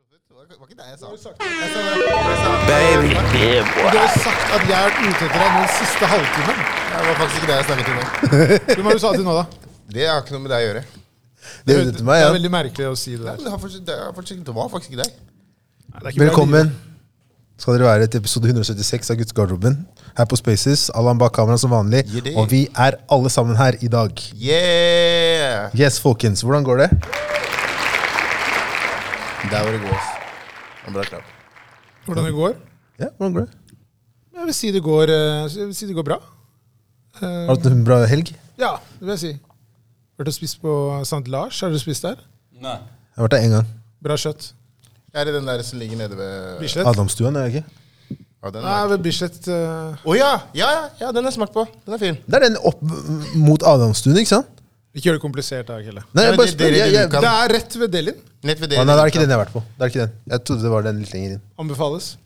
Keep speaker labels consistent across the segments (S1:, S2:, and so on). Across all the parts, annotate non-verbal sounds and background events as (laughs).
S1: Det var ikke det jeg sa. Jeg sa- jeg sa-
S2: Baby.
S1: Du har jo sagt at jeg har vært ute etter deg den siste halvtimen. Det var faktisk ikke det jeg snakket om nå.
S3: Hvem er det du sa til nå, da?
S1: Det har ikke noe med deg å gjøre.
S2: Det er ute til meg,
S3: Det er
S2: ja.
S3: veldig merkelig å si
S1: Ja,
S3: det der.
S1: men Det, har faktisk, det, har faktisk, det var faktisk ikke deg.
S3: Nei, det er ikke bra
S2: Velkommen skal dere være til episode 176 av Guttegarderoben. Her på Spaces. Allan bak kamera som vanlig.
S1: Yeah.
S2: Og vi er alle sammen her i dag.
S1: Yeah!
S2: Yes, folkens. Hvordan går det?
S1: Der var det gås. En bra klapp.
S3: liv. Hvordan det går?
S2: Ja, hvordan går det?
S3: Jeg vil si det går, eh, jeg vil si det går bra. Eh,
S2: Har du hatt en bra helg? Jeg
S3: ja, det vil jeg si. Vært og spist på St. Lars. Har du spist der?
S4: Nei.
S2: har vært der én gang.
S3: Bra kjøtt.
S1: Jeg er i den der som ligger nede ved
S3: Bislett?
S2: Adamstuen, er jeg ikke?
S1: Ja, den
S3: Nei,
S1: er-
S3: ved Bislett eh,
S1: Å ja! Ja, ja, ja, den har jeg smakt på. Den er fin.
S2: Det er den opp mot Adamstuen, ikke sant?
S3: Ikke gjør det komplisert, da, Kelle.
S2: Nei, jeg
S1: men
S2: bare
S1: det- det er
S2: spør.
S1: det
S2: Jeg,
S1: du
S2: jeg,
S1: kan-
S3: Det er rett ved Delin.
S1: Nett ved
S2: Å,
S1: det.
S2: nei, det er ikke den jeg har vært på. Det er ikke den. Jeg trodde det var den litt lenger inn.
S3: Anbefales.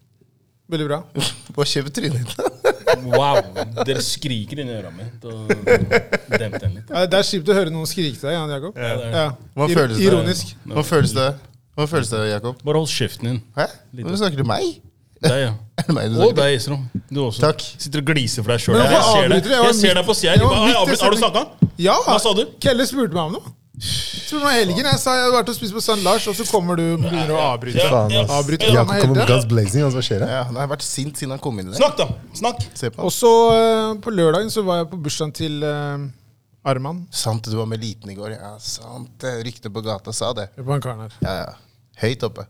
S3: Veldig bra.
S1: Bare kjøp trynet ditt.
S4: Wow. Dere skriker inni øra mitt. Og demp den litt.
S3: Eh, Det er kjipt å høre noen skrike til deg, Jan Jakob.
S4: det er-
S3: Ja.
S1: Hva
S3: Ir-
S1: føles det?
S3: Ironisk.
S1: Hva føles det? Hva føles det, Jakob?
S4: Bare hold kjeften din.
S1: Hæ? Nå snakker du meg? (laughs)
S4: Deg, ja.
S1: Er det meg du
S4: Og
S1: snakker til?
S4: deg, Isrom. Du også.
S1: Takk.
S4: Sitter og gliser for deg sjøl.
S3: Men
S4: Jeg,
S3: hvorfor
S4: ser
S3: avbryter du?
S4: deg
S3: Jeg var
S4: Jeg ser
S3: midt-
S4: deg på sida.
S3: jeg var midt i
S4: Har du
S3: sending.
S4: snakka?
S3: Ja.
S4: Hva sa du?
S3: Kelle spurte meg om noe. Spurte meg i helgen. Jeg sa jeg hadde vært og spist på St. Lars, og så kommer du og begynner å avbryte.
S4: Ja,
S2: Faen,
S4: ja.
S2: ass.
S3: Avbryter
S4: Ja.
S2: Jakob kommer med guns blazing, altså. Hva skjer her?
S1: Ja, han har vært sint siden han kom inn i det.
S4: Snakk, da. Snakk.
S1: Se på han.
S3: Og så eh, på lørdagen så var jeg på bursdagen til eh, Arman.
S1: Sant du var med liten i går. Ja, sant. Ryktene på gata sa det.
S3: Hør på han karen her.
S1: Ja, ja. Høyt oppe.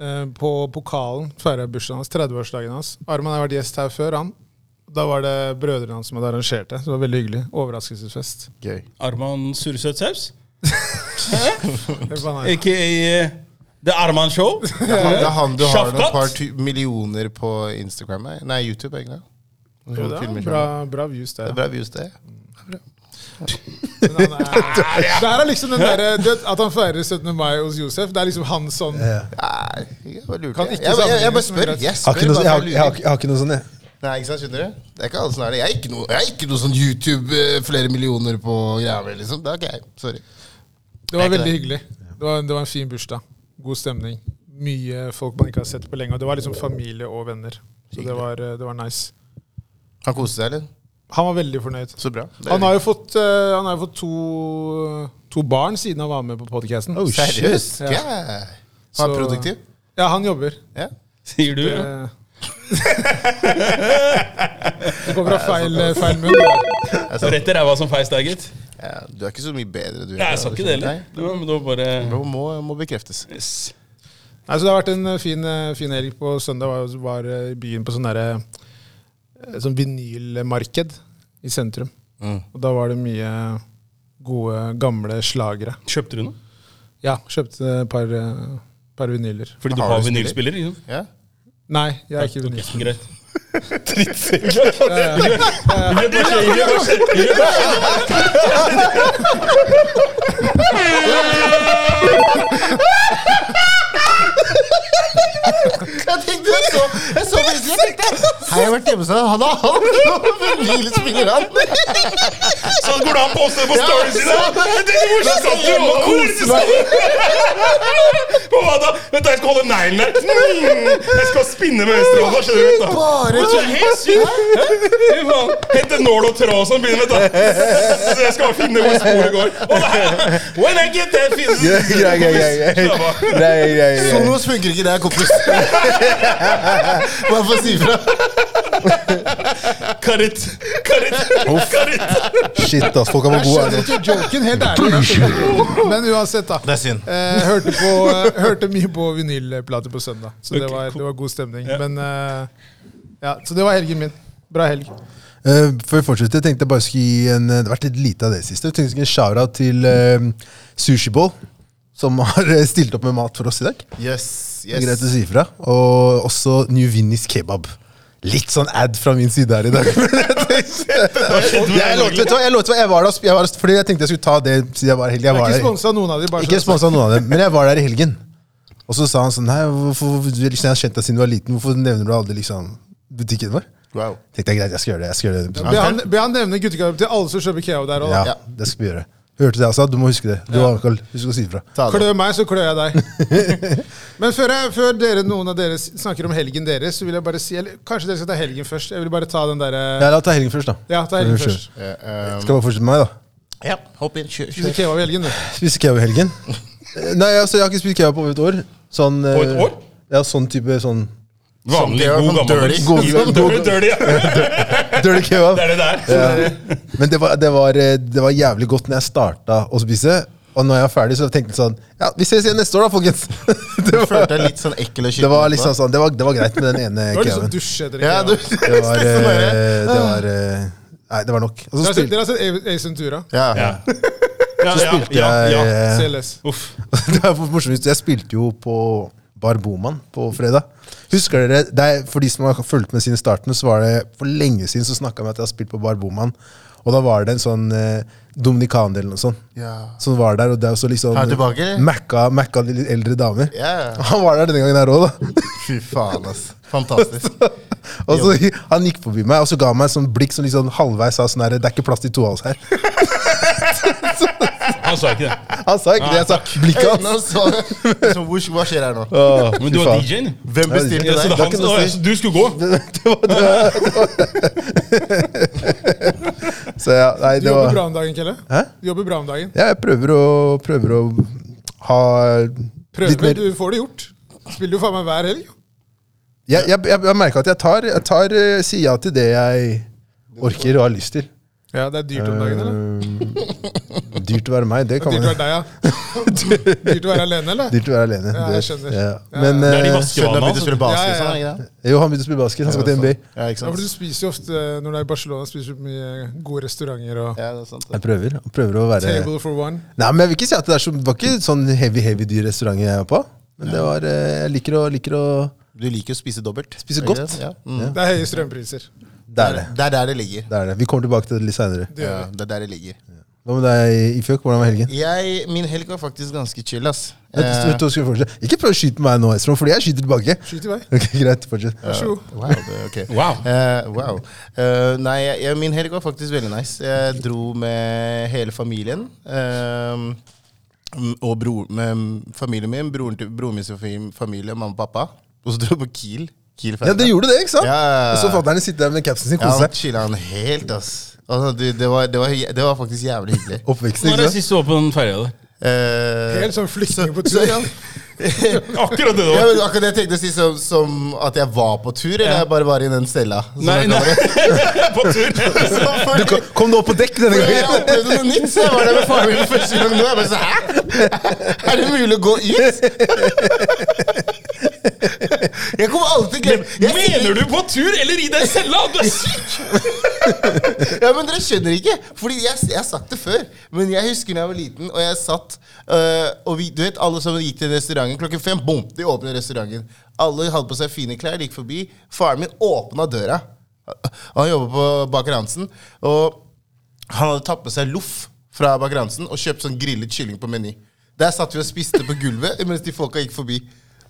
S3: Eh, på pokalen feira jeg bursdagen hans. 30-årsdagen hans. Arman har vært gjest her før, han. Da var det brødrene hans som hadde arrangert det. Så det var veldig hyggelig. Overraskelsesfest.
S1: Gøy.
S4: Arman Surresøt Saus.
S3: Hør på han her.
S4: Ikke eh, The Arman Show.
S1: Det er han, det er han du har noen
S4: Sjafkat?
S1: par tu millioner på Instagram? nei? Nei, YouTube, egentlig.
S3: Jo, det er bra, bra views
S1: Det
S3: der.
S1: er bra views, det.
S3: Men han er, det her er liksom den der, du vet, At han feirer 17. mai hos Josef, det er liksom hans sånn
S2: Ja.
S1: Nei, jeg bare lurer.
S3: Kan
S1: Jeg,
S3: ikke
S1: jeg, jeg, jeg bare
S3: sammenlignes med
S1: spør.
S3: Brett.
S1: Jeg
S2: Jeg har
S1: spør
S2: ikke noe, sånn-
S1: bare
S2: jeg
S1: for jeg lurer.
S2: har, jeg har, ikke- jeg har ikke noe sånn, (laughs) jeg.
S1: Nei, ikke sant, skjønner du? Det er ikke alle som er det. Jeg er ikke noe, jeg er ikke noe sånn YouTube, eh, flere millioner på greia mi, liksom. Det er ikke jeg. Sorry.
S3: Det var
S1: Det er ikke
S3: veldig hyggelig. Det var, det var en fin bursdag. God stemning. Mye folk man ikke har sett på lenge. Og det var liksom familie og venner. Så det var, eh, det var nice.
S1: Han koste seg, eller?
S3: Han var veldig fornøyd.
S1: Så bra. Det er
S3: Han har jo fått, eh, han har jo fått to, to barn siden han var med på podcasten.
S2: Oh, shit.
S1: Seriøst?
S3: Ja.
S1: Ja. Han
S3: Så-
S1: er produktiv?
S3: Ja, han jobber.
S1: Ja.
S4: Sier du?
S3: Eh, (laughs) Det kommer fra feil, eh, feil munn.
S4: Rett i ræva som feis der, gitt.
S1: ja. Du er ikke så mye bedre, du.
S4: Nei, jeg sa ikke det heller.
S1: Nei.
S4: Det var- men det var bare
S1: Det må, må bekreftes.
S4: yes.
S3: Nei, så det har vært en eh, fin, eh, fin helg. På søndag var, var eh, i byen på sånn derre eh, Sånn vinylmarked i sentrum.
S1: Mm.
S3: Og da var det mye gode, gamle slagere.
S4: Kjøpte du noe?
S3: Ja, kjøpte et par, eh, par vinyler.
S4: Fordi du
S1: Har
S4: har
S1: du spiller?
S4: vinylspiller? liksom?
S1: Ja.
S3: Nei, jeg er ikke
S4: Ok,
S3: vinyl.
S4: Greit.
S1: Jeg tenkte jeg så, jeg så faktisk, jeg tenkte, Hei, jeg har vært hjemme hos deg. Han har hatt noen lille spiller, han.
S4: Så går det an på oss på
S1: Ja,
S4: storyen sin!
S1: så-
S4: Hvordan satt du og koste deg? På hva da? Vent, da, jeg skal holde neglen der. Mm, Jeg skal spinne med venstrehånda. Skjønner du? Vent, da.
S1: Bare
S4: Men det er helt sykt. Hæ? Fy faen. Hent en nål og tråd og sånn. Begynner med det. Så jeg skal finne hvor sporet går. Og da- When I get that fizz
S2: Grei, grei, grei, grei.
S4: Slapp av.
S2: Grei, grei, grei.
S1: Sonos Sånn funker ikke, det er kompis. Bare for å si fra.
S4: Karit. Karit. Karit.
S2: Shit, ass. Folk har vært
S3: Jeg
S2: gode
S3: skjønner
S2: her nå.
S3: ikke joken, helt ærlig. Jeg skjønner ikke. Men uansett, da.
S1: Det er synd.
S3: Eh, hørte, på, eh, hørte mye på vinylplater på søndag, så det
S4: Ok,
S3: var,
S4: cool.
S3: det var god stemning.
S4: Ja.
S3: Men eh, ja, Så det var helgen min. Bra helg.
S2: Eh, Før vi fortsetter, tenkte jeg bare skulle gi en eh, Det har vært litt lite av det siste. Jeg tenkte jeg skulle gi en shout-out til eh, Sushi Bowl, som har eh, stilt opp med mat for oss i dag.
S1: Yes,
S2: Det er Greit
S1: yes.
S2: å si ifra. Og også New Vinnies kebab. Litt sånn ad fra min side her i dag. (laughs) men jeg tenkte- jeg lovte, vet du hva, jeg lovte hva, jeg var der, og sp- jeg var der, fordi jeg tenkte jeg skulle ta det siden jeg var heldig. Jeg
S3: Jeg
S2: var
S3: er ikke
S2: der.
S3: sponsa noen av de, bare så
S2: Ikke
S3: det er sagt.
S2: sponsa noen av dem, men jeg var der i helgen. Og så sa han sånn Nei, hvorfor, du- liksom, jeg har kjent deg siden du var liten, hvorfor nevner du aldri liksom, butikken vår?
S1: Wow.
S2: Tenkte jeg greit, jeg skal gjøre det. jeg skal gjøre det.
S3: Be han, be han nevne guttegarderoben til alle som kjøper keo der. Og,
S2: Ja,
S1: Ja.
S2: det skal vi gjøre. Hørte det jeg sa? Du må huske det. Du har alkohol. Husk å si ifra.
S1: Ta det.
S3: Klø meg, så klør jeg deg. Men før, jeg, før dere, noen av dere s- snakker om helgen deres, så vil jeg bare si Eller kanskje dere skal ta helgen først. Jeg vil bare ta den derre
S2: Ja, La oss ta helgen først, da.
S3: Ja, ta helgen
S2: Unnskyld.
S3: først.
S1: Eh, eh,
S2: Skal bare fortsette med meg, da.
S1: ja, hopp inn. Kjør.
S3: Spise
S1: kjør.
S3: kebab i helgen, du.
S2: Spiste kebab i helgen. Eh, Nei, altså, jeg har ikke spist kebab på over et år. Sånn, eh,
S4: På et år?
S2: Ja, sånn type sånn
S4: Vanlig,
S1: Sånn,
S4: god,
S1: sånn dirty.
S4: gammel
S2: God-
S4: Dirty, dirty, ja.
S2: dirty kebab.
S4: Det er det der.
S2: Ja. Men det var, det, var, eh, det var jævlig godt når jeg starta å spise. Og når jeg var ferdig, så tenkte jeg sånn Ja, vi ses igjen neste år, da, folkens! (laughs) Det
S1: Du
S2: var,
S1: følte deg litt sånn ekkel og
S2: det
S1: skitten?
S2: var liksom sånn Det var, det var greit med den ene
S3: Det var
S4: liksom
S3: litt sånn
S2: kebaben.
S3: dusj etter en
S1: ja, du, (laughs)
S3: kebab.
S2: Det
S1: sånn
S2: var, eh, det var eh, Nei, det var nok. Og
S3: Dere
S2: så
S3: har sett-
S2: spilte
S3: Dere har sett Ace Ventura?
S1: ja.
S4: Ja. Ja,
S2: så
S4: ja,
S2: spilte
S4: ja, ja.
S2: jeg (laughs) eh,
S3: CLS.
S4: Uff.
S2: Det er for morsomt. Jeg spilte jo på Bar Boman på fredag. Husker dere, det er, For de som har fulgt med siden starten, så var det for lenge siden så snakka jeg om at jeg har spilt på Bar Boman. Og da var det en sånn eh, dominikaner eller noe sånt
S1: Ja.
S2: som var der. Og det er jo så liksom
S1: Er han tilbake, eller?
S2: Macka, macka de litt eldre damer.
S1: Ja.
S2: (laughs) Han var der denne gangen her òg, da. (laughs)
S1: Fy faen, ass. Fantastisk.
S2: Og så, han gikk forbi meg og så ga han meg et sånt blikk som liksom halvveis sa sånn her Det er ikke plass til to av oss her.
S4: Han sa ikke det.
S2: Han sa ikke det. Jeg sa blikket
S1: Øynene
S2: hans.
S1: så, så, hvor, hva skjer her nå?
S2: Åh,
S4: Men
S2: fy
S4: du var
S2: faen.
S4: DJ-en.
S1: Hvem
S4: Ja,
S1: bestilte deg?
S4: så det er han
S2: ikke
S4: som-
S2: noe
S4: Å, ja,
S2: å si.
S4: så du skulle gå?
S2: Så ja, nei,
S3: Du
S2: det
S3: jobber
S2: var
S3: bra om dagen, Kelle?
S2: Hæ?
S3: Du jobber bra om dagen.
S2: Ja, jeg prøver å, prøver å ha litt
S3: Prøver,
S2: mer
S3: du får det gjort. Spiller jo faen meg hver helg.
S2: Jeg, jeg, jeg, jeg merker at jeg tar, jeg tar eh, sier ja til det jeg orker og har lyst til.
S3: Ja, det er dyrt om dagen, eller?
S2: Eh, dyrt å være meg, det kan
S3: Dyrt å
S2: man
S3: være deg, ja.
S2: (laughs)
S3: Dyrt å være alene, eller?
S2: Dyrt å være alene.
S3: Ja, jeg
S2: det-
S3: skjønner.
S2: Ja.
S3: Ja,
S2: Men
S4: Det er de
S1: Skjønner
S2: eh,
S4: vaskevanene
S1: at du
S4: hans.
S1: spiller bas,
S3: Ja, ja,
S1: liksom?
S3: ja.
S1: er det ikke det?
S2: jo, han begynte å spille basket. Han skal til NBA.
S1: Ja, ikke
S3: Ja, for du
S1: sant?
S3: spiser jo ofte eh, når du er i Barcelona, spiser du mye eh, gode restauranter og
S1: Ja, det er sant.
S2: Jeg prøver. Jeg prøver å være
S3: table for one.
S2: Nei, men jeg vil ikke si at Det er så, det var ikke sånn heavy, heavy dyr restaurant jeg var på. Men det var, eh, jeg liker å, liker å
S1: Du liker å spise dobbelt. er
S2: Spise
S1: ikke
S2: godt.
S1: det? Ja. Mm.
S3: Det er høye strømpriser.
S2: Det er det.
S1: Det er der det ligger.
S2: det, er det. Vi kommer tilbake til det litt seinere.
S3: Det gjør
S1: Ja, det er der det ligger.
S2: Hva med deg, Ifjøk? Hvordan var helgen?
S1: Jeg, min helg var faktisk ganske chill, ass.
S2: Vent,
S1: Eh,
S2: vent, skal vi fortsette? Ikke prøv å skyte på meg nå, Esrom, fordi jeg skyter tilbake.
S3: Skyt i vei.
S2: (laughs) Ok, Greit, fortsett.
S3: Vær så god.
S1: Wow, det, ok.
S4: Wow.
S1: Eh, wow. Eh, nei, jeg, jeg- min helg var faktisk veldig nice. Jeg dro med hele familien. eh, m- og bror, med familien min, broren til broren min sin fam- familie, mamma og pappa. Og så dro vi på Kiel. Kiel
S2: Ja, det gjorde det, ikke sant?
S1: Ja.
S2: Og så fatter'n sitter der med capsen sin,
S1: ja,
S2: koser
S1: han
S2: seg.
S1: chilla han helt, ass. Altså, du, det, var, det, var, det var faktisk jævlig hyggelig.
S2: Oppveksten,
S4: Når er
S2: ikke
S4: det
S2: sant?
S4: siste du var på den ferja der?
S1: Eh,
S3: Helt sånn flyktning på tur.
S2: (laughs)
S3: ja.
S4: Akkurat det det
S1: (laughs) ja,
S4: var.
S1: men akkurat det jeg tenkte å si, som, som at jeg var på tur, eller
S4: Ja.
S1: jeg bare var i den cella. som
S4: Nei,
S1: jeg
S4: nei.
S1: kaller det.
S4: (laughs) På tur.
S1: Så fordi-
S2: Du, kom- kom du opp på dekk denne
S1: Jeg
S2: gangen? (laughs)
S1: opplevde noe nytt, så jeg var der med faren min første gang nå. Jeg bare så, hæ? Er det mulig å gå
S4: (laughs)
S1: ut? Jeg kommer alltid til å glemme jeg,
S4: Mener du på tur eller i den cella? Du er syk!
S1: Ja, men Dere skjønner ikke. Fordi jeg, jeg har sagt det før. Men jeg husker da jeg var liten, og jeg satt øh, Og vi, du vet, alle som gikk til restauranten klokken fem, bom, de åpner restauranten. Alle hadde på seg fine klær, de gikk forbi. Faren min åpna døra. Han jobber på Baker Hansen. Og han hadde tatt med seg loff fra Baker Hansen og kjøpt sånn grillet kylling på Meny. Der satt vi og spiste på gulvet mens de folka gikk forbi.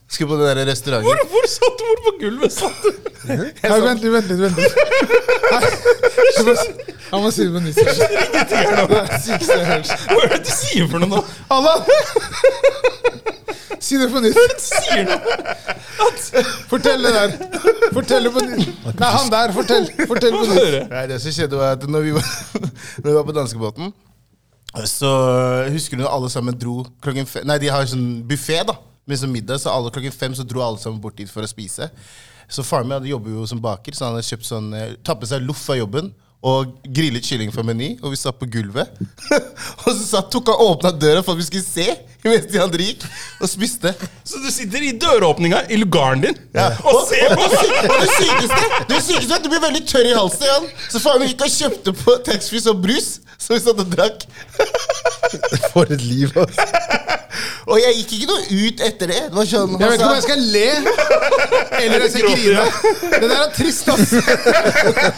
S1: Skulle på den der
S4: Hvor,
S1: restauranten.
S4: hvor satt du? Hvor på gulvet satt du?
S3: Nei, vent litt, vent litt. vent litt. Han må- Han må si det på
S2: (laughs)
S3: nytt. Det er det sykeste jeg har hørt.
S4: Hva er det du sier for noe nå?
S3: Alla! Si det på nytt.
S2: (laughs)
S4: Sier noe.
S3: Fortell det der. Fortell det på nytt. Nei, han der. Fortell. Fortell på nytt.
S4: Høre.
S1: Nei, det som skjedde var at når vi var, (laughs) når vi var på danskebåten, så husker du når alle sammen dro klokken fem Nei, de har jo sånn buffé, da. Med sånn middag, så alle klokken fem så dro alle sammen bort dit for å spise. Så faren min hadde- jobber jo som baker, så han hadde kjøpt sånn eh, Tatt med seg loff av jobben. Og grillet kylling fra Meny, og vi satt på gulvet. (laughs) og så satt, tok han åpna døra for at vi skulle se mens de andre gikk, og spiste.
S4: Så du sitter i døråpninga i lugaren din og ser på
S1: (laughs) Og det sykeste, det sykeste er at du blir veldig tørr i halsen igjen. Så faen vi gikk og kjøpte på taxfree og brus, så vi satt og drakk.
S2: For et liv, altså.
S1: Og jeg gikk ikke noe ut etter det. Det var sånn
S3: Jeg
S1: han
S3: vet ikke om jeg
S1: sa-
S3: skal le eller jeg skal grine. Det der er trist, ass.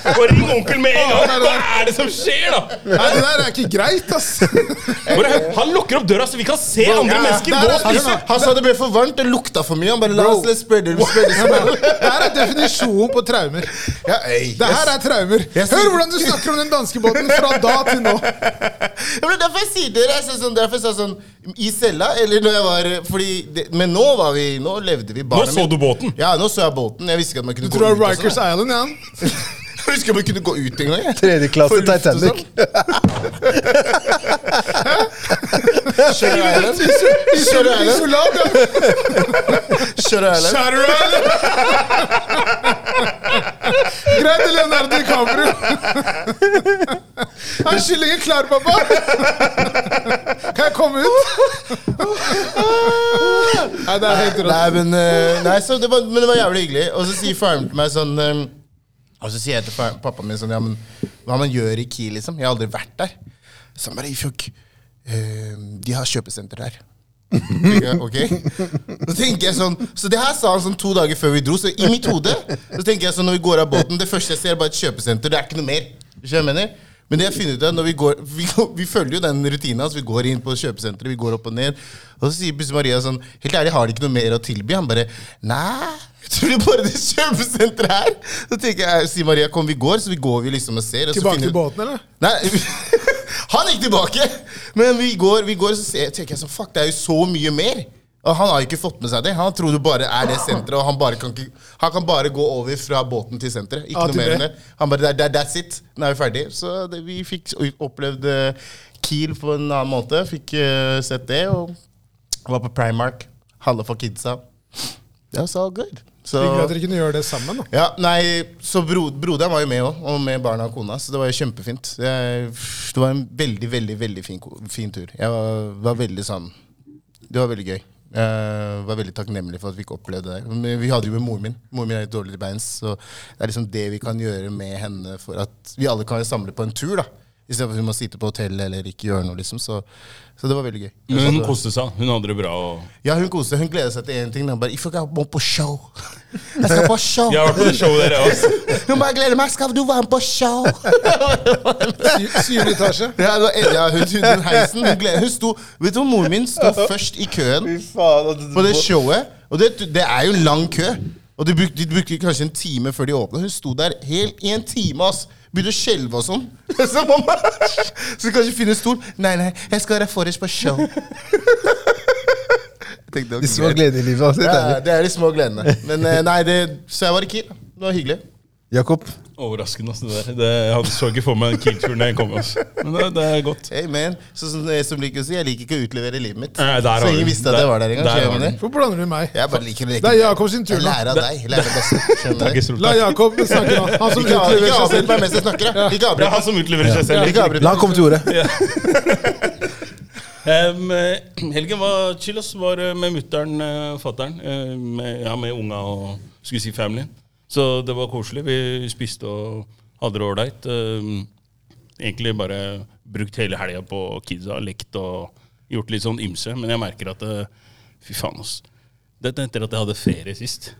S4: Bare ring onkel med en gang! Hva er det som skjer, da?
S3: Nei, det der er ikke greit, ass.
S4: Bare, han lukker opp døra, så vi kan se andre
S1: Ja, ja.
S4: mennesker
S3: Der
S4: gå
S3: er
S4: og spise.
S3: han.
S1: Han sa det ble for varmt, det lukta for mye. Han bare la
S3: Bro.
S1: oss litt spredde (laughs) spredde smell.
S3: Det her er definisjonen på traumer.
S1: Ja, ey,
S3: Det her er traumer. Hør hvordan du snakker om den danskebåten fra da til nå.
S1: (laughs) Ja, men derfor jeg sier dere, jeg sa sånn, derfor jeg sa sånn I cella, eller når jeg var fordi det, Men nå var vi, nå levde vi
S4: Nå
S1: barnet
S4: så du båten.
S1: Ja, nå så jeg båten. Jeg visste ikke at man kunne
S3: Du tror det
S1: ut
S3: er
S1: og
S3: Rikers
S1: sånn,
S2: altså.
S3: Island, ja?
S1: jeg. (laughs) Jeg visste ikke at man kunne gå ut engang. jeg.
S2: Tredjeklasse
S1: For luft og sånn.
S2: Titanic.
S1: Shutter
S2: (laughs)
S1: Island. Shutter Island.
S3: Isolat, ja.
S1: Shutter Island.
S3: Shatter Island. Greit, Leonardo DiCaprio. Er kyllingen klar, pappa? Kan jeg komme ut? Nei, det er helt rått.
S1: Nei, men, eh, nei så det var, men det var jævlig hyggelig. Og så sier faren til meg sånn eh, Og så sier jeg til fa- pappaen min sånn Ja, men hva man gjør i Kiel, liksom? Jeg har aldri vært der. Så han bare Ifjok, eh, de har kjøpesenter der. Tenker jeg, Ok? Så tenker jeg sånn Så det her sa han sånn to dager før vi dro, så i mitt hode Så tenker jeg sånn når vi går av båten Det første jeg ser, er bare et kjøpesenter. Det er ikke noe mer. Skjønner du hva jeg mener? Men det jeg har funnet ut er når vi går Vi, går- vi følger jo den rutinen hans. Vi går inn på kjøpesenteret, vi går opp og ned. Og så sier Busse Maria sånn Helt ærlig, har de ikke noe mer å tilby? Han bare Nei. Tror du bare det kjøpesenteret her? Så tenker jeg, sier Maria, kom vi går, så vi går vi liksom og ser. Og så
S3: Tilbake
S1: finner-
S3: til båten, eller?
S1: Nei, (laughs) han gikk tilbake. Men vi går, vi går så ser, tenker jeg sånn, fuck, det er jo så mye mer. Og han har jo ikke fått med seg det. Han tror det bare er det senteret. Og han, bare kan ikke, han kan bare gå over fra båten til senteret. Ikke
S3: A til
S1: noe mer
S3: B.
S1: enn det. Han bare, that, that's it. Nå er vi ferdig. Så det, vi fikk opplevd eh, Kiel på en annen måte. Fikk eh, sett det, og var på Primark. Halla for kidsa. Det var så good. Så,
S3: Hyggelig at dere kunne gjøre det sammen. (laughs) da.
S1: ja, nei, så bro, broderen var jo med òg, og med barna og kona, så det var jo kjempefint. Det, det var en veldig, veldig veldig fin, ko- fin tur. Jeg var, var veldig sånn Det var veldig gøy. Jeg var veldig takknemlig for at vi ikke opplevde det. der. Men vi hadde jo med moren min. Moren min er litt dårlig til beins, så det er liksom det vi kan gjøre med henne for at vi alle kan samle på en tur, da. Istedenfor at vi må sitte på hotell eller ikke gjøre noe, liksom. Så, så det var veldig gøy.
S4: Men hun koste seg. Hun hadde det bra. Og...
S1: Ja, hun koste seg. Hun gleder seg til én ting. da. Hun bare 'If I go på show'. (laughs) Jeg skal på show.
S4: Jeg har vært på det showet altså. der, jeg også.
S1: Hun bare gleder meg. Skal du være med på show? (laughs)
S3: Sy- Syvende etasje.
S1: Ja, det var, ja hun, hun, den heisen, hun, gled, hun sto, Vet du hvor moren min sto først i køen på det showet? Og det, det er jo en lang kø. Og de brukte, de brukte kanskje en time før de åpna. Hun sto der helt i en time. ass Begynte å skjelve og sånn. (laughs) Så mamma Så kanskje finne stol. Nei, nei, jeg skal være forrest på show. Jeg tenkte,
S2: De
S1: ok,
S2: som har
S1: greit.
S2: glede i livet. Altså, det
S1: Ja,
S2: er deilig.
S1: det er de små gledene. Men eh, nei, det, så jeg var i Kiel. Det var hyggelig.
S2: Jakob,
S4: Overraskende, altså. Det der. Det, jeg hadde- så ikke for meg den Kiel-turen da jeg kom. Altså. Men det, det er godt.
S1: Hey man, så som, som liker å si, jeg liker ikke å utlevere livet mitt.
S4: Nei, der har
S1: så ingen
S4: du den.
S1: visste at
S4: Der-
S1: jeg var der engang.
S4: der har
S1: skjønner du
S4: du den.
S1: det?
S3: Hvorfor blander du meg?
S1: Jeg bare liker å leke.
S3: Det er Jakob sin tur
S1: Jeg
S3: nå.
S1: lærer av deg. Lærer av best. Skjønner
S4: Takk,
S1: du?
S4: Isrota.
S3: La Jakob snakke nå. Han som
S1: Ikke av-
S3: utleverer
S1: ikke
S3: seg
S1: avbryt
S3: selv.
S1: meg mens jeg snakker. da. Ikke
S4: Det er
S1: avbryt
S4: han som utleverer seg selv.
S1: Ikke avbryt
S2: la han komme til ordet.
S4: Em, eh, helgen var chill, ass. Var eh, med mutter'n, uh, fatter'n, eh, med, ja, med unga og skulle si familien. Så det var koselig. Vi spiste og hadde det ålreit. Em, egentlig bare brukt hele helga på kidsa, lekt og gjort litt sånn ymse. Men jeg merker at eh, Fy faen, ass. Dette etter at jeg hadde ferie sist.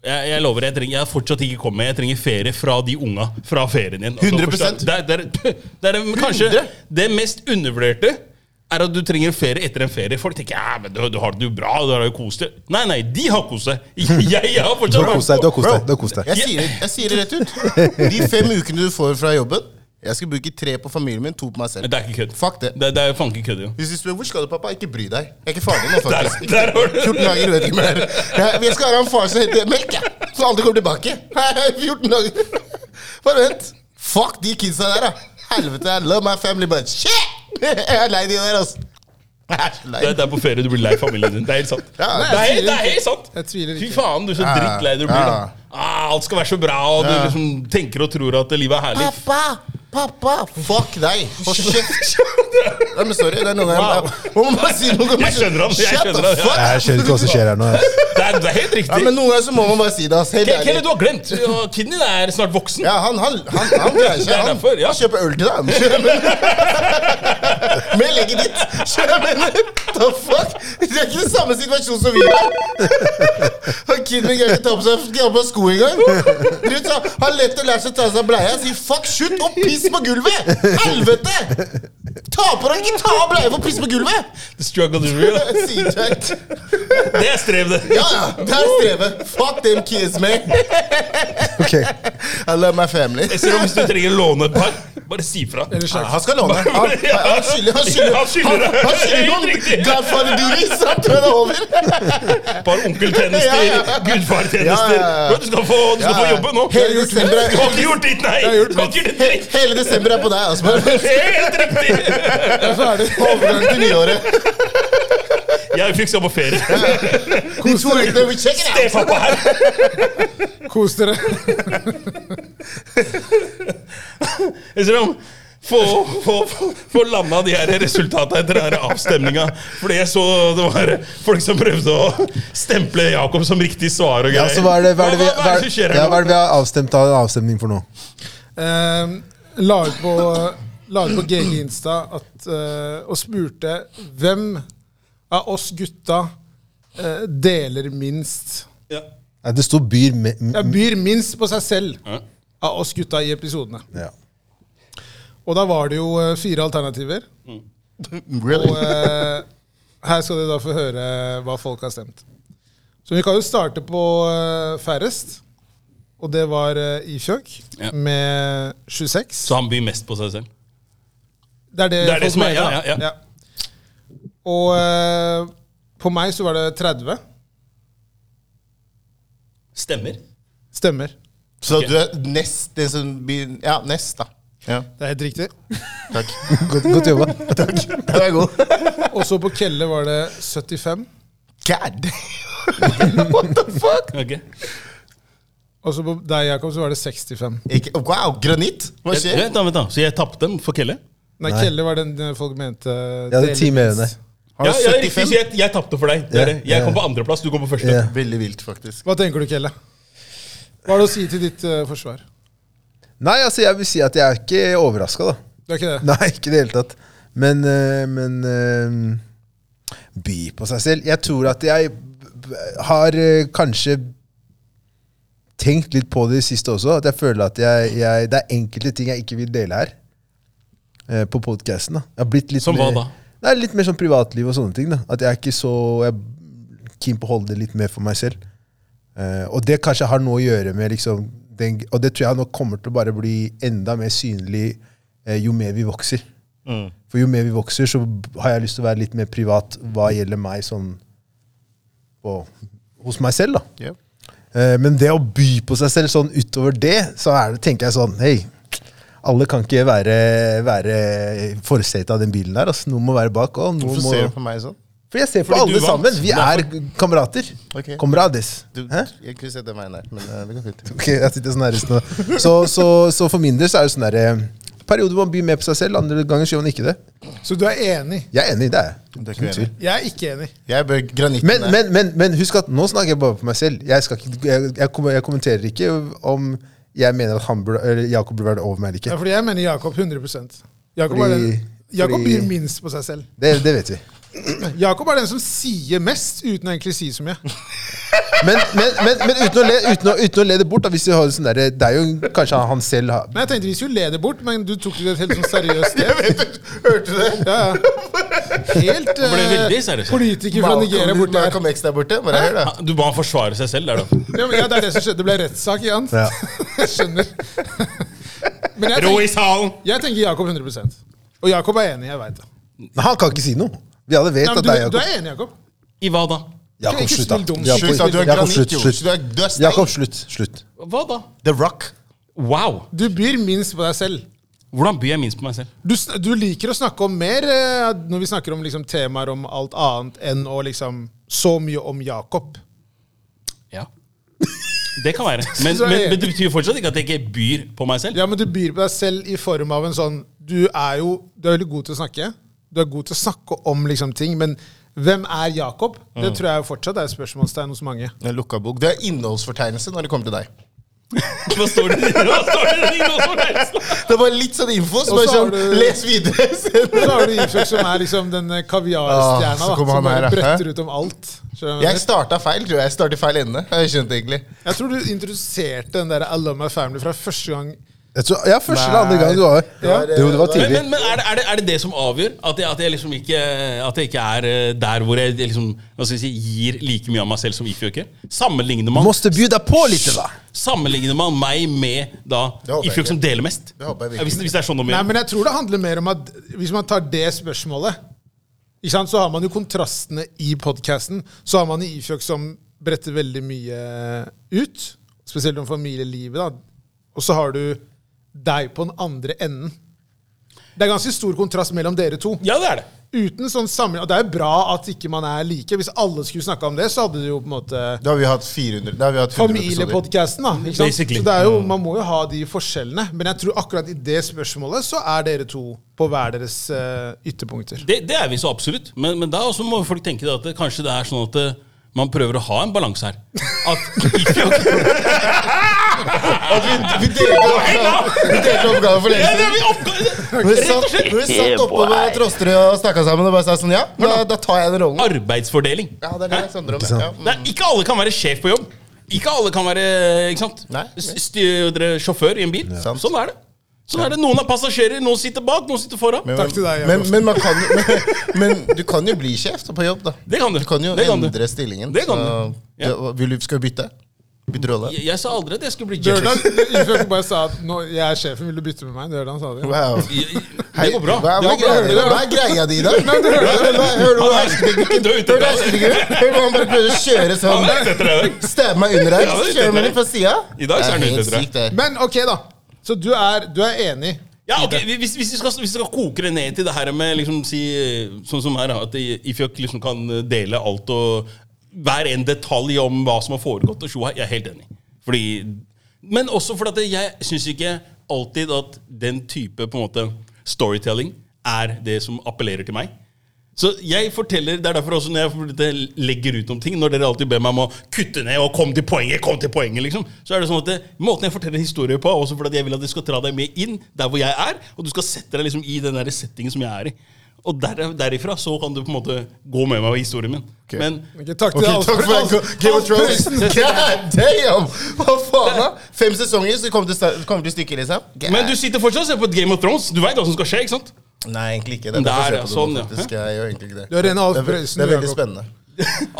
S4: Jeg, jeg lover, jeg, trenger, jeg har fortsatt ikke kommet. Jeg trenger ferie fra de unga. Fra ferien din. Altså,
S1: 100%.
S4: det, er- det, er- det er kanskje
S1: 100?
S4: det mest undervurderte. Er at du trenger ferie etter en ferie. Folk tenker ja, men du, du har det jo bra. du har det jo kost deg. Nei, nei, de har kost seg. (laughs) Jeg, jeg har
S2: Du
S4: fortsatt
S2: har kost deg. Du har kost deg. Du har kost deg.
S1: Jeg sier, det- jeg sier det rett ut. De fem ukene du får fra jobben, jeg skal bruke tre på familien min, to på meg selv.
S4: Det er ikke kødd.
S1: Fuck det.
S4: Det, det er fanken kødd, jo.
S1: Hvis du spør hvor skal du, pappa, ikke bry deg. Jeg er ikke faren din nå,
S4: Der,
S1: faktisk.
S4: der har du
S1: 14 dager, vet ikke mer. Jeg jeg skal være en far som heter Melk, jeg. Så aldri kommer tilbake. 14 dager. Bare vent. Fuck de kidsa der, da. Helvete, I love my family, but shit! Jeg er lei de der, altså. Jeg er så lei.
S4: det, det er på ferie du blir lei familien din. Det er helt sant.
S1: Ja,
S4: det, er, helt- det er helt sant.
S3: Jeg tviler ikke.
S4: Fy faen, du er så
S1: Ja,
S4: drittlei du blir.
S1: ja.
S4: da. Ah, alt skal være så bra, og du
S1: Ja.
S4: liksom tenker og tror at livet er herlig.
S1: Pappa! Pappa! Fuck deg! Hold kjeft! Nei, men sorry, det er noen jeg
S4: Wow.
S1: jeg- Man må bare si noe.
S4: Jeg skjønner han, jeg
S1: Shut
S4: skjønner
S1: the
S4: han, ja.
S1: fuck!
S2: Jeg skjønner ikke hva som skjer her nå.
S4: Det er er, det er helt
S1: Ja,
S4: riktig.
S1: men noen ganger så må man bare si det. ass. Helt
S4: Ke- Kenny,
S1: ærlig.
S4: du har glemt. Og Kidney er snart voksen.
S1: Ja, han, han, han, han greier
S4: Det
S1: seg.
S4: er
S1: Han,
S4: derfor, ja.
S1: han kjøper øl til deg. han kjøper- (laughs) Med legget ditt. Kjøper mener, the fuck? Det er ikke den samme situasjonen som vi er. (laughs) Han kiden greier ikke ta på seg ta på seg sko engang. Dritt, så Han lett å lære seg å ta av seg bleia. Sier fuck, slutt å pisse på gulvet! Helvete! Ta på deg ikke ta av bleia for å pisse på gulvet!
S4: The struggle is real.
S1: Sier Jack.
S4: Det er strev, det.
S1: Ja, ja, det er strevet. Fuck them kids, man.
S2: Ok,
S1: I love my family.
S4: Jeg ser om Hvis du trenger å låne et par, bare si fra.
S1: Ja, han skal (laughs) låne. Han, han, han skylder han skylder-
S4: Han skylder
S1: han,
S4: det.
S1: han skylder
S4: Helt
S1: noen
S4: riktig.
S1: Godfather-duris! Han tror jeg det er over.
S4: Et par onkeltjenester,
S1: Ja, ja.
S4: gudfartjenester.
S1: Ja, ja, ja.
S4: Bro, Du skal få, du skal
S1: Ja,
S4: få
S1: ja.
S4: jobbe nå. Du
S1: Hele desember er-
S4: har ikke gjort ditt, nei! Du har ikke gjort ditt dritt.
S1: Hele desember er på deg, Asmar.
S4: Helt riktig!
S3: Så er det
S1: Overgang til nyåret.
S4: Jeg fikk se på ferie.
S1: De to ukene vi sjekker det.
S4: Stefan på her.
S3: Kos dere.
S4: Jeg ser om få, få, få, få landa de her resultatene etter denne avstemninga. Fordi jeg så det var folk som prøvde å stemple Jakob som riktig svar og
S2: ja,
S4: greier.
S2: så hva er det, hva er det, vi,
S4: hva, hva er det som skjer
S2: ja, hva
S4: her nå?
S2: er det vi har avstemt av avstemning for nå?
S3: Ehm, la ut på, la ut på GG Insta at, eh, og spurte hvem av oss gutta eh, deler minst
S4: Ja.
S2: Nei, det sto byr med
S3: Ja, byr minst på seg selv
S4: Ja.
S3: av oss gutta i episodene.
S2: ja. (laughs)
S3: Og da var det jo eh, fire alternativer.
S1: Really?
S3: Og eh, her skal dere da få høre eh, hva folk har stemt. Så vi kan jo starte på eh, færrest. Og det var eh, Ifjøk
S4: Ja.
S3: med 26.
S4: Så han byr mest på seg selv.
S3: Det er det,
S4: Det er det
S3: folk
S4: som er-
S3: mener,
S4: ja, ja, ja.
S3: Og eh, på meg så var det 30
S4: Stemmer.
S3: stemmer.
S1: Så du er nest den som blir Ja, nest, da. Ja,
S3: Det er helt riktig.
S1: (laughs) takk.
S2: Godt, godt jobba.
S1: Den er god.
S3: Og så på Kelle var det 75.
S1: God damn. (laughs) What the fuck?
S4: Ok.
S3: Og så på deg, Jakob, så var det 65.
S1: Ikke, wow, granitt? Hva
S4: Jeg,
S1: skjer?
S4: vent, da, vent da. Så jeg tapte dem for Kelle?
S3: Nei, Kelle var den eh, folk mente Jeg
S2: hadde ti mer enn deg.
S1: Har
S4: Ja,
S1: du
S4: ja, riktig,
S1: 75?
S4: så jeg, jeg tapte for deg. Det er det.
S2: Ja, ja.
S4: Jeg kom på andreplass, du kom på første.
S2: Ja.
S1: Veldig vilt, faktisk.
S3: Hva tenker du, Kelle? Hva er det å si til ditt eh, forsvar?
S2: Nei, altså, jeg vil si at jeg er ikke overraska, da.
S3: Du er ikke det?
S2: Nei, ikke i det hele tatt. Men, eh, men eh, by på seg selv. Jeg tror at jeg b- b- har eh, kanskje tenkt litt på det i siste også. At jeg føler at jeg, jeg, det er enkelte ting jeg ikke vil dele her. eh, På podkasten.
S4: Som hva da?
S2: Nei, litt mer sånn privatliv og sånne ting. da At jeg er ikke så Jeg er keen på å holde det litt mer for meg selv. Eh, og det kanskje har noe å gjøre med liksom den, Og det tror jeg nok kommer til å bare bli enda mer synlig eh, jo mer vi vokser.
S4: Mm.
S2: For jo mer vi vokser, så b- har jeg lyst til å være litt mer privat hva gjelder meg sånn på, hos meg selv. da
S1: Ja.
S2: Eh, Men det å by på seg selv sånn utover det, så er det, tenker jeg sånn Hei, alle kan ikke være, være i forsetet av den bilen der. Altså. Noen må være bak. Og noen
S1: Hvorfor
S2: må,
S1: ser du på meg sånn?
S2: For jeg ser på
S4: Fordi du
S2: alle
S4: vant.
S2: sammen. Vi er kamerater.
S1: Ok.
S2: Comrades.
S1: Du,
S2: Hæ?
S1: jeg kunne sett den veien der, men eh, det går fint.
S2: Ok, jeg sitter sånn her resten av så, så, så for min del så er det sånn derre Perioder hvor man byr mer på seg selv, andre ganger gjør man ikke det.
S3: Så du er enig?
S2: Jeg er enig, det er jeg.
S1: Det er ikke
S2: Uten tvil.
S3: Jeg er ikke enig.
S1: Jeg bør granitten
S2: Men,
S1: der. (laughs)
S2: men, men, men husk at nå snakker jeg bare for meg selv. Jeg, skal ikke, jeg, jeg, kommer- jeg kommenterer ikke om jeg mener at han burde, eller Jakob burde være over meg eller ikke.
S3: Ja, fordi jeg mener Jakob 100 Jakob, er
S2: Fordi-
S3: den, Jakob
S2: fordi-
S3: byr minst på seg selv.
S2: Det, det vet vi.
S3: Jakob er den som sier mest, uten å egentlig si så mye.
S2: Men, men, men, men uten, å le, uten, å, uten å le det bort, da, hvis vi har en sånn derre Det er jo kanskje han- han selv har
S3: Men jeg tenkte vi skulle le det bort, men du tok det helt sånn seriøst.
S2: (laughs)
S3: Jeg
S1: Hørte du det?
S3: Ja, ja. Helt
S4: Det ble
S3: eh,
S4: veldig seriøst.
S3: politiker fra Nigeria
S1: Malcolm-
S3: borte her.
S1: Malcolm X der borte. Bare hør, da.
S4: Ah, Du må forsvare seg selv der, da.
S3: Ja, men ja, det er det som skjedde. Det ble rettssak igjen.
S2: Ja.
S3: (laughs) Jeg skjønner.
S2: (laughs)
S3: Men jeg
S4: Rå i
S3: tenker,
S4: salen!
S3: jeg tenker Jakob 100 Og Jakob er enig, jeg veit det.
S2: Nei, han kan ikke si noe. Vi alle vet
S3: Nei, men
S2: at
S3: du,
S2: det er
S3: du
S2: Jakob.
S3: er enig, Jakob?
S4: I hva da?
S3: Ikke-
S2: Jakob,
S3: ikke
S2: slutt, da.
S3: spill dum.
S1: Slutt, da. Du er
S2: Jakob, Jakob,
S1: granitt,
S2: slutt.
S1: jo.
S2: slutt.
S1: Du er, du er stein.
S2: Jakob, slutt. slutt.
S4: Hva da?
S1: The Rock.
S4: Wow!
S3: Du byr minst på deg selv.
S4: Hvordan byr jeg minst på meg selv?
S3: Du, sn- du liker å snakke om mer eh, når vi snakker om liksom, temaer om alt annet enn å liksom så mye om Jakob.
S4: Ja. Det kan være. Men,
S3: Så er
S4: men,
S3: jeg-
S4: men det betyr fortsatt ikke at jeg ikke byr på meg selv.
S3: Ja, men du byr på deg selv i form av en sånn Du er jo du er veldig god til å snakke. Du er god til å snakke om liksom ting, men Hvem er Jakob?
S1: Mm.
S3: Det tror jeg fortsatt er et spørsmålstegn hos mange.
S1: En lukka bok. Det er innholdsfortegnelse når det kommer til deg.
S4: (laughs) Hva står det Hva står det i noe som helst?
S1: Det er bare litt sånn info. Så
S3: Og så
S1: bare sånn,
S3: har du-
S1: Les videre! (laughs)
S3: Så har du Isak, som er liksom den eh,
S1: Ah,
S3: kaviarstjerna
S1: så
S3: da, som
S1: kommer han her, ja.
S3: bare bretter ut om alt. Skjønner du hva jeg
S1: Jeg
S3: mener?
S1: starta feil, tror jeg. Jeg startet i feil ende. har Jeg skjønt egentlig.
S3: Jeg tror du introduserte den der I love my family fra første gang.
S2: Jeg tror, ja, første eller andre gang du var
S1: var-
S2: Jo, det var
S4: Men,
S2: tidlig.
S4: men, men er, det, er, det, er det det som avgjør? At jeg, at jeg liksom ikke At jeg ikke er eh, der hvor jeg liksom hva skal jeg si, gir like mye av meg selv som If Joker? Sammenligner man
S2: Måste bjuda på litt, da.
S4: Sammenligner man meg med da
S1: Det håper jeg
S4: If Joker som deler mest?
S1: Det håper jeg
S4: Ja, hvis,
S1: virkelig.
S4: hvis det er sånn om
S3: Nei,
S4: gjør.
S3: men jeg tror det handler mer om at hvis man tar det spørsmålet, ikke sant, så har man jo kontrastene i podkasten. Så har man Ifjok som bretter veldig mye ut, spesielt om familielivet. da. Og så har du deg på den andre enden. Det er ganske stor kontrast mellom dere to.
S4: Ja, det er det.
S3: Uten sånn sammenligning, og Det er jo bra at ikke man er like. Hvis alle skulle snakka om det, så hadde det jo på en måte
S1: Da har vi hatt 400 Da har vi hatt 100 episoder.
S3: familiepodkasten, da. Ikke sant?
S4: Basically.
S3: Så det er jo, Man må jo ha de forskjellene. Men jeg tror akkurat i det spørsmålet så er dere to på hver deres eh,
S1: (laughs)
S3: ytterpunkter.
S4: det. Det er vi så absolutt. Men, men da også må folk tenke det at det, kanskje det er sånn at eh, man prøver å ha en balanse her. At If Joker
S1: At vi, vi delte oppgaven, vi delte oppgaven for lenge
S4: Ja, det er
S1: siden.
S4: vi oppgave-
S1: Når vi
S4: Rett og
S1: satt,
S4: slett
S1: når vi satt oppe med Trosterud og snakka sammen og bare sa sånn Ja, da, da tar jeg den rollen.
S4: arbeidsfordeling.
S1: Ja, det er det jeg snakker om.
S2: sant?
S1: Ja. mm.
S4: Det er, ikke alle kan være sjef på jobb. Ikke alle kan være ikke sant?
S1: Nei.
S4: S- Styre sjåfør i en bil.
S1: Sant.
S4: Sånn er det. Sånn er det. Noen er passasjerer, noen sitter bak, noen sitter foran.
S1: Men,
S3: Takk til deg,
S1: men,
S3: Jakob.
S1: men, man kan, jo- (laughs) men, men du kan jo bli sjef på jobb, da.
S4: Det kan du.
S1: Du kan jo
S4: Det kan du.
S1: endre stillingen.
S4: Det kan
S1: så-
S4: du. Ja.
S1: det- Vil du skal du bytte? Bytte rolle?
S4: Jeg, jeg sa aldri at jeg skulle bli
S3: Dørdan
S4: Jeffrey.
S3: Ifølge bare sa at nå, 'jeg er sjefen, vil du bytte med meg?' Dørdan
S1: (laughs)
S3: sa det.
S1: Wow.
S4: Det går bra.
S1: Hva,
S4: Det
S1: hva,
S4: går bra.
S1: er greia, di- hva er greia di, da? Hører du hva
S4: Han
S1: han
S4: er- Du er ute
S1: Hører du hva
S4: etter deg.
S1: han- Hører du hva han bare prøver å kjøre
S4: Han er ute
S1: sånn?
S4: etter deg.
S1: Stabbe meg under her.
S4: Ja, han er ute
S1: Kjøre meg
S4: etter
S1: litt på sida.
S4: I dag så er han ute etter deg.
S3: Men ok, da. Så du er, du er enig.
S4: Ja, ok, hvis, hvis, vi skal, hvis vi skal koke det ned til det her med liksom, si, sånn som her, da, at Ifjok liksom kan dele alt og hver en detalj om hva som har foregått, og tjoa, jeg er helt enig. Fordi, men også fordi at jeg syns ikke alltid at den type på en måte, storytelling er det som appellerer til meg. Så jeg forteller, Det er derfor også når jeg legger ut om ting, når dere alltid ber meg om å kutte ned og komme til poenget, kom til poenget, liksom, så er det sånn at det, måten jeg forteller historier på, er også fordi at jeg vil at du skal dra deg med inn der hvor jeg er, og du skal sette deg liksom i den der settingen som jeg er i. Og der, derifra så kan du på en måte gå med meg i historien min. Men
S3: Ok, takk
S1: Ok,
S3: til deg, Alf-
S1: takk for
S3: Alf-
S1: det. Game of
S3: Alf
S1: Thrones.
S3: Prøysen.
S1: (laughs) God damn! Hva faen, da? Fem sesonger, så kommer det til, sta- kommer til stykket, liksom? God.
S4: Men du sitter fortsatt og ser på et Game of Thrones. Du veit hva som skal skje, ikke sant?
S1: Nei, egentlig ikke.
S4: Der,
S1: derfor ser
S4: ja,
S1: jeg på det
S4: sånn,
S1: nå,
S4: ja.
S1: faktisk. Jeg gjør egentlig ikke det.
S3: Du er en Alf
S1: Det er ve-
S3: Prøysen,
S1: Det er
S3: du,
S1: veldig
S3: Jakob.
S1: spennende.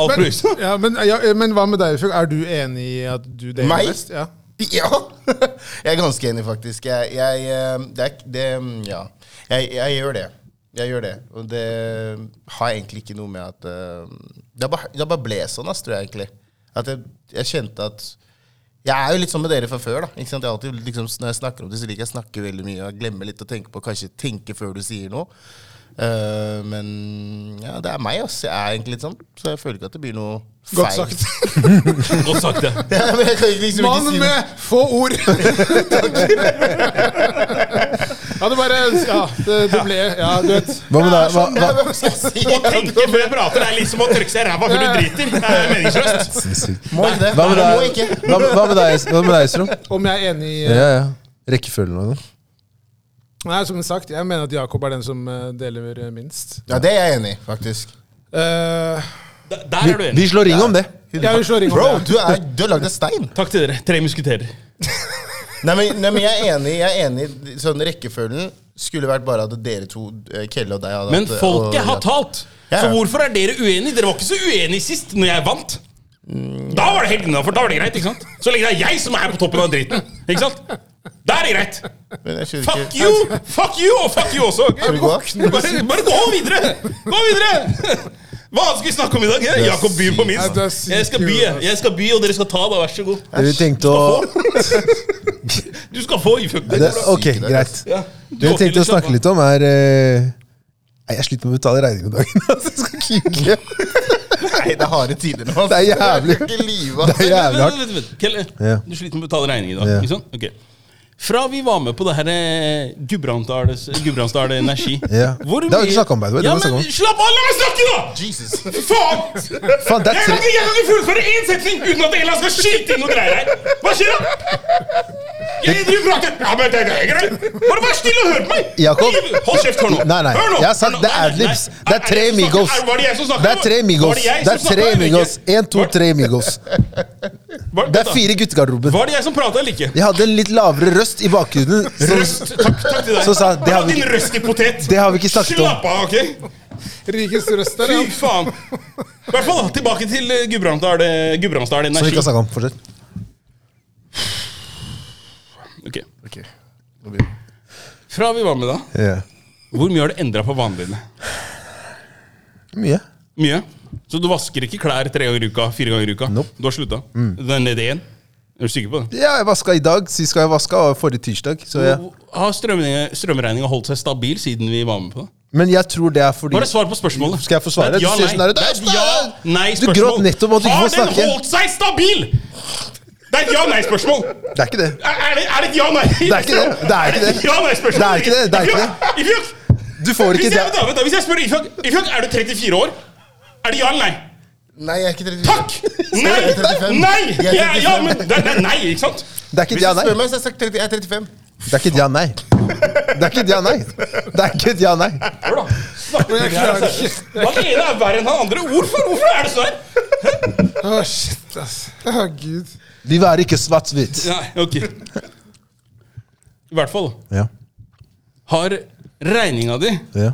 S4: Alf
S3: Men,
S4: Prøysen.
S3: ja, men, ja, men hva med deg, Ifølge? Er du enig i at du deler
S1: Meg?
S3: best? Ja.
S1: Ja! (laughs) Jeg er ganske enig, faktisk. Jeg, jeg eh, Det er ikke- det mm, Ja. Jeg, jeg gjør det. Jeg gjør det. Og det har egentlig ikke noe med at eh, Det bare, det bare ble sånn, ass, tror jeg egentlig. At jeg, jeg kjente at Jeg er jo litt sånn med dere fra før. da ikke sant? Jeg alltid, liksom, Når jeg snakker om det, så liker jeg å snakke veldig mye. Og jeg glemmer litt å tenke på Kanskje tenke før du sier noe. Eh, men ja, det er meg, ass. Jeg er egentlig litt sånn. Så jeg føler ikke at det blir noe feil.
S3: Godt sagt.
S4: Godt sagt,
S3: (laughs)
S4: det.
S1: (laughs) ja, men jeg kan liksom ikke si
S3: Mann
S1: noe.
S3: med få ord! ja, det bare Ja, det, det ble Ja, du vet.
S2: Hva med deg? Hva, hva?
S1: Hva skal jeg si?
S4: Å tenke før jeg prater er liksom å trykke seg i ræva før du driter. Det er meningsløst.
S1: Må ikke det.
S2: Hva med
S1: Må
S2: deg,
S1: ikke.
S2: hva, hva med deg, hva med deg Strøm?
S3: Om jeg er enig i
S2: Ja, ja. Rekkefølgen og sånn.
S3: Nei, som sagt, jeg mener at Jakob er den som eh, deler minst.
S1: Ja, det er jeg enig i, faktisk.
S3: Eh,
S4: Der der er du
S2: Vi
S4: enig.
S2: slår ring om det.
S3: jeg vil slå ring om
S1: Bro,
S3: det.
S1: du, er, du har lagd en stein!
S4: Takk til dere. Tre musketerer.
S1: Nei, men, nei, men jeg er enig. jeg er enig Sånn Rekkefølgen skulle vært bare at dere to, eh, Kelle og deg, hadde
S4: Men
S1: hatt, eh,
S4: folket
S1: og-
S4: har talt.
S1: Ja.
S4: Så hvorfor er dere uenige? Dere var ikke så uenige sist, når jeg vant. Da var det helt innafor. Da var det greit. ikke sant? Så lenge det er jeg som er på toppen av driten. ikke sant? Da er det greit.
S1: Men jeg skjønner
S4: Fuck
S1: ikke
S4: you! Fuck you og fuck you også. ok?
S1: Skal vi gå?
S4: Bare, bare gå videre! Gå videre! Hva annet skal vi snakke om i dag? eh? Jakob byr på
S3: Nei, det er
S4: minst.
S3: sykt
S4: Jeg skal by,
S3: kul, ass.
S4: jeg skal by og dere skal ta, da. Vær så god.
S2: Det vi tenkte å
S4: Du skal få ifølge
S2: det, Ok, greit.
S4: Ja.
S2: Det vi tenkte å snakke litt om, er eh, Nei, jeg sliter med å betale regninger om dagen. (laughs) Altså, jeg skal kike.
S1: (laughs) Nei, det er harde tider nå. ass.
S2: Det er jævlig.
S1: Jeg kan ikke lyve, ass.
S2: Det er jævlig hardt.
S4: Vent, eh, vent, vent, vent. Kelle,
S2: Ja.
S4: du sliter med å betale regning i dag.
S2: Ja.
S4: Ikke sant? Ok. Fra vi var med på det her eh, Gudbrandsdales- Gudbrandsdal Energi
S2: (laughs) Ja.
S4: Hvor
S2: Det har vi
S4: mye-
S2: ikke snakket om, by the way. Det
S4: Ja,
S2: må vi snakke
S4: men
S2: om.
S4: slapp av! La meg snakke, da!
S1: altså. Jesus.
S4: Faen!
S2: Faen, det er
S4: jeg,
S2: tre-
S4: kan ikke, jeg kan ikke fullføre én setning uten at Elan skal skilte inn noe greier her! Hva skjer da? Jeg driver og prater Ja, men det det er greit! Bare vær snill og hør på meg!
S2: Jakob.
S4: Hold kjeft, hør nå!
S2: Nei, nei.
S4: Hør nå.
S2: Jeg har sagt
S4: Hør nå.
S2: det er
S4: Nei, nei,
S2: adlibs.
S4: nei.
S2: Det er tre
S4: jeg som snakker?
S2: Migos.
S4: Er- Var det jeg som snakket?
S2: Det er tre
S4: Var
S2: Migos.
S4: jeg
S2: Det er
S4: som
S2: tre
S4: snakket, eller ikke?
S2: Migos. En, to,
S4: Var-
S2: tre Migos.
S4: var-
S2: Det er
S4: vent da.
S2: fire i guttegarderoben.
S4: Var det jeg som prata eller ikke?
S2: Jeg hadde en litt lavere røst i bakgrunnen.
S4: (laughs) Røst.
S2: Så,
S4: Takk, takk til deg.
S2: Så sa han, det har
S4: Ta
S2: vi
S4: din
S2: ikke-
S4: røst i potet.
S2: det har vi ikke snakket om.
S4: Slapp av, ok?
S3: Rikest røst der,
S4: Fy
S3: ja.
S4: faen. I hvert fall da, tilbake til eh, Gudbrandsdal eh, Gudbrandsdal
S2: Som vi
S4: Energi.
S2: ikke har snakket om. Fortsett.
S4: Ok. Fra vi var med da,
S2: Ja.
S4: hvor mye har du endra på vanene dine?
S2: Mye.
S4: Mye. Så du vasker ikke klær tre ganger i uka, fire ganger i uka?
S2: Nope. Mm.
S4: Du har slutta? Det er nede igjen? Er du sikker på det?
S2: Ja, jeg vaska i dag. Sist gang jeg vaska, var forrige tirsdag. Så jeg,
S4: Har strømregninga holdt seg stabil siden vi var med på det?
S2: men jeg tror det er fordi
S4: Bare svar på spørsmålet.
S2: Skal jeg få svare?
S4: Det er et
S2: Du ser sånn her,
S4: Ja, nei. Det er et ja, nei
S2: Du gråt
S4: spørsmål.
S2: nettopp at du ikke får
S4: Har
S2: snakke.
S4: den holdt seg stabil?! Det er et ja-nei-spørsmål!
S2: Det er ikke det.
S4: Er, er, det- er det et ja-nei? Det
S2: er ikke det. Det er ikke det.
S4: Ja-nei-spørsmål?
S2: Det er ikke det. Det er ikke
S4: Ifjok, Ifjok!
S2: Du får ikke
S4: Hvis
S2: det.
S4: jeg, da, vent da, hvis jeg spør Ifjok, Ifjok, er du 34 år? Er det ja eller nei?
S1: Nei, jeg er ikke 34.
S4: Takk! Nei!
S1: Jeg er 35.
S4: Nei!
S1: Jeg er
S4: Ja, ja,
S1: 35.
S4: men det er- det er nei, ikke sant?
S2: Det er ikke
S1: Hvis
S2: et ja,
S1: du
S2: nei.
S1: spør meg, så har jeg sagt 30, jeg er 35.
S2: Det er ikke et ja, nei. Det er ikke et ja, nei. Det er ikke et ja, nei.
S4: Hør da. Snakker
S3: Men jeg
S4: vi her,
S3: klarer
S4: altså. Han ene er verre enn han andre. Hvorfor, hvorfor er det sånn? her?
S3: Å, shit, ass. Å, gud.
S2: Livet er ikke svart-hvitt.
S4: Nei, ok. I hvert fall.
S2: Ja.
S4: har regninga di
S2: Ja.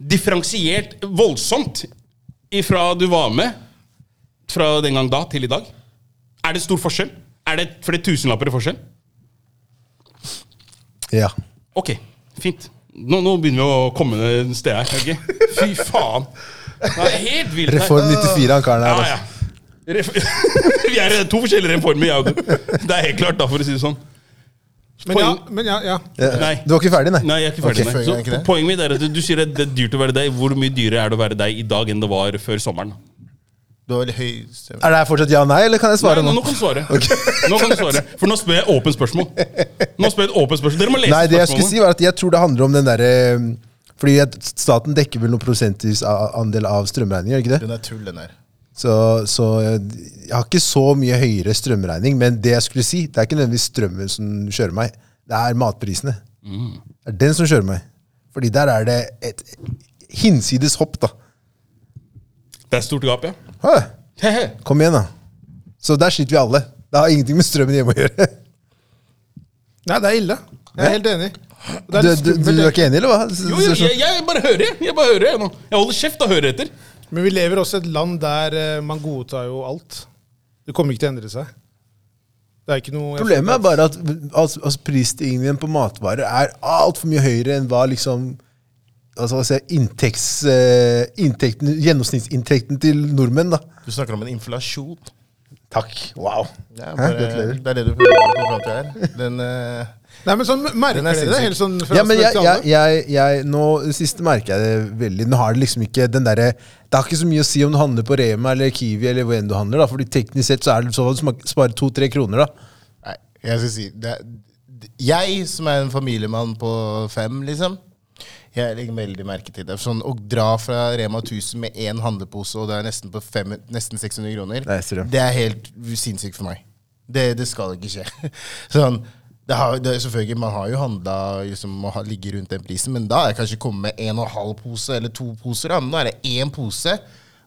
S4: differensiert voldsomt ifra du var med, fra den gang da til i dag? Er det stor forskjell? Er det flere tusenlapper i forskjell?
S2: ja.
S4: Ok, fint. Nå, nå begynner vi å komme et sted her. ok? Fy faen. Det er helt vilt. her.
S2: Reform 94, han karen her.
S4: Ja, ja.
S2: Altså.
S4: Ref (laughs) vi er to forskjellige reformer, jeg og du. Det er helt klart, da, for å si det sånn.
S3: Men ja, men ja, ja.
S4: Nei.
S2: Du var ikke ferdig, nei?
S4: Nei, jeg er ikke ferdig
S1: Ok, poenget er ikke det?
S4: med det. Så Poenget mitt er at du sier at det er dyrt å være deg. Hvor mye dyrere er det å være deg i dag enn det var før sommeren?
S1: Du har veldig høy stemme.
S2: Er det her fortsatt ja, nei, eller kan jeg
S4: Nei,
S2: svare
S4: nå,
S2: nå?
S4: nå kan du svare. Nå kan du svare For nå spør jeg åpent spørsmål. Nå spør jeg et åpent spørsmål Dere må lese
S2: Nei, det jeg skulle si
S4: spørsmålet.
S2: var at jeg tror det handler om den derre um, Fordi at staten dekker vel noen prosentvis a- andel av strømregninger, gjør det ikke det?
S1: Den er tull, den her.
S2: Så, så jeg jeg har ikke så mye høyere strømregning, men det jeg skulle si, det er ikke nødvendigvis strømmen som kjører meg, det er matprisene. Det er den som kjører meg. Fordi der er det et hinsides hopp, da.
S4: Det er stort gap, ja.
S2: Hæ?
S4: Hehe.
S2: Kom igjen, da. Så der sliter vi alle. Det har ingenting med strømmen hjemme å gjøre.
S3: Nei, det er ille. Jeg er helt enig. Det
S2: Du,
S3: er litt
S2: du, du
S3: skummelt.
S2: er ikke enig, eller hva?
S4: Jo, jo, jeg, jeg bare hører, jeg. Jeg bare hører jeg nå. Jeg holder kjeft og hører etter.
S3: Men vi lever også i et land der eh, man godtar jo alt. Det kommer ikke til å endre seg. Det er ikke noe
S2: Problemet er bare at altså, altså, prisstigningen på matvarer er altfor mye høyere enn hva liksom altså, hva skal jeg si, inntekts, eh, inntekten, gjennomsnittsinntekten til nordmenn, da.
S1: Du snakker om en inflasjon.
S2: Takk. Wow.
S1: Det
S2: Hæ?
S1: er, bare,
S2: Gratulerer.
S1: det er det du prøver å komme fram til her. Den eh,
S3: Nei, men sånn merker
S1: Den er
S3: dere det?
S1: sinnssyk.
S3: Helt sånn fra
S2: Ja, men
S3: spøk
S2: jeg,
S3: til
S2: jeg,
S3: alvor?
S2: jeg, jeg, nå, det siste merker jeg det veldig. Nå har Det liksom ikke den derre Det har ikke så mye å si om du handler på Rema eller Kiwi, eller hvor enn du handler. da Fordi teknisk sett så er det sånn at du smak- sparer to-tre kroner. da
S1: Nei, jeg skal si det, er- Jeg som er en familiemann på fem, liksom. Jeg legger veldig merke til det. Sånn, Å dra fra Rema 1000 med én handlepose, og det er nesten, på fem, nesten 600 kroner,
S2: Nei, jeg ser det.
S1: det er helt sinnssykt for meg. Det, det skal ikke skje. (laughs) Sånn, det har, det er selvfølgelig, Man har jo handla liksom, og har- ligger rundt den prisen, men da er jeg kanskje kommet med en og en halv pose eller to poser. Da. Men nå er det én pose,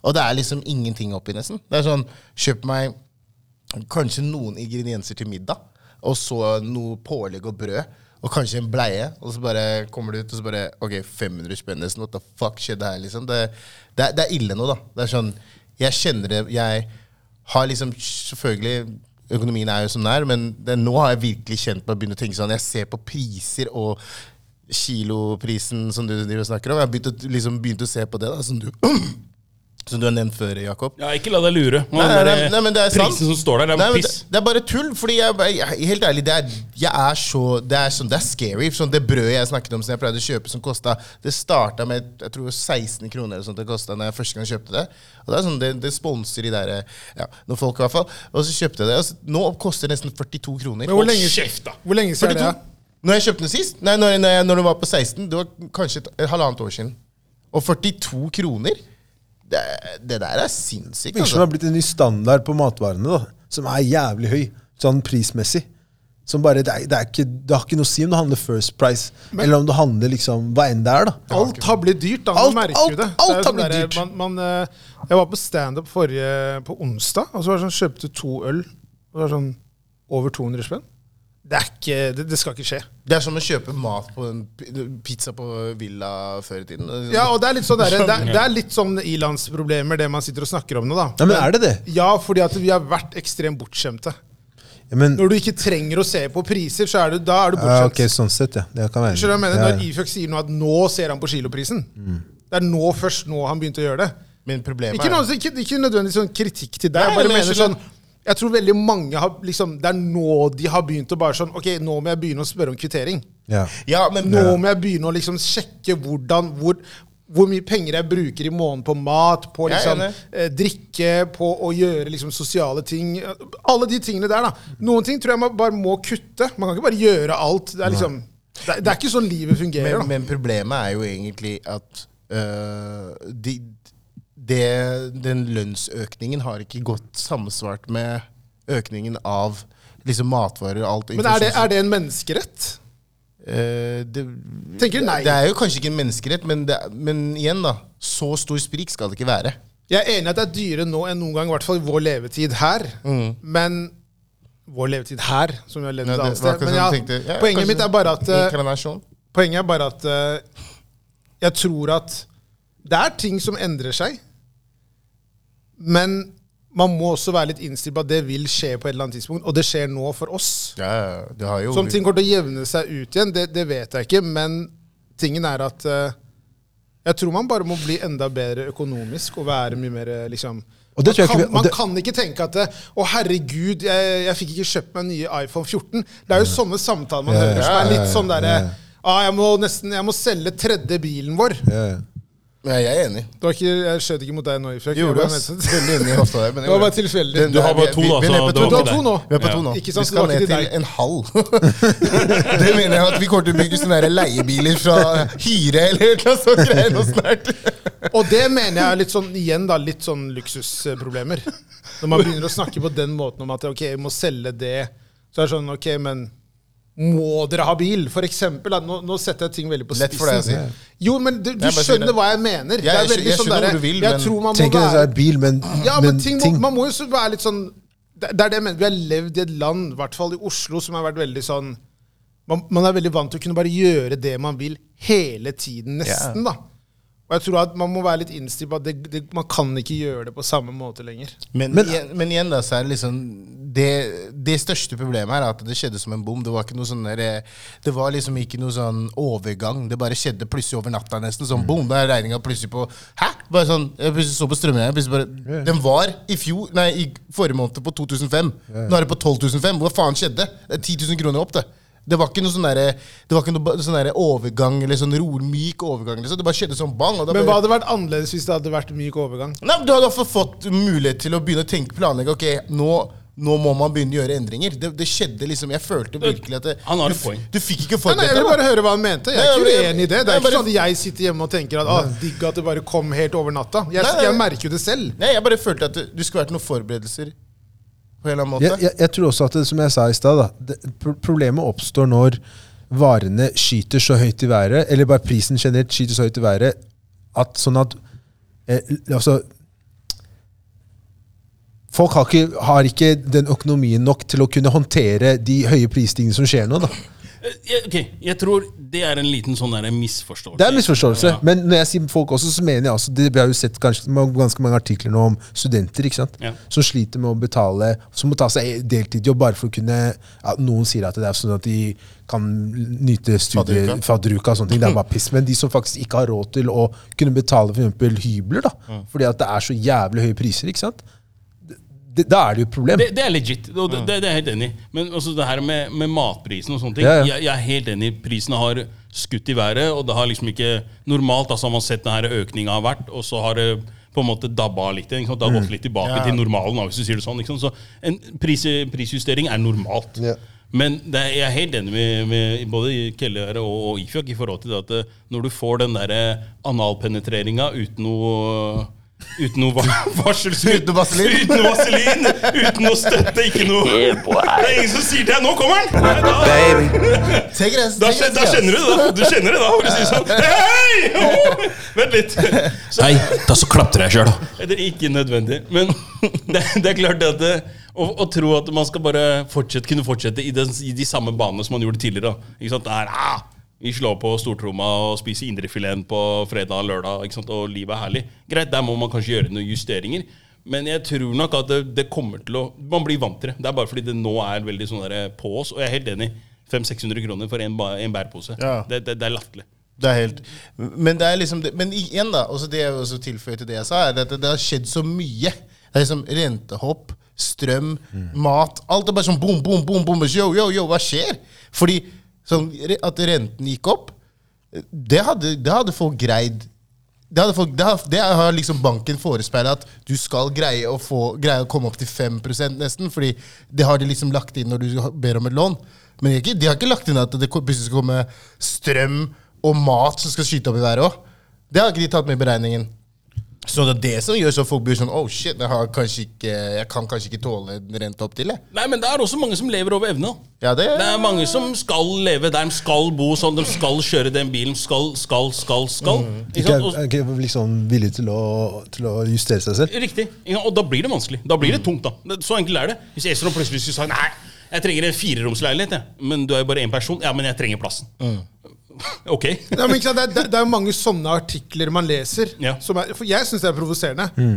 S1: og det er liksom ingenting oppi, nesten. Det er sånn, Kjøp meg kanskje noen ingredienser til middag, og så noe pålegg og brød, og kanskje en bleie, og så bare kommer du ut, og så bare Ok, 500 spenn nesten, what the fuck skjedde her, liksom? Det, det, er- det er ille nå, da. Det er sånn Jeg kjenner det Jeg har liksom selvfølgelig Økonomien er jo som den er, men det, nå har jeg virkelig kjent meg begynne å tenke sånn Jeg ser på priser og kiloprisen som du driver og snakker om. Jeg har begynt å, liksom, begynt å se på det. da, som du (clears throat) Som du har nevnt før, Jakob.
S4: Ja, ikke la deg lure.
S1: Nei, nei, nei, nei, men det er sant.
S4: eh, Prisen som står der, det
S1: Nei,
S4: er
S1: men det,
S4: piss.
S1: det er bare tull, fordi jeg, jeg helt ærlig, det er, jeg er så Det er, sånn, det er scary. Sånn, det brødet jeg snakket om som jeg pleide å kjøpe, som kosta Det starta med jeg tror 16 kroner eller sånt det kostet når jeg første gang kjøpte det. Og Det er sånn, det, det sponser de der eh, ja, noen folk, i hvert fall. Og så kjøpte jeg det. Og så, nå koster det nesten 42 kroner.
S3: Men hvor
S4: Hold
S3: lenge-
S4: kjeft, da!
S3: Hvor lenge siden er det?
S1: 42? Når jeg kjøpte den sist? Nei, når, når, jeg, når den var på 16. Det var kanskje et, et halvannet år siden. Og 42 kroner? Det, det der er sinnssykt.
S2: Virker som det
S1: Altså.
S2: har blitt en ny standard på matvarene, da, som er jævlig høy, sånn prismessig. Som bare, det, er, det, er ikke, det har ikke noe å si om du handler First Price, eller om du handler liksom, hva enn det er. da.
S3: Alt har blitt dyrt, da.
S2: Alt-
S3: Man merker jo
S2: alt-
S3: det.
S2: alt
S3: Det er jo
S2: har
S3: sånn
S2: blitt
S3: der,
S2: dyrt.
S3: Man, man, eh, jeg var på standup forrige- på onsdag, og så var det sånn, kjøpte to øl. Og det var sånn over 200 spenn. Det, er ikke, det, det skal ikke skje.
S1: Det er som å kjøpe mat på en p- pizza på Villa før i tiden.
S3: Ja, og Det er litt sånn, der, det, er, det er litt sånn ilandsproblemer, det man sitter og snakker om nå. da.
S2: Nei, men er det det?
S3: Ja, fordi at vi har vært ekstremt bortskjemte.
S2: Ja, men,
S3: Når du ikke trenger å se på priser, så er du, da er du
S2: ja,
S3: bortskjemt.
S2: ok, sånn sett, ja. Det kan være.
S3: Skjønner du hva jeg mener?
S2: Ja, ja.
S3: Når Ifjok sier nå at nå ser han på kiloprisen. Det er nå først nå han begynte å gjøre det.
S1: Men problemet
S3: Ikke,
S1: er-
S3: noe, ikke, ikke nødvendigvis sånn kritikk til deg.
S1: Nei,
S3: jeg bare
S1: men jeg
S3: mener
S1: skjønner.
S3: sånn Jeg tror veldig mange har liksom Det er nå de har begynt å bare sånn Ok, nå må jeg begynne å spørre om kvittering.
S2: Ja.
S1: Ja, men
S3: Nå må jeg begynne å liksom sjekke hvordan hvor, hvor mye penger jeg bruker i måneden på mat, på
S1: Jeg er
S3: liksom,
S1: enig.
S3: eh, drikke, på å gjøre liksom sosiale ting. Alle de tingene der, da. Noen ting tror jeg man bare må kutte. Man kan ikke bare gjøre alt. Det er liksom det er, det er ikke sånn livet
S1: men,
S3: fungerer. da.
S1: men problemet er jo egentlig at øh, de, det- den lønnsøkningen har ikke gått samsvart med økningen av liksom matvarer og alt.
S3: Men er det, er det en menneskerett?
S1: Eh, det,
S3: Tenker du nei?
S1: det er jo kanskje ikke en menneskerett, men, det, men igjen, da. Så stor sprik skal det ikke være.
S3: Jeg er enig i at det er dyrere nå enn noen gang, i hvert fall i vår levetid her. Men vår levetid her, som vi har levd
S1: Mm. Ja,
S3: et
S1: det var
S3: annet sted.
S1: akkurat
S3: Men ja,
S1: sånn jeg tenkte. Ja, kanskje
S3: poenget mitt er bare at eh,
S1: Inkarnasjon.
S3: Poenget er bare at eh, jeg tror at det er ting som endrer seg. Men man må også være litt innstilt på at det vil skje på et eller annet tidspunkt. Og det skjer nå for oss.
S1: Ja, ja, ja, det har jo
S3: Så om ting kommer til å jevne seg ut igjen, det, det vet jeg ikke. Men tingen er at eh, jeg tror man bare må bli enda bedre økonomisk og være mye mer eh, liksom
S2: Og det
S3: man,
S2: tror jeg
S3: kan,
S2: ikke vi- og
S3: man
S2: det-
S3: kan ikke tenke at eh, 'Å, herregud, jeg, jeg fikk ikke kjøpt meg en nye iPhone 14'. Det er jo sånne samtaler man
S2: Ja,
S3: hører som
S2: ja,
S3: er
S2: ja,
S3: litt sånn derre
S2: ja.
S3: ah, jeg, må nesten- 'Jeg må selge tredje bilen vår'.
S2: Ja, ja.
S1: ja, jeg er enig.
S3: Det var ikke, jeg skjøt ikke mot deg nå, Ifjok.
S1: Gjorde
S3: Jeg var
S1: ass.
S3: nesten-
S1: (laughs) Veldig enig i hofta der. men jeg
S3: Det var bare
S1: gjorde det.
S3: tilfeldig.
S1: Den-
S4: Du har
S1: nei,
S4: bare
S1: vi-
S4: to, altså,
S1: vi- vi
S4: da, så
S1: er nede på to.
S4: det var ikke
S3: Du har to
S4: deg.
S3: nå.
S1: Vi er på to nå.
S3: Ikke sant,
S1: vi
S3: så
S1: skal
S3: det var
S1: ned
S3: ikke
S1: til
S3: til deg.
S1: en (laughs) hall. det mener jeg at vi kommer til å bygge sånne der leiebiler fra Hyre eller noe sånt greier nå snart.
S3: Og det mener jeg er litt sånn, igjen da, litt sånn luksusproblemer. Når man begynner å snakke på den måten om at ok, vi må selge det, så er det sånn ok, men må dere ha bil? For eksempel, da, nå, nå setter jeg ting veldig på
S1: Lett
S3: spissen.
S1: for deg å si.
S3: Jo, men du, du
S1: Jeg bare sier
S3: skjønner
S1: det.
S3: hva jeg mener. Det
S1: Jeg
S3: er
S1: skj-
S3: veldig
S1: jeg
S3: sånn
S1: skjønner
S3: derre-
S1: hvor du vil,
S3: Jeg
S1: men-
S3: tror man må
S2: Tenk deg
S3: være
S2: en bil, men,
S3: ja, men,
S2: men
S3: ting, Må, man må jo så være litt sånn Det det er det jeg mener. Vi har levd i et land, i hvert fall i Oslo, som har vært veldig sånn man, man er veldig vant til å kunne bare gjøre det man vil hele tiden, nesten, da. Og jeg tror at man må være litt innstilt på at det, det, man kan ikke gjøre det på samme måte lenger.
S1: Men, igjen, men igjen, da, så er det liksom det, det største problemet her er at det skjedde som en bom. Det var ikke noe sånn der, eh, Det var liksom ikke noe sånn overgang. Det bare skjedde plutselig over natta, nesten.
S3: Mm.
S1: Sånn bom. Da er regninga plutselig på Hæ? Bare sånn, jeg plutselig så på strømregninga. plutselig bare- Den var i fjor, nei, i forrige måned på 2005. Nå er det på 12.500. Hva faen skjedde? Det er 10 000 kroner opp, det. Det var ikke noe sånn derre- det var ikke noe ba- sånn derre overgang, eller sånn ro, myk overgang. Liksom. Det bare skjedde sånn bang. Og da
S3: Men
S1: bare,
S3: hva hadde vært annerledes hvis det hadde vært myk overgang?
S1: Nei, men Du hadde også fått mulighet til å begynne å tenke planlegge. Ok, nå, nå må man begynne å gjøre endringer. Det, det skjedde liksom, Jeg følte virkelig at det,
S4: Han har
S1: du
S4: et
S1: f-
S4: poeng.
S1: Du fikk ikke
S3: Nei, nei, jeg
S1: forberedt
S3: vil
S1: deg.
S3: bare høre hva han mente. Jeg er
S1: Nei, jeg
S3: ikke
S1: bare-
S3: uenig i det. Det
S1: jeg
S3: er ikke
S1: bare-
S3: sånn at jeg sitter hjemme og tenker at ah, digg at det bare kom helt over natta. Jeg,
S1: Nei, nei.
S3: jeg merker jo det selv.
S1: da. Nei, jeg bare følte at det, du skulle vært noen forberedelser. På en eller annen måte.
S2: Jeg, jeg, jeg tror også at det, som jeg sa i stad, da, det- pro- problemet oppstår når varene skyter så høyt i været, eller bare prisen generelt skyter så høyt i været, at sånn at eh, l- altså, Folk har ikke, har ikke den økonomien nok til å kunne håndtere de høye prisstigningene som skjer nå. da.
S4: Eh, jeg, ok, jeg tror det er en liten sånn der misforståelse.
S2: Det er en misforståelse.
S4: Ja.
S2: Men når jeg sier folk også, så mener jeg også det, Vi har jo sett kanskje, ma- ganske mange artikler nå om studenter ikke sant?
S4: Ja.
S2: som sliter med å betale, som må ta seg deltidsjobb bare for å kunne ja, Noen sier at det er sånn at de kan nyte studier,
S1: Fadderuka.
S2: fadderuka og sånne ting. Det er bare piss. Men de som faktisk ikke har råd til å kunne betale for eksempel hybler, da, fordi at det er så jævlig høye priser, ikke sant? Det, da er det jo et problem.
S4: Det, det er legit. og Det, det, det er jeg helt enig i. Men altså det her med, med matprisen og sånne ting
S2: Ja, ja.
S4: Jeg, jeg er helt enig. Prisene har skutt i været, og det har liksom ikke Normalt altså, har man sett den her økninga har vært, og så har det på en måte dabba av litt. Ikke sant? Det har gått litt tilbake til normalen. da, hvis du sier det sånn. Ikke sant? Så en pris, prisjustering er normalt.
S2: Ja.
S4: Men det er, jeg er helt enig med, med både Kelle her og, og Ifjok i forhold til det at eh, når du får den derre analpenetreringa uten noe Uten noe (laughs) va-
S1: Uten
S4: varselskudd.
S1: noe vaselin.
S4: Uten noe vaselin, uten noe støtte, ikke noe Det er ingen som sier til deg 'nå kommer den'! Nei, Da,
S1: Se grensen,
S4: da,
S1: se
S4: skjø-
S1: grensen,
S4: da
S1: ass.
S4: kjenner du det. da. Du kjenner det da. Hvor du sier sånn Hei! (laughs) oh, Vent litt. Så
S5: Nei, da så klapper jeg sjøl, da.
S4: eller ikke nødvendig. Men (laughs) det, det er klart at det, å, å tro at man skal bare fortsette, kunne fortsette i, den, i de samme banene som man gjorde tidligere. da. Ikke sant? Det er, ah, vi slår på stortromma og spiser indrefileten på fredag og lørdag, ikke sant? og livet er herlig. Greit, der må man kanskje gjøre noen justeringer. Men jeg tror nok at det, det kommer til å Man blir vant til det. Det er bare fordi det nå er veldig sånn der på oss. Og jeg er helt enig. 500-600 kroner for en, ba- en bærpose.
S1: Ja.
S4: Det, det, det er latterlig.
S1: Det er helt Men det er liksom det- Men igjen, da. Også det jeg også tilføyer til det jeg sa, er at det har skjedd så mye. Det er liksom rentehopp, strøm, mat. Alt er bare sånn boom, boom, boom, boom. Yo, yo, yo, hva skjer? Fordi sånn, re- at renten gikk opp, det hadde, det hadde folk greid. Det, hadde folk, det, har, det har liksom banken forespeila at du skal greie å, få, greie å komme opp til 5 nesten. fordi det har de liksom lagt inn når du ber om et lån. Men de har ikke, de har ikke lagt inn at det ko- plutselig skal komme strøm og mat som skal skyte opp i været òg. Det har ikke de tatt med i beregningen. Så det er det som gjør så folk blir sånn Oh shit, jeg, har kanskje ikke, jeg kan kanskje ikke tåle en rente opp til, jeg.
S4: Nei, men det er også mange som lever over evne. da.
S1: Ja, det,
S4: Det er mange som skal leve der, de skal bo sånn, de skal kjøre den bilen, skal, skal, skal, skal. Ikke
S2: Ikke,
S4: sant? Og,
S2: ikke liksom villig til å, til å justere seg selv.
S4: riktig. Ikke sant? Og da blir det vanskelig. Da blir det tungt, da. Det- Så enkelt er det. Hvis Esron plutselig skulle sagt nei, jeg trenger en fireromsleilighet, jeg. men du er jo bare én person. Ja, men jeg trenger plassen. (laughs) Ok.
S3: Ja, men ikke sant? Det, er- det, er- det er jo mange sånne artikler man leser.
S4: Ja.
S3: Som er, for jeg syns det er provoserende.
S1: Mm.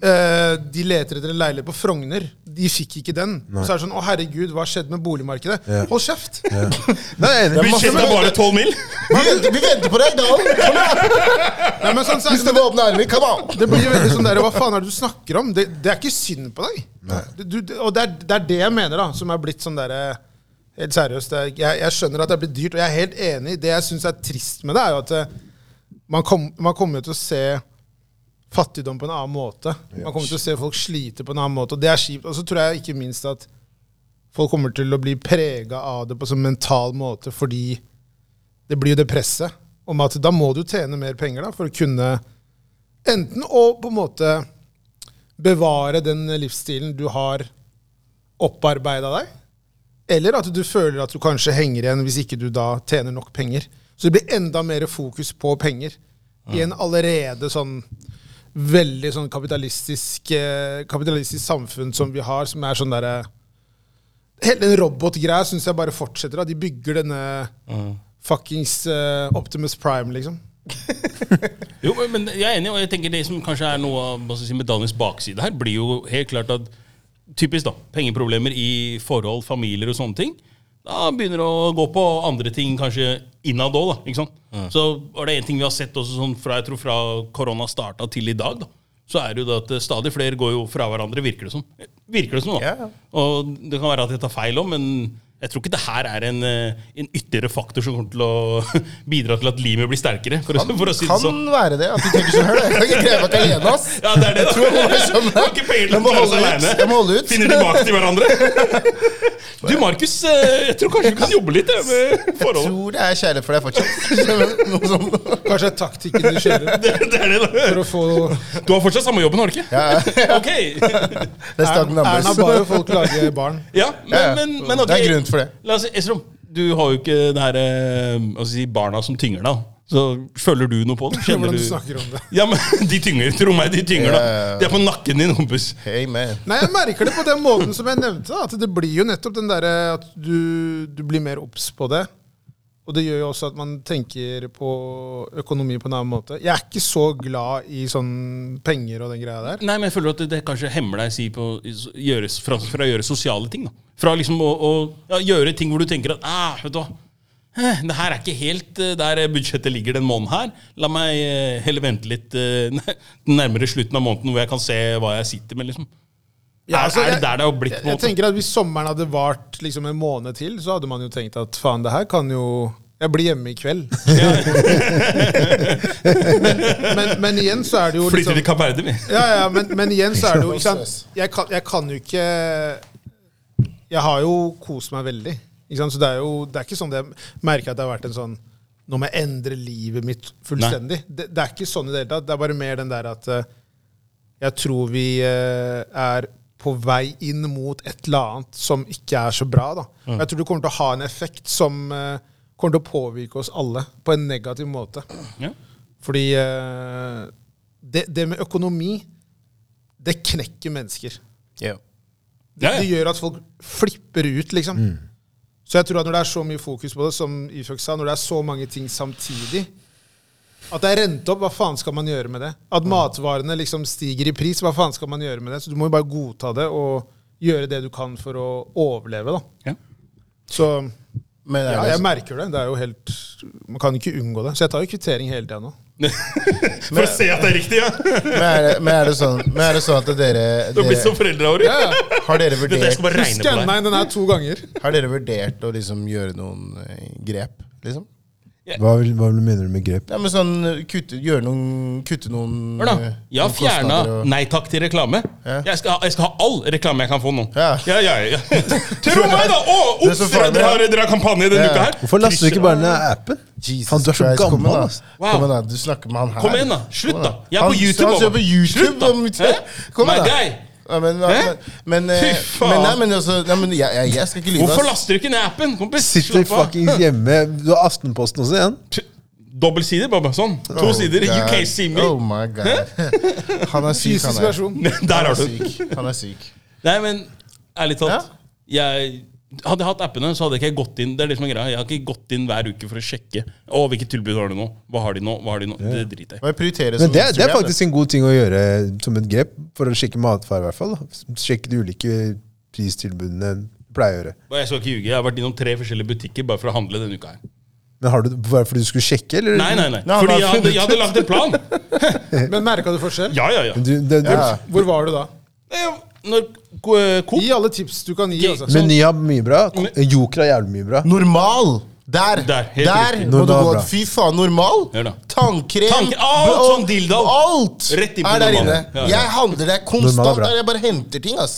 S3: Eh, de leter etter en leilighet på Frogner. De fikk ikke den. Så er det sånn Å, herregud, hva skjedde med boligmarkedet? Hold kjeft! (laughs)
S2: Nei, jeg er
S4: (laughs)
S2: enig.
S4: Budsjettet er bare 12 mil.
S1: vi, venter, vi venter på deg, Dalen!
S3: Nei, men sånn, så,
S1: Hvis du må åpne armene, come on!
S3: det blir veldig sånn der, Hva faen er det du snakker om? Det, det er ikke synd på deg. Det- Du, det- og det er, det er det jeg mener, da, som er blitt sånn derre Helt seriøst. det er- Jeg, jeg skjønner at det er blitt dyrt, og jeg er helt enig. Det jeg syns er trist med det, er jo at eh, man, kom, man kommer jo til å se fattigdom på en annen måte. Man kommer til å se folk slite på en annen måte, og det er kjipt. Og så tror jeg ikke minst at folk kommer til å bli prega av det på en sånn mental måte, fordi det blir jo det presset om at da må du tjene mer penger da, for å kunne enten å på en måte bevare den livsstilen du har opparbeida deg, eller at du føler at du kanskje henger igjen hvis ikke du da tjener nok penger. Så det blir enda mer fokus på penger i en allerede sånn veldig sånn kapitalistisk, eh, kapitalistisk samfunn som vi har, som er sånn derre Hele den robotgreia syns jeg bare fortsetter. Da. De bygger denne fuckings eh, Optimus Prime, liksom.
S4: Jo, men jeg er enig, og jeg tenker det som kanskje er noe av hva skal jeg si, medaljens bakside her, blir jo helt klart at typisk da, pengeproblemer i forhold, familier og sånne ting, da begynner det å gå på andre ting kanskje innad òg, da. ikke sant? Så var det en ting vi har sett også sånn fra, jeg tror fra korona starta til i dag, da. Så er det jo det at stadig flere går jo fra hverandre, virker det som. Virker det som, da.
S1: Ja, ja.
S4: Og det kan være at jeg tar feil om, men jeg tror ikke det her er en, eh, en ytterligere faktor som kommer til å (laughs) bidra til at limet blir sterkere, for, å- for å si det
S1: Kan
S4: sånn.
S1: være det. At de tenker sånn, hør, jeg kan ikke kreve meg alene, ass.
S4: Ja, det er det.
S1: tror jeg må liksom-
S4: Du har ikke peiling
S1: Jeg må
S4: på å klare seg
S1: holde ut.
S4: alene.
S1: Jeg må holde ut.
S4: Finner tilbake til hverandre.
S1: (laughs)
S4: Du, Markus, eh, jeg tror kanskje du kan jobbe litt eh, med
S1: Jeg (laughs)
S4: forholdet.
S1: tror det er kjærlighet for deg fortsatt. (laughs) Noe (laughs) sånt.
S3: Kanskje det er taktikken du kjører
S4: Det, det er det,
S3: for
S4: da.
S3: å få
S4: Du har fortsatt samme jobben, har du ikke? (laughs) Ok.
S1: Let's talk
S3: Erna
S1: numbers.
S3: ba jo folk lage barn.
S4: Ja,
S1: Ja,
S4: men,
S1: ja.
S4: men, men ok.
S1: Det er grunn for det.
S4: La oss si, Esrom, du har jo ikke det her eh, hva skal jeg si, barna som tynger deg. da. Så føler du noe på
S1: (laughs)
S4: det? (laughs) Kjenner
S3: Hvordan
S4: du
S3: du snakker om det.
S4: Ja, men (laughs) De tynger, tro meg, de tynger, da.
S1: Ja, ja, ja.
S4: De er på nakken din, kompis.
S1: Hey, man.
S3: Nei, jeg merker det på den måten som jeg nevnte. Da, at det blir jo nettopp den derre at du, du blir mer obs på det. Og det gjør jo også at man tenker på økonomi på en annen måte. Jeg er ikke så glad i sånn penger og den greia der.
S4: Nei, men jeg føler at det, det kanskje hemmer deg si, på, gjøre, fra, fra å gjøre sosiale ting. Da. Fra liksom å, å ja, gjøre ting hvor du tenker at ah, vet du hva, eh, det her er ikke helt eh, der budsjettet ligger den måneden her. La meg eh, heller vente litt eh, (laughs) nærmere slutten av måneden hvor jeg kan se hva jeg sitter med. liksom.
S3: Ja,
S4: Er-
S3: altså,
S4: er det
S3: jeg-
S4: der det har blitt?
S3: Jeg,
S4: på en
S3: jeg
S4: måte?
S3: tenker at Hvis sommeren hadde vart liksom en måned til, så hadde man jo tenkt at faen, det her kan jo Jeg blir hjemme i kveld. (laughs) men, men, men igjen så er det jo liksom-
S4: Flytter til Kapp Verde,
S3: (laughs)
S4: vi.
S3: Ja, ja, men, men igjen så er det jo ikke sant? Jeg, kan, jeg kan jo ikke Jeg har jo kost meg veldig. Ikke sant? Så det er jo det er ikke sånn at jeg merker at det har vært en sånn Nå må jeg endre livet mitt fullstendig. Det, det er ikke sånn i det hele tatt. Det er bare mer den der at eh, jeg tror vi eh, er på vei inn mot et eller annet som ikke er så bra. Da. Jeg tror det kommer til å ha en effekt som eh, kommer til å påvirke oss alle på en negativ måte.
S4: Ja.
S3: Fordi eh, det, det med økonomi, det knekker mennesker.
S1: Yeah.
S4: Ja,
S3: Det
S4: ja.
S3: gjør at folk flipper ut, liksom.
S1: Mm.
S3: Så jeg tror at når det er så mye fokus på det, som Ifjok sa, når det er så mange ting samtidig At det er rent opp, hva faen skal man gjøre med det? At
S1: Mm.
S3: matvarene liksom stiger i pris, hva faen skal man gjøre med det? Så du må jo bare godta det og gjøre det du kan for å overleve, da.
S4: Ja.
S3: Så
S1: Men er
S3: ja,
S1: det-
S3: jeg merker det. Det er jo helt Man kan ikke unngå det. Så jeg tar jo kvittering hele tida nå.
S4: For å se at det er riktig, ja! (laughs) Det
S1: Men er, det, men, er det sånn, men er det sånn at dere,
S4: (laughs) har blitt som
S1: dere
S4: foreldra våre.
S3: Ja, ja.
S1: har, dere
S4: (laughs) Dette jeg
S1: vurdert,
S4: skal bare regne på
S3: Skanna
S4: deg.
S3: inn den her to ganger.
S1: har dere vurdert å liksom gjøre noen eh, grep, liksom?
S2: Hva, vil- hva mener du med grep?
S1: Ja, men sånn eh, kutte, gjøre noen Kutte noen
S4: Hør da,
S1: eh,
S4: jeg har
S1: noen
S4: fjerna
S1: kostnader og-
S4: nei takk til reklame.
S1: Ja.
S4: Jeg, skal, ha- jeg skal ha all reklame jeg kan få nå. Ja,
S1: Ja.
S4: ja, ja,
S1: (laughs)
S4: Tro meg, da! Å,
S1: Det er så
S4: Ops,
S1: farlig,
S4: dere,
S1: ja.
S4: dere, har, dere har kampanje denne
S1: Ja.
S4: uka her.
S2: Hvorfor laster du ikke
S4: Krysser-
S2: bare ned appen?
S1: Jesus
S2: Faen, du er så
S1: Christ, kom
S2: gammel,
S1: igjen,
S2: ass.
S1: da.
S4: Wow.
S1: Kom igjen, da. Du snakker med han her.
S4: Kom igjen, da. Slutt,
S1: Kom
S4: da.
S1: igjen,
S4: Jeg er på
S1: Han-
S4: YouTube.
S1: Han ser på
S4: mamma.
S1: YouTube.
S4: Slutt, da.
S1: om-
S4: Hæ?
S1: Kom
S4: My
S1: igjen, da.
S4: guy.
S1: Ja, men,
S4: Hæ?
S1: men, men, eh,
S4: Fy faen.
S1: men, nei, men, altså, nei, men jeg, jeg, jeg skal ikke lyve. ass.
S4: Hvorfor laster du ikke ned appen, kompis?
S2: Sitter
S4: Slapp av.
S2: fuckings hjemme. Du har Aftenposten også igjen.
S4: Dobbel side, bare sånn. To
S1: Oh,
S4: sider. You
S1: God.
S4: can't see me.
S1: Oh my god. (laughs) Han er syk,
S3: Fysisk
S1: han er.
S3: versjon.
S4: (laughs)
S1: Han
S4: Der
S1: er
S4: har du den.
S1: syk. Han er syk.
S4: Nei, men ærlig talt. Jeg hadde jeg hatt appene, så hadde jeg ikke gått inn Det er det som er greia. Jeg har ikke gått inn hver uke for å sjekke. Å, hvilket tilbud har du nå? Hva har de nå? Hva har de nå? Det driter jeg i.
S1: Må jeg prioritere
S2: Men
S1: som
S2: det, det er
S1: Instagram,
S2: faktisk en god ting å gjøre som et grep, for å sjekke matfare i hvert fall. da. Sjekke de ulike pristilbudene du pleier å gjøre.
S4: Og Jeg skal ikke ljuge, jeg har vært innom tre forskjellige butikker bare for å handle denne uka. her.
S2: Men har du det bare fordi du skulle sjekke, eller?
S4: Nei, nei, nei.
S1: Nei, han
S4: Fordi
S1: har
S4: jeg hadde,
S1: funnet
S4: jeg hadde lagt en
S1: (laughs)
S4: plan.
S3: Men merka du forskjell?
S4: Ja, ja, ja.
S2: Du, det, det,
S1: Ja.
S3: Hvor var du da?
S4: Nei, ja, Når Ko- eh, Coop
S3: Gi alle tips du kan gi. Altså.
S2: Meny har mye bra. Joker har jævlig mye bra.
S1: Normal! Der!
S4: Der, helt riktig.
S1: må du
S2: Normal,
S1: gå
S2: bra.
S1: Fy faen, normal!
S4: Hør da.
S1: Tannkrem!
S4: Tank- alt
S1: bro-
S4: sånn dildo.
S1: Alt
S4: Rett inn på
S1: er der
S4: normal.
S1: inne.
S4: Ja, ja.
S1: Jeg handler der
S2: Normal er
S1: konstant.
S2: bra.
S1: Der jeg bare henter ting, ass.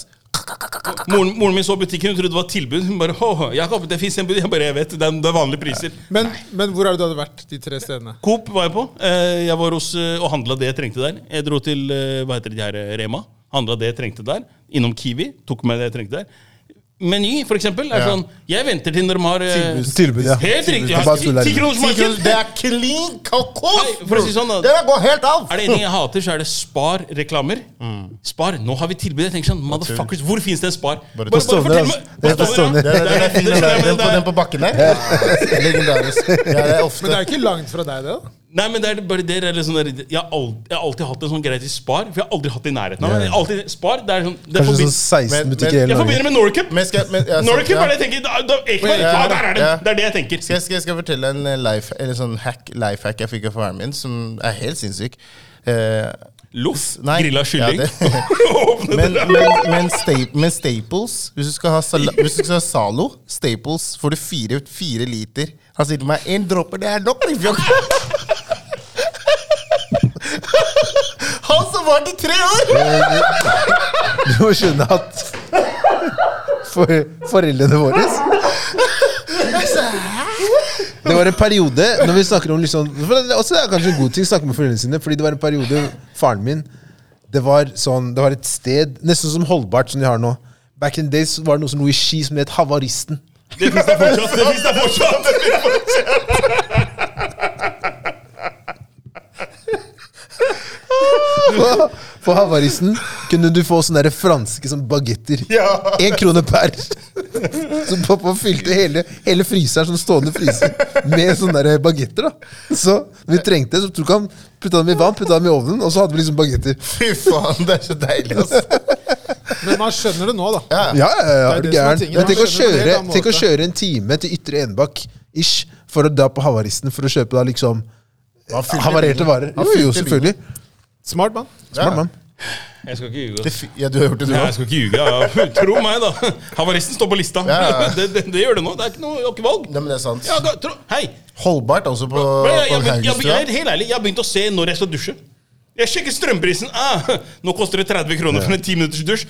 S4: moren, moren min så butikken, hun trodde det var tilbud. Hun bare Åh, jeg har ikke- det fins en bud. Jeg bare Jeg vet, det er, det er vanlige priser.
S3: Men, men hvor er det du hadde vært de tre stedene?
S4: Coop var jeg på. Eh, Jeg var hos eh, og handla det jeg trengte der. Jeg dro til eh, hva heter det de her, eh, Rema. Handla det jeg trengte der. Innom Kiwi. Tok med det jeg trengte der. Meny, for eksempel. Er
S1: Ja.
S4: sånn, jeg venter til når de har eh,
S2: Tilbud, ja.
S4: Helt riktig!
S2: Det er bare tull her.
S1: Ti kroner-
S4: Tikronersmarked!
S1: Det er clean kakos!
S4: Nei, for å si sånn, da.
S1: det der går helt av!
S4: Er det en ting jeg hater, så er det Spar-reklamer.
S1: Mm.
S4: Spar, nå har vi tilbud. Jeg tenker sånn, motherfuckers, Hvor finnes det en Spar? Bare, bare
S2: Stovner,
S4: fortell
S2: altså.
S4: meg!
S2: Det er på Stovner.
S1: Det er- det er- det
S4: (laughs)
S1: er- det er-
S4: Nei,
S1: Den på,
S4: men
S1: den
S4: det
S1: på
S4: er-
S1: bakken der? Legendarisk. Ja, det er ofte.
S3: Men det er jo ikke langt fra deg, det. da.
S4: Nei, men det er bare det er litt sånn der, jeg, har al- jeg har alltid hatt en sånn greie til Spar, for jeg har aldri hatt det i nærheten av. Jeg har alltid, spar, det er sånn det
S2: Kanskje sånn
S4: forbind,
S2: 16
S1: Men- men-
S2: butikker i hele
S4: Jeg
S2: Norge.
S4: forbinder med Norcup.
S1: Men skal, men, ja, så-
S4: Norcup
S1: ja.
S4: er det jeg tenker. Da, da, Ekeberg,
S1: Ja,
S4: ja, der
S1: ja.
S4: er den! Det er det jeg tenker.
S1: Skal jeg, skal, jeg, skal jeg fortelle en eh, life, eller sånn hack, life hack jeg fikk av faren min, som er helt sinnssyk? Eh,
S4: Loff,
S1: Nei,
S4: grilla kylling.
S1: ja, (laughs)
S4: (laughs) Åpne
S1: men,
S4: døra.
S1: men, men, sta men Staples Hvis du skal ha, sala hvis du skal ha Zalo, Staples, får du fire, fire liter. Han sier til meg 'én dråpe, det er nok'. Rifjok." (laughs) Han som var til tre år!
S2: (laughs) Du må skjønne at (laughs) for, foreldrene våre Det var en periode når vi snakker om liksom, for det, er også det er kanskje en god ting å snakke med foreldrene sine, fordi det var en periode faren min Det var sånn, det var et sted nesten som Holdbart, som de har nå. Back in the days var det noe som lå i Ski som het Havaristen.
S4: Det fins der fortsatt! Det finnes der fortsatt.
S2: På, på Havarisen kunne du få sånne der franske sånn bagetter.
S1: Ja.
S2: Én krone per. Så pappa fylte hele, hele fryseren sånn stående fryser med sånne der bagetter. da. Så når vi trengte det, så tok han, putta dem i vann, putta dem i ovnen, og så hadde vi liksom bagetter.
S1: Fy faen, det er så deilig, altså.
S3: Men man skjønner det nå, da.
S1: Ja.
S2: Ja, ja, ja,
S3: Det
S2: er
S3: er
S2: du
S3: det som er tingen.
S2: gæren. Men Tenk å,
S3: Man skjønner det på en
S2: kjøre,
S3: helt annen
S2: tenk å
S3: måte.
S2: kjøre en time til Ytre Enbakk ish, for å dra på Havaristen for å kjøpe da liksom
S1: Han fylte
S2: havarerte
S1: bilen.
S2: varer.
S1: Han
S2: Jo, jo,
S1: fylte
S2: selvfølgelig.
S3: Smart mann.
S2: Smart mann.
S4: Jeg skal ikke ljuge.
S1: Det fy- Ja, du har gjort det, du
S4: Nei, jeg
S1: òg?
S4: skal ikke ljuge. Ja. (laughs) Tro meg, da. Havaristen står på lista.
S1: Ja, ja.
S4: (laughs) Det, det, det gjør det nå. Det er ikke noe, jeg har ikke valg.
S1: Nei, men det er sant.
S4: Ja, da, tro, hei!
S1: Holdbart også på,
S4: Men
S1: på
S4: jeg, jeg, jeg, jeg,
S1: Haugenstua.
S4: er helt ærlig, jeg har begynt å se når jeg skal dusje. Jeg sjekker strømprisen. Ah, (laughs) nå koster det 30 kroner for en 10 minutters dusj.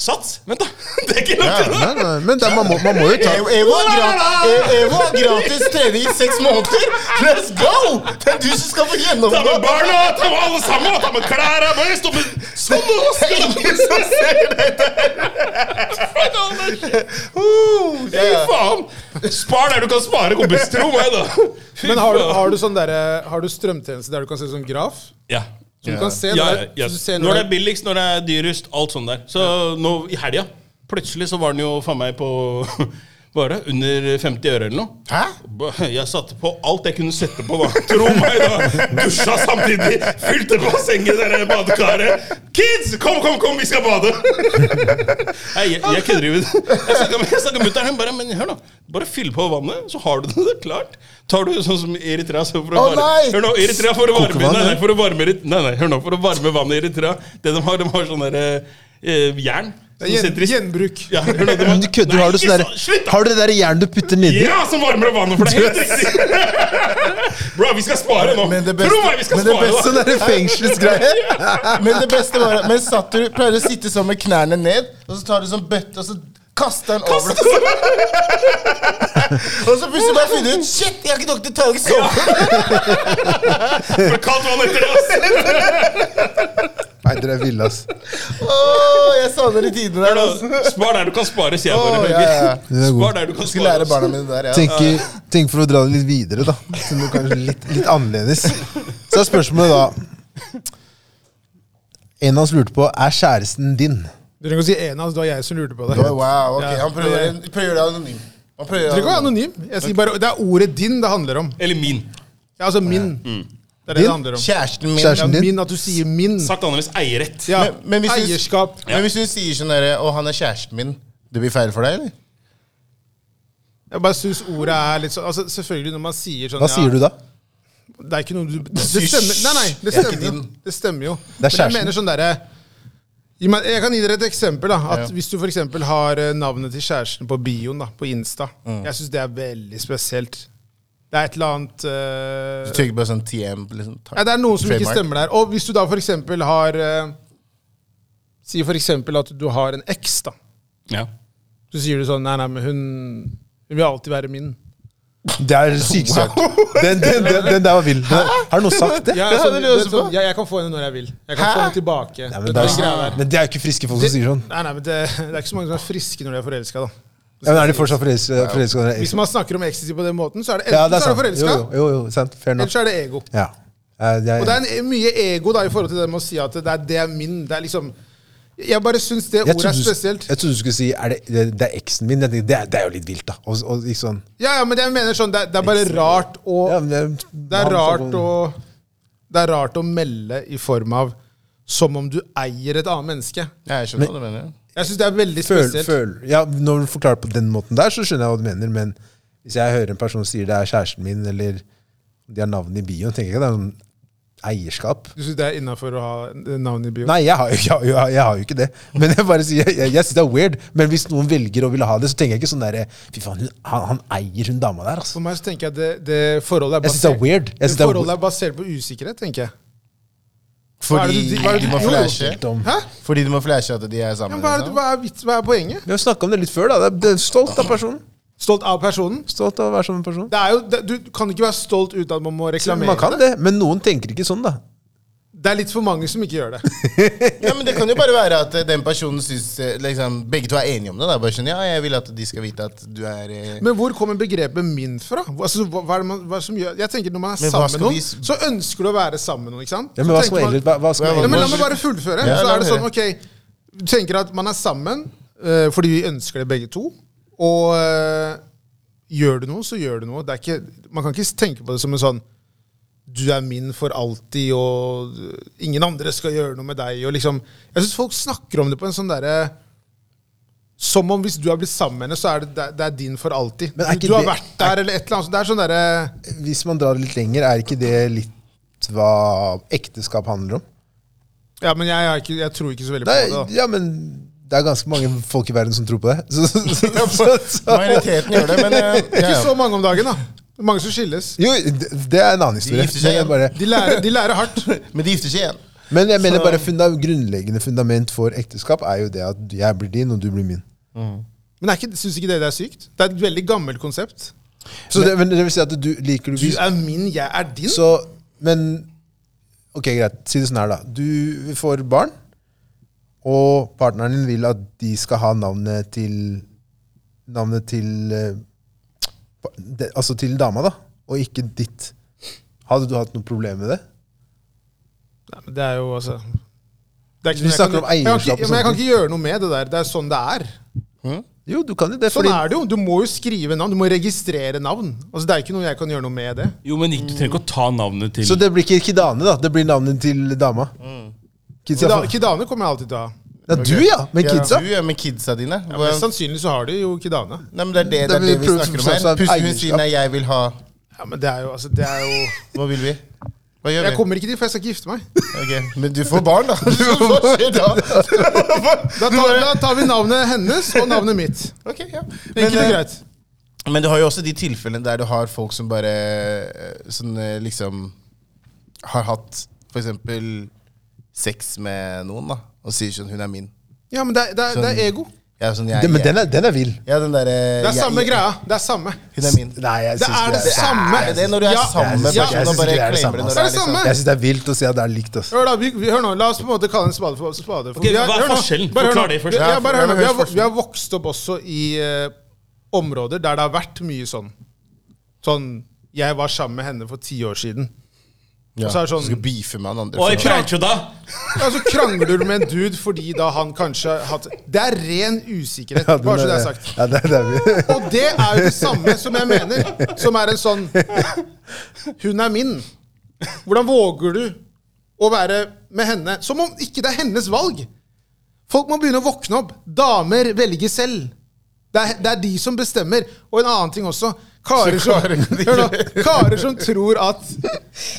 S4: Sats! Vent, da. (laughs) Det er ikke langt
S2: Nei,
S4: unna.
S2: nei, men det, er- man, må, man må jo ta
S1: Evo Evo har gra- E- Evo har gratis trening i seks måneder! Let's go! Det er du som skal få
S4: Ta
S1: gjennomgå
S4: med barna, ta med alle sammen, ta med klærne bare stå med Sånn nå
S1: Det er
S4: skal
S1: ingen som ser dette! (laughs) Uh,
S4: Fy
S1: ja, ja.
S4: faen! Spar der du kan spare, kompis. Tro meg, da. (laughs) Fy
S3: Men har du,
S4: faen.
S3: har du sånn derre- har du strømtjeneste der du kan se sånn graf?
S4: Ja.
S3: Så du kan se
S4: Ja,
S3: der,
S4: ja.
S3: så du ser
S4: Når det er
S3: når det
S4: billigst, når det er dyrest, alt sånt der. Så nå i helga, plutselig så var den jo faen meg på (laughs) Hva er det? Under 50 øre eller noe.
S1: Hæ?
S4: B- Jeg satte på alt jeg kunne sette på. Da. Tro meg, da! Dusja samtidig, fylte bassenget, det der badekaret. Kids, kom, kom, kom, vi skal bade! Nei, jeg, jeg kødder jo ikke. Jeg snakka med- Jeg snakka med mutter'n, hun bare Men hør, da. Bare fyll på vannet, så har du det. Det er klart. Tar du sånn som Eritrea så for å
S1: Å,
S4: varme
S1: nei!
S4: Hør nå, Eritrea for å varme
S2: Kokevann,
S4: Nei, nei,
S2: ja.
S4: for å varme Erit- Nei, nei, hør nå. For å varme vannet i Eritrea Det de har, de har sånn derre eh, jern. som
S3: er gjen,
S4: setter i-
S3: gjenbruk.
S4: Ja, hør nå, de har-
S2: Men du kødder,
S4: Nei,
S2: har du
S4: ikke
S2: sånn der-
S4: sånn, Slutt, da!
S2: Har du det der jern du putter nedi?
S4: Ja, som varmer vannet for deg! Helt riktig! (laughs) Bro, vi skal spare nå.
S1: Men det beste-
S4: Tro meg, vi skal
S1: men det
S4: spare
S1: beste
S2: Sånn
S4: da.
S2: der
S1: (laughs)
S2: fengselsgreie.
S1: Men det beste var at- Men satt du pleier å sitte sånn med knærne ned, og så tar du sånn bøtte, og så kaster den over deg. (laughs) Og så plutselig bare finner du ut Shit, jeg har ikke nok til å ta ut såpe!
S4: For kaldt vann etter det, ass.
S2: Nei, dere er ville, ass.
S1: Åh, jeg savner de tidene
S4: Hør
S1: der.
S4: nå,
S1: Altså.
S4: Spar der du kan spare, sier jeg
S1: Åh,
S4: bare.
S1: ja, ja.
S2: Det er god.
S4: Spar der du kan
S1: Jeg skulle lære
S4: spare. altså. ass.
S1: barna mine det der, ja.
S2: Tenk, tenk for å dra det litt videre, da. Så det er kanskje litt, litt annerledes. Så er spørsmålet da En av oss lurte på er kjæresten din.
S3: Du trenger ikke å si en av oss, det var jeg som lurte på det.
S1: Oi, Wow, ok,
S3: Ja.
S1: han prøver, prøver det anonym. Han prøver
S3: Du trenger ikke å være anonym. Jeg sier bare, Det er ordet 'din' det handler om.
S4: Eller min. anonym.
S3: Ja, altså min. Det er det
S2: Din?
S3: det handler om.
S1: Kjæresten min.
S3: Ja,
S2: Kjæresten din?
S3: min, At du sier min.
S4: Sagt annerledes eierrett.
S3: Ja,
S1: Men- men hvis du-
S3: Eierskap.
S1: Men hvis hun sier sånn derre Å, han er kjæresten min. Det blir feil for deg, eller?
S3: Jeg bare syns ordet er litt sånn altså, Selvfølgelig, når man sier sånn
S2: Hva sier du da?
S3: Ja, det er ikke noe du Det stemmer, nei, nei, det
S1: Jeg er ikke
S3: stemmer jo.
S1: din.
S3: Det stemmer jo.
S2: Det er
S3: Men jeg
S2: kjæresten.
S3: mener sånn derre Gi meg- jeg kan gi dere et eksempel. da, at Hvis du f.eks. har eh, navnet til kjæresten på bioen da, på Insta
S2: Mm.
S3: Jeg syns det er veldig spesielt. Det er et eller annet eh,
S1: Du trykker bare sånn TM. Liksom, ta-
S3: Ja, det er noe som ikke
S1: trademark.
S3: stemmer der. Og hvis du da for eksempel har eh, Si for eksempel at du har en eks, da.
S4: Ja.
S3: Så sier du sånn Nei, nei, men hun, hun vil alltid være min.
S2: Det er sykt søkt. Den, den, den, den der var vill. Den- Har noen sagt det?
S3: Ja,
S1: det
S3: sånn,
S1: vil jeg
S3: det er
S1: også
S3: sånn,
S1: på.
S3: ja, jeg kan få henne når jeg vil. Jeg kan
S1: Hæ?
S3: få henne tilbake.
S2: Nei,
S3: Det
S2: men,
S3: er
S2: det
S3: den greia
S2: er,
S3: der.
S2: men det er jo ikke friske folk som sier sånn.
S3: Nei, nei, men det, det er ikke så mange som er friske når de er forelska, da.
S2: Ja, men Er de fortsatt forelska? forelska når det er
S3: Hvis
S2: eksen?
S3: man snakker om ecstasy på den måten, så er det enten
S2: Ja, det er
S3: så er du
S2: sant. Jo,
S3: forelska,
S2: jo, jo, jo, sant. Fair
S3: eller
S2: enough.
S3: så er det ego.
S2: Ja. Jeg- jeg-
S3: Og det er en, mye ego da i forhold til det med å si at det er, det er min. Det er liksom Jeg bare syns det
S2: jeg
S3: ordet er
S2: trodde, du-
S3: spesielt.
S2: jeg trodde du skulle si er det, det, det er eksen min. Jeg tenkte, Det er, det er jo litt vilt, da. Og, og liksom,
S3: Ja, ja, men jeg mener sånn, det er, det er bare rart å
S2: ja, men sånn-
S3: Det er rart å Det er rart å melde i form av som om du eier et annet menneske.
S1: Ja, jeg skjønner hva du mener.
S3: Jeg syns det er veldig
S2: føl,
S3: spesielt.
S2: føl, ja, Når du forklarer på den måten der, så skjønner jeg hva du mener. Men hvis jeg hører en person sier det er kjæresten min, eller de har navnet i bioen, tenker jeg ikke det er sånn eierskap.
S3: Du syns det er innafor å ha navn i bio?
S2: Nei, jeg har, jo- (laughs) jeg, har jo- jeg har jo ikke det. Men jeg bare sier, jeg, jeg, synes det er weird. Men hvis noen velger å ville ha det, så tenker jeg ikke sånn derre Fy faen, hun, han, han eier hun dama der, altså.
S3: For meg så tenker jeg at det, det forholdet er
S2: Jeg synes det er weird. Jeg synes
S3: det
S2: det er
S3: forholdet er basert på usikkerhet, tenker jeg.
S1: Fordi
S3: det du- hva er det
S1: de
S3: du-
S1: må
S3: jo, jo.
S1: flashe
S2: Dum.
S3: Hæ?
S1: Fordi de må flashe at de er
S3: Ja,
S1: sammen.
S3: men hva, er, det-
S1: liksom.
S3: hva, er, vits- hva er poenget?
S2: Vi har snakka om det litt før, da. Det er, det er stolt av personen.
S3: Stolt av personen?
S2: Stolt av å være som en person.
S3: Det er jo, det, du kan ikke være stolt uten at man må reklamere.
S2: Man kan det, men noen tenker ikke sånn, da.
S3: Det Det er litt for mange som ikke gjør det.
S1: Ja, men Det kan jo bare være at eh, den personen syns eh, liksom, Begge to er enige om det. da Bare sånn, ja, jeg vil at de skal vite at du er eh,
S3: Men hvor kommer begrepet 'min' fra? Hva- Altså, hva, hva er det man, hva er det som gjør? Jeg tenker Når man er
S1: Men hva
S3: sammen med
S1: skal vi
S3: noen,
S1: s-
S3: så ønsker du å være sammen med noen. ikke sant?
S2: Ja,
S3: Så
S2: men hva
S3: tenker
S2: skal
S3: man-
S2: egentlig, hva, hva skal
S1: Ja,
S3: Ja, men La
S2: egentlig?
S3: meg bare fullføre.
S1: Ja,
S3: så
S1: la
S3: er det
S1: meg
S3: sånn, ok Du tenker at man er sammen eh, fordi vi ønsker det begge to. Og eh, gjør du noe, så gjør du noe. Det er ikke, man kan ikke tenke på det som en sånn Du er min for alltid, og eh, ingen andre skal gjøre noe med deg. Og liksom, jeg syns folk snakker om det på en sånn derre som om hvis du har blitt sammen med henne, så er det, det, er- det er din for alltid.
S2: Men er ikke
S3: Du har
S2: det-
S3: vært der, eller et eller annet. sånt. Det er sånn derre
S2: Hvis man drar det litt lenger, er ikke det litt hva ekteskap handler om?
S3: Ja, men jeg, er ikke, jeg tror ikke så veldig
S2: Det
S3: på
S2: er,
S3: det. da.
S2: ja, men det er ganske mange folk i verden som tror på det. (laughs) Så, så, så, så,
S1: (laughs)
S2: så.
S1: Majoriteten gjør det, men eh, ja,
S3: (laughs) Ikke
S1: ja.
S3: så mange om dagen, da. Det er Mange som skilles.
S2: Jo, det det er en annen historie.
S1: gifter seg
S2: Men jeg
S1: igjen.
S2: bare,
S3: De lærer, de lærer hardt.
S1: Men de gifter seg igjen.
S2: Men jeg mener bare funda grunnleggende fundament for ekteskap er jo det at jeg blir din, og du blir min.
S3: Men syns ikke dere det er sykt? Det er et veldig gammelt konsept.
S2: Så det, men det vil si at du liker du
S3: Du er min, jeg er din.
S2: Så, men Ok, greit. Si det sånn her, da. Du får barn, og partneren din vil at de skal ha navnet til Navnet til eh, pa- det- Altså til dama, da, og ikke ditt. Hadde du hatt noe problem med det?
S3: Nei, men det er jo altså det er
S2: Vi
S3: noe jeg kan-
S2: snakker om
S3: jeg kan ikke-
S2: eierskap og
S3: ja, Men jeg kan
S2: sånne
S3: ikke gjøre noe med det der. Det er sånn det er.
S2: Jo, du kan jo det.
S3: Sånn
S2: fordi-
S3: er det jo. Du må jo skrive navn. Du må registrere navn. Altså, det er ikke noe jeg kan gjøre noe med det.
S4: Jo, men ikke, du trenger ikke å ta navnet til
S2: Så det blir ikke Kidane, da. Det blir navnet til dama. Kidsa
S3: Kida-
S2: får-
S3: Kidane kommer jeg alltid til å ha.
S2: Ja, du, ja. Men
S3: Ja.
S2: kidsa.
S1: Du er med kidsa dine.
S3: Ja, sånn-
S1: Hva-
S3: mest sannsynlig så har de jo Kidane.
S1: Nei, men det er det, det,
S2: Da
S1: er det
S2: blir
S1: vi
S2: prøvd
S3: sånn
S1: snakker om
S2: som
S1: her.
S2: sagt
S1: Pusten hun
S2: eierskap.
S1: sier nei, jeg vil ha
S3: Ja, men det er jo, altså, det er jo
S1: Hva vil vi? Hva gjør
S3: Jeg
S1: vi?
S3: kommer ikke dit, for jeg skal ikke gifte meg.
S1: Ok, Men du får
S3: (laughs)
S1: barn, da. Hva skjer da?
S3: Da tar, da tar vi navnet hennes og navnet mitt.
S1: Ok, ja.
S3: Enkelt og
S1: eh,
S3: greit.
S1: Men du har jo også de tilfellene der du har folk som bare eh, Sånn eh, liksom Har hatt for eksempel sex med noen, da. Og sier sånn 'Hun er min'.
S3: Ja, men det er, det er, det er ego.
S1: Jeg er sånn, jeg,
S2: Det, men
S1: jeg,
S2: den er, den er vill.
S1: ja, den derre
S3: Det er samme greia. Det er samme.
S1: Hun er min.
S2: Nei, jeg
S3: Det
S2: syns
S3: er det
S2: det er-
S3: samme.
S1: Er det når du er
S3: Ja,
S1: sammen med
S3: ja.
S1: personen og
S2: Jeg synes
S1: bare
S2: ikke det er
S1: claimer det
S2: det samme,
S1: når
S3: altså.
S1: det
S3: Det er det
S1: liksom
S3: samme.
S2: Jeg syns det er vilt å si at det er likt. altså. ass.
S3: Hør da, vi, vi, hør nå, La oss på en måte kalle en spade for spade. For
S4: Ok,
S3: vi er-
S4: hva er
S3: hør nå.
S4: forskjellen?
S3: Bare hør
S4: Forklar
S3: nå.
S4: det først.
S3: Ja,
S1: Ja,
S3: bare
S1: for-
S3: hør nå. Vi,
S1: hør
S3: har,
S1: først.
S3: vi har vokst opp også i eh, områder der det har vært mye sånn. Sånn Jeg var sammen med henne for ti år siden.
S1: ja.
S3: Så er det
S1: Du
S3: sånn-
S1: skal beefe med han andre.
S4: Oi,
S1: for noe.
S4: Preitjoda!
S3: Ja, så krangler du med en dude fordi da han kanskje har hatt Det er ren usikkerhet,
S2: Ja, den
S3: bare så det er
S2: er-
S3: sagt.
S2: Ja, det, det er vill.
S3: Og det er jo det samme som jeg mener, som er en sånn Hun er min. Hvordan våger du å være med henne? Som om ikke det er hennes valg. Folk må begynne å våkne opp. Damer velger selv. Det er, det er de som bestemmer. Og en annen ting også. Karer som, hør nå, karer som tror at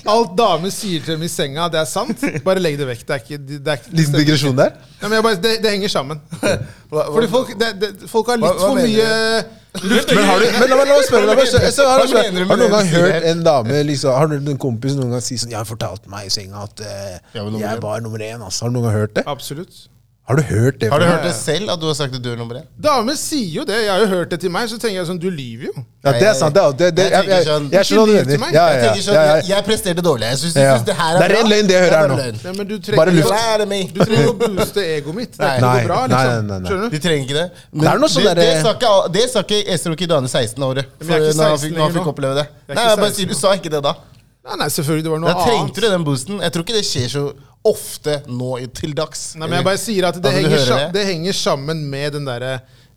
S3: alt damer sier til dem i senga, det er sant. Bare legg det vekk. Det er ikke, det er ikke
S2: Liten digresjon der.
S3: Nei, men jeg bare, det, det henger
S2: (laughs)
S3: sammen.
S1: Hva- hva-
S3: Fordi folk, det, det, folk har litt
S1: Hva- hva
S3: for
S1: mener
S3: mye
S2: Men har du, men la meg la meg spørre la meg spørre- så har, du-
S1: Hva mener du med
S2: har du noen
S1: det
S2: gang
S1: du sier
S2: hørt en dame liksom, Har du hørt en kompis noen gang si sånn 'Jeg har fortalt meg i senga at eh,
S1: Jeg var nummer
S2: jeg
S1: én.»
S2: var nummer én'. ass. Har du noen gang hørt det?
S3: Absolutt.
S2: Har du hørt det?
S1: Har du
S2: fra-
S1: hørt det selv, at du har sagt at du er nummer én?
S3: Damer sier jo det. Jeg har jo hørt det til meg, så tenker jeg sånn Du lyver jo.
S2: Ja, det er sant. Det, er- det, det, jeg, jeg,
S1: sånn,
S2: jeg, jeg skjønner hva du mener. Ja,
S1: Jeg
S2: ja,
S1: tenker sånn,
S2: ja,
S1: jeg,
S2: ja.
S1: jeg presterte dårlig. Jeg synes,
S2: Ja.
S1: synes det her er
S2: Det er ren løgn, det jeg hører her nå.
S3: Nei, men du
S2: Bare
S3: trenger,
S2: luft.
S1: Lære meg.
S3: Du
S1: (laughs)
S3: trenger å booste egoet mitt. Det er ikke
S2: Nei.
S3: noe bra,
S2: Nei,
S3: liksom.
S2: nei, nei, nei.
S3: Skjønner du?
S1: De trenger ikke det. Men
S2: Det er noe sånn
S1: det,
S2: derre-
S1: det sa ikke, det sa ikke Esther og Kidane 16-året.
S3: Men
S1: Når
S3: jeg er ikke
S1: han
S3: 16
S1: fikk, når han
S3: lenger
S1: fikk
S3: nå.
S1: oppleve det.
S3: Jeg er
S1: Nei,
S3: ikke
S1: jeg bare
S3: 16
S1: sier, Du
S3: nå.
S1: sa ikke det da.
S3: Nei, nei, selvfølgelig. Det var noe
S1: Da trengte
S3: annet.
S1: du den boosten. Jeg tror ikke det skjer så ofte nå i- til dags.
S3: Nei, men jeg bare sier at
S1: Altså,
S3: det,
S1: du
S3: henger,
S1: hører
S3: sa-
S1: det?
S3: det henger sammen med den derre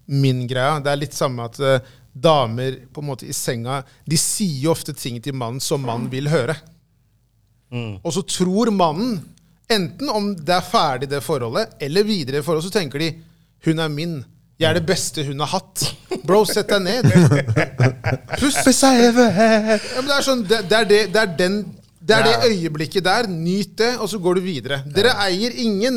S3: min-greia. Det er litt samme at eh, damer på en måte i senga De sier jo ofte ting til mannen som mannen vil høre.
S1: Mm.
S3: Og så tror mannen, enten om det er ferdig det forholdet, eller videre i forhold, så tenker de 'hun er min'. Jeg er det beste hun har hatt. Bro, sett deg
S1: (laughs)
S3: ned. Pust.
S2: Best I ever
S3: Ja,
S2: had.
S3: men det er sånn, det, det, er det, det er den det er
S1: Ja.
S3: det øyeblikket der. Nyt det, og så går du videre. Dere eier ingen.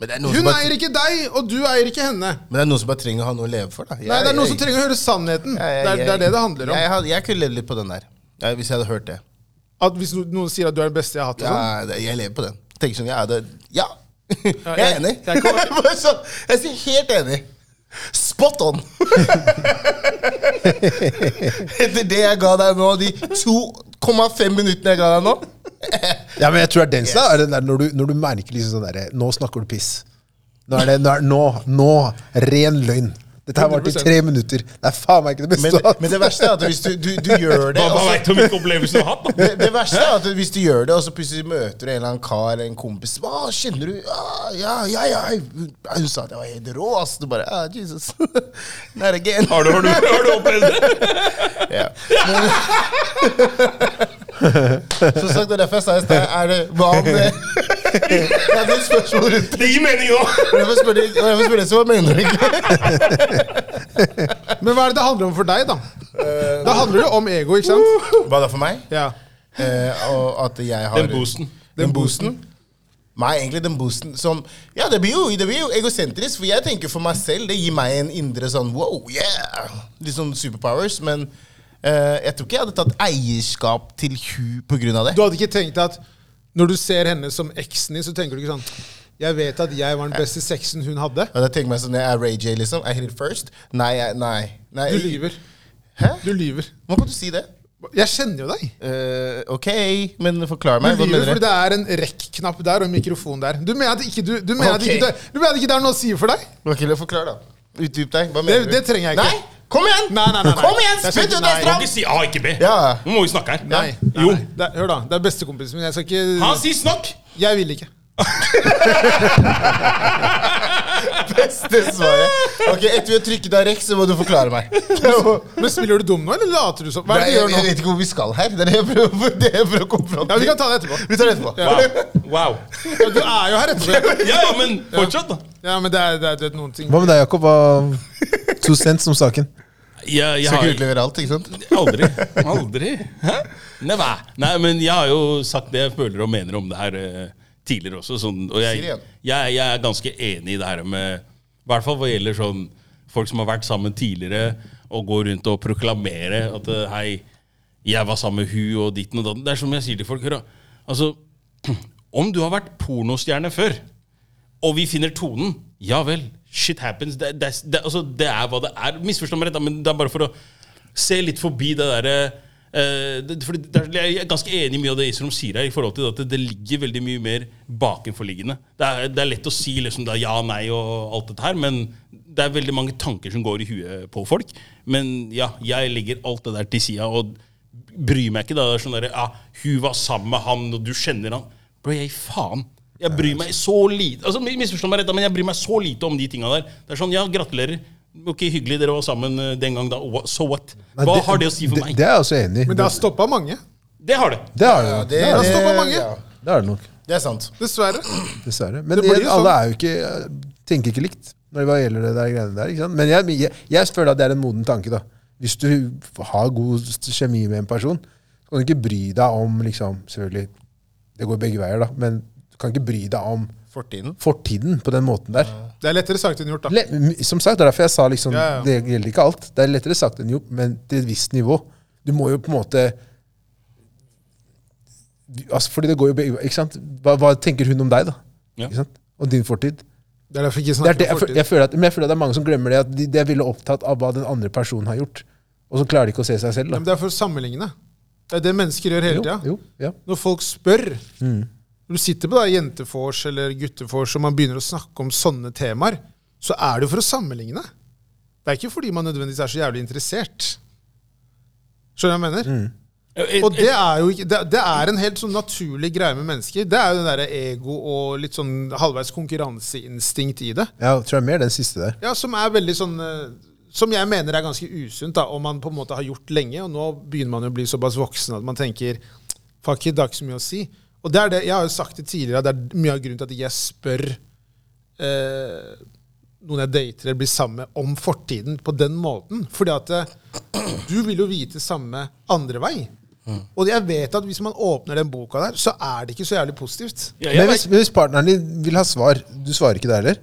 S1: Men det er noen som
S3: Hun
S1: bare-
S3: eier ikke deg, og du eier ikke henne.
S1: Men det er noen som bare trenger å ha noe å leve for, da. Jeg-
S3: Nei, det er noen som
S1: jeg-
S3: trenger å høre sannheten. Det
S1: jeg-
S3: er, det er det det handler om.
S1: Jeg, hadde- jeg kunne levd litt på den der. Ja, hvis jeg hadde hørt det.
S3: At Hvis no- noen sier at du er den beste jeg har hatt, og sånn.
S1: Ja, det- jeg lever på den. Tenker sånn, ja, det, ja. jeg er
S3: jeg-
S1: enig.
S3: jeg kan-
S1: Bare sånn, (laughs) jeg sier helt enig. Spot on! (laughs) Etter det jeg ga deg nå, (laughs) de 2,5 minuttene jeg ga deg nå
S2: Ja, men jeg tror det er den som er den der når du, når du merker liksom sånn derre Nå snakker du piss. Nå er det nå, er- nå, nå ren løgn. Dette her varte i tre minutter. Det er faen meg ikke det
S1: Men,
S2: beste. du har hatt.
S1: men det verste er at hvis du, du, (laughs) du gjør det
S4: Hva,
S1: og
S4: hva
S1: så-
S4: veit du om hvilke opplevelser du har hatt? da?
S1: det, det verste er at hvis du gjør det, og så plutselig møter du en eller annen kar eller en kompis Hva kjenner du? Ah, ja, ja, ja. Hun sa at jeg var helt rå, ass. Du bare ah, Jesus. (laughs) Not again.
S4: Har du, har, du, har du opplevd det?
S1: (laughs) Ja. Men, som sagt, det er derfor jeg sa i sted Er det hva om (laughs) det? Jeg hadde et spørsmål rundt det.
S4: Det gir mening nå!
S1: Hvorfor spør de- hvorfor spør de så hva mener du ikke?
S3: sånn. Men hva er det det handler om for deg, da?
S1: Eh,
S3: Da handler det om ego, ikke sant?
S1: Hva da for meg?
S3: Ja.
S1: Eh, og at jeg har
S4: Den boosten.
S1: Den boosten? Nei, egentlig den boosten som Ja, det blir jo, det blir jo egosentrisk, for jeg tenker for meg selv. Det gir meg en indre sånn wow, yeah! Litt sånn superpowers. Men eh, jeg tror ikke jeg hadde tatt eierskap til hun på grunn av det.
S3: Du hadde ikke tenkt at når du ser henne som eksen din, så tenker du ikke sånn Jeg vet at jeg var den beste sexen hun hadde.
S1: Og jeg tenker meg sånn, jeg er Ray J, liksom. I hit it first. Nei, jeg, nei. nei.
S3: Du lyver.
S1: Hæ?
S3: Du lyver.
S1: Hva kan du si det?
S3: Jeg kjenner jo deg.
S1: Eh, ok, men forklar
S3: Du
S1: meg. Hva
S3: lyver
S1: mener du?
S3: fordi det er en rekk-knapp der og en mikrofon der. Du mener at ikke du, du mener at
S1: Ok.
S3: ikke det, du mener at ikke det er noe å si for deg?
S1: Ok, Forklar, da. Utdyp deg. Hva
S3: Det,
S1: mener du?
S3: det trenger jeg ikke.
S1: Nei! Kom igjen!
S3: Nei, nei, nei, nei.
S1: Kom igjen,
S3: Jeg
S1: spytt
S3: skjønner-
S1: ut det
S3: nei.
S4: Du
S1: stramt!
S4: kan ikke si A, ikke B.
S1: Ja. (laughs)
S4: Nå må vi snakke her.
S3: Nei, nei,
S4: Jo.
S3: nei. Det, er- hør da, det er bestekompisen min. Jeg skal ikke
S4: Han sier snakk!
S3: Jeg vil ikke.
S1: beste svaret. Ok, Etter vi har trykket av rekk, så må du forklare meg.
S3: Men spiller du dum nå, eller later du som? Hva er det
S1: Nei,
S3: du
S1: jeg,
S3: gjør
S1: jeg
S3: nå?
S1: vet ikke hvor vi skal her. Det er det jeg prøver, det jeg prøver å komme fram
S3: Ja, Vi kan ta det etterpå.
S1: Vi tar det etterpå.
S4: Wow. wow.
S3: Ja, du er jo her etterpå.
S4: Ja, ja, men fortsatt, da.
S3: Ja, men det er, det er du vet, noen ting.
S2: Hva med deg, Jakob? Hva to cents om saken?
S4: Jeg, jeg
S1: Skal ikke
S4: har
S1: utlevere alt, ikke sant? (laughs)
S4: Aldri. Aldri. Hæ? Nei, hva? Nei, men jeg har jo sagt det jeg føler og mener om det her eh, tidligere også. Sånn, og jeg,
S1: Si det
S4: jeg,
S1: igjen.
S4: jeg er ganske enig i det her med I hvert fall hva gjelder sånn folk som har vært sammen tidligere, og går rundt og proklamerer at eh, hei, jeg var sammen med hun og ditten og datten. Det er som jeg sier til folk. Hør, da. altså, (clears throat) om du har vært pornostjerne før, og vi finner tonen, ja vel, shit happens. Det, det, det, altså, det er hva det er. Misforstå meg rett, da, men det er bare for å se litt forbi det derre eh, det- fordi det er- Jeg er ganske enig i mye av det Isrom sier her, i forhold til at det, det ligger veldig mye mer bakenforliggende. Det er, det er lett å si liksom da, ja, nei og alt dette her, men det er veldig mange tanker som går i huet på folk. Men ja, jeg legger alt det der til sida og bryr meg ikke. da, Det er sånn der, ja, Hun var sammen med han, og du kjenner han. Bro, jeg gir faen. Jeg bryr meg så lite Altså, Misforstå meg rett, da, men jeg bryr meg så lite om de tinga der. Det er sånn, ja, gratulerer. Ok, Hyggelig dere var sammen eh, den gang, da. Wha- So what?
S2: Nei,
S4: Hva har det å si for meg?
S2: Det, det er jeg også enig i.
S3: Men det har stoppa mange.
S4: Det har det.
S2: Det har det,
S1: Ja,
S2: nok. det, har det,
S3: stopper mange.
S1: ja,
S2: det, har det nok.
S1: det er sant.
S3: Dessverre.
S2: Dessverre. Men
S3: Det blir
S2: igjen,
S3: jo
S2: alle
S3: sånn.
S2: er jo ikke, tenker ikke likt når det gjelder det der greiene der. Ikke sant? Men jeg, jeg, jeg føler at det er en moden tanke. da. Hvis du har god kjemi med en person, så kan du ikke bry deg om liksom, Selvfølgelig, det går begge veier, da, men du kan ikke bry deg om
S1: Fortiden.
S2: fortiden på den måten der.
S3: Det er lettere sagt enn gjort, da.
S2: Le, m- som sagt, det er derfor jeg sa liksom,
S3: Ja, ja.
S2: det gjelder ikke alt. Det er lettere sagt enn gjort, men til et visst nivå. Du må jo på en måte altså, Fordi det går jo begge veier, Ikke sant? Hva, hva tenker hun om deg, da?
S4: Ja.
S2: Ikke sant? Og din fortid?
S3: Det er derfor jeg ikke
S2: Det er det,
S3: snakker
S2: jeg,
S3: om
S2: føl-
S3: fortid.
S2: jeg, føler at, men jeg føler at det er mange som glemmer det. At de, de er veldig opptatt av hva den andre personen har gjort. Og så klarer de ikke å se seg selv.
S3: Ja,
S2: Da.
S3: Men det er for å sammenligne. Det er det mennesker gjør hele tida.
S2: jo, ja.
S3: Når folk spør Når du sitter på da jentefors eller guttefors og man begynner å snakke om sånne temaer, så er det jo for å sammenligne. Det er ikke fordi man nødvendigvis er så jævlig interessert. Skjønner du hva jeg mener?
S4: Et,
S3: Og
S4: et,
S3: det er jo ikke, det, det er en helt sånn naturlig greie med mennesker. Det er jo det derre ego og litt sånn halvveis konkurranseinstinkt i det.
S2: Jeg tror det er mer den siste der.
S3: Ja, som er veldig sånn eh, Som jeg mener er ganske usunt, da, og man på en måte har gjort lenge. Og nå begynner man jo å bli såpass voksen at man tenker Fuck it, det har ikke så mye å si. Og det er det, Jeg har jo sagt det tidligere, at det er mye av grunnen til at jeg spør eh, noen jeg dater eller blir sammen med, om fortiden på den måten. Fordi at eh, du vil jo vite samme andre vei. Og jeg vet at hvis man åpner den boka der, så er det ikke så jævlig positivt.
S4: ja, jeg
S2: Men hvis,
S4: vet-
S2: men hvis partneren din vil ha svar, du svarer ikke da heller?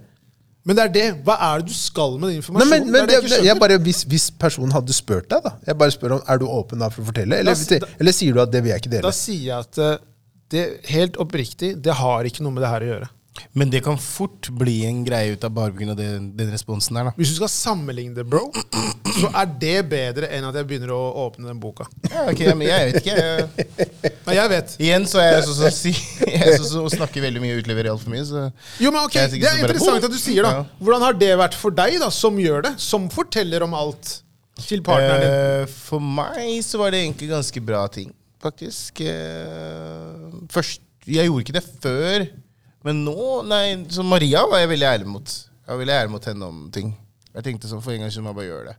S3: Men det er det. Hva er det du skal med den
S2: Nei,
S3: informasjonen?
S2: men,
S3: Det er
S2: men
S3: det
S2: jeg,
S3: jeg ikke skjønner.
S2: jeg bare, hvis, hvis personen hadde spurt deg, da Jeg bare spør om, Er du åpen da for å fortelle, eller,
S3: Da-
S2: eller sier du at det vil jeg ikke dele?
S3: Da sier jeg at eh, det helt oppriktig, det har ikke noe med det her å gjøre.
S1: Men det kan fort bli en greie ut av bare pga. den, den responsen der, da.
S3: Hvis du skal sammenligne det, bro, så er det bedre enn at jeg begynner å åpne den boka.
S1: Ja, ok, men jeg vet ikke.
S3: Men jeg vet.
S1: Igjen så (laughs) er jeg sånn som si, jeg er sånn som snakker veldig mye og utleverer altfor mye, så
S3: Jo, men ok,
S1: Jeg er
S3: Det
S1: sikkert
S3: er
S1: så bare,
S3: interessant
S1: «Boom!»
S3: at du sier da.
S1: Ja.
S3: Hvordan har det vært for deg, da, som gjør det? Som forteller om alt til partneren din?
S1: Eh, For meg så var det egentlig ganske bra ting, faktisk. Eh, Først, jeg gjorde ikke det før, men nå Nei, så Maria var jeg veldig ærlig mot. Jeg var veldig ærlig mot henne om ting. Jeg tenkte sånn, For en gang så må jeg bare gjøre det.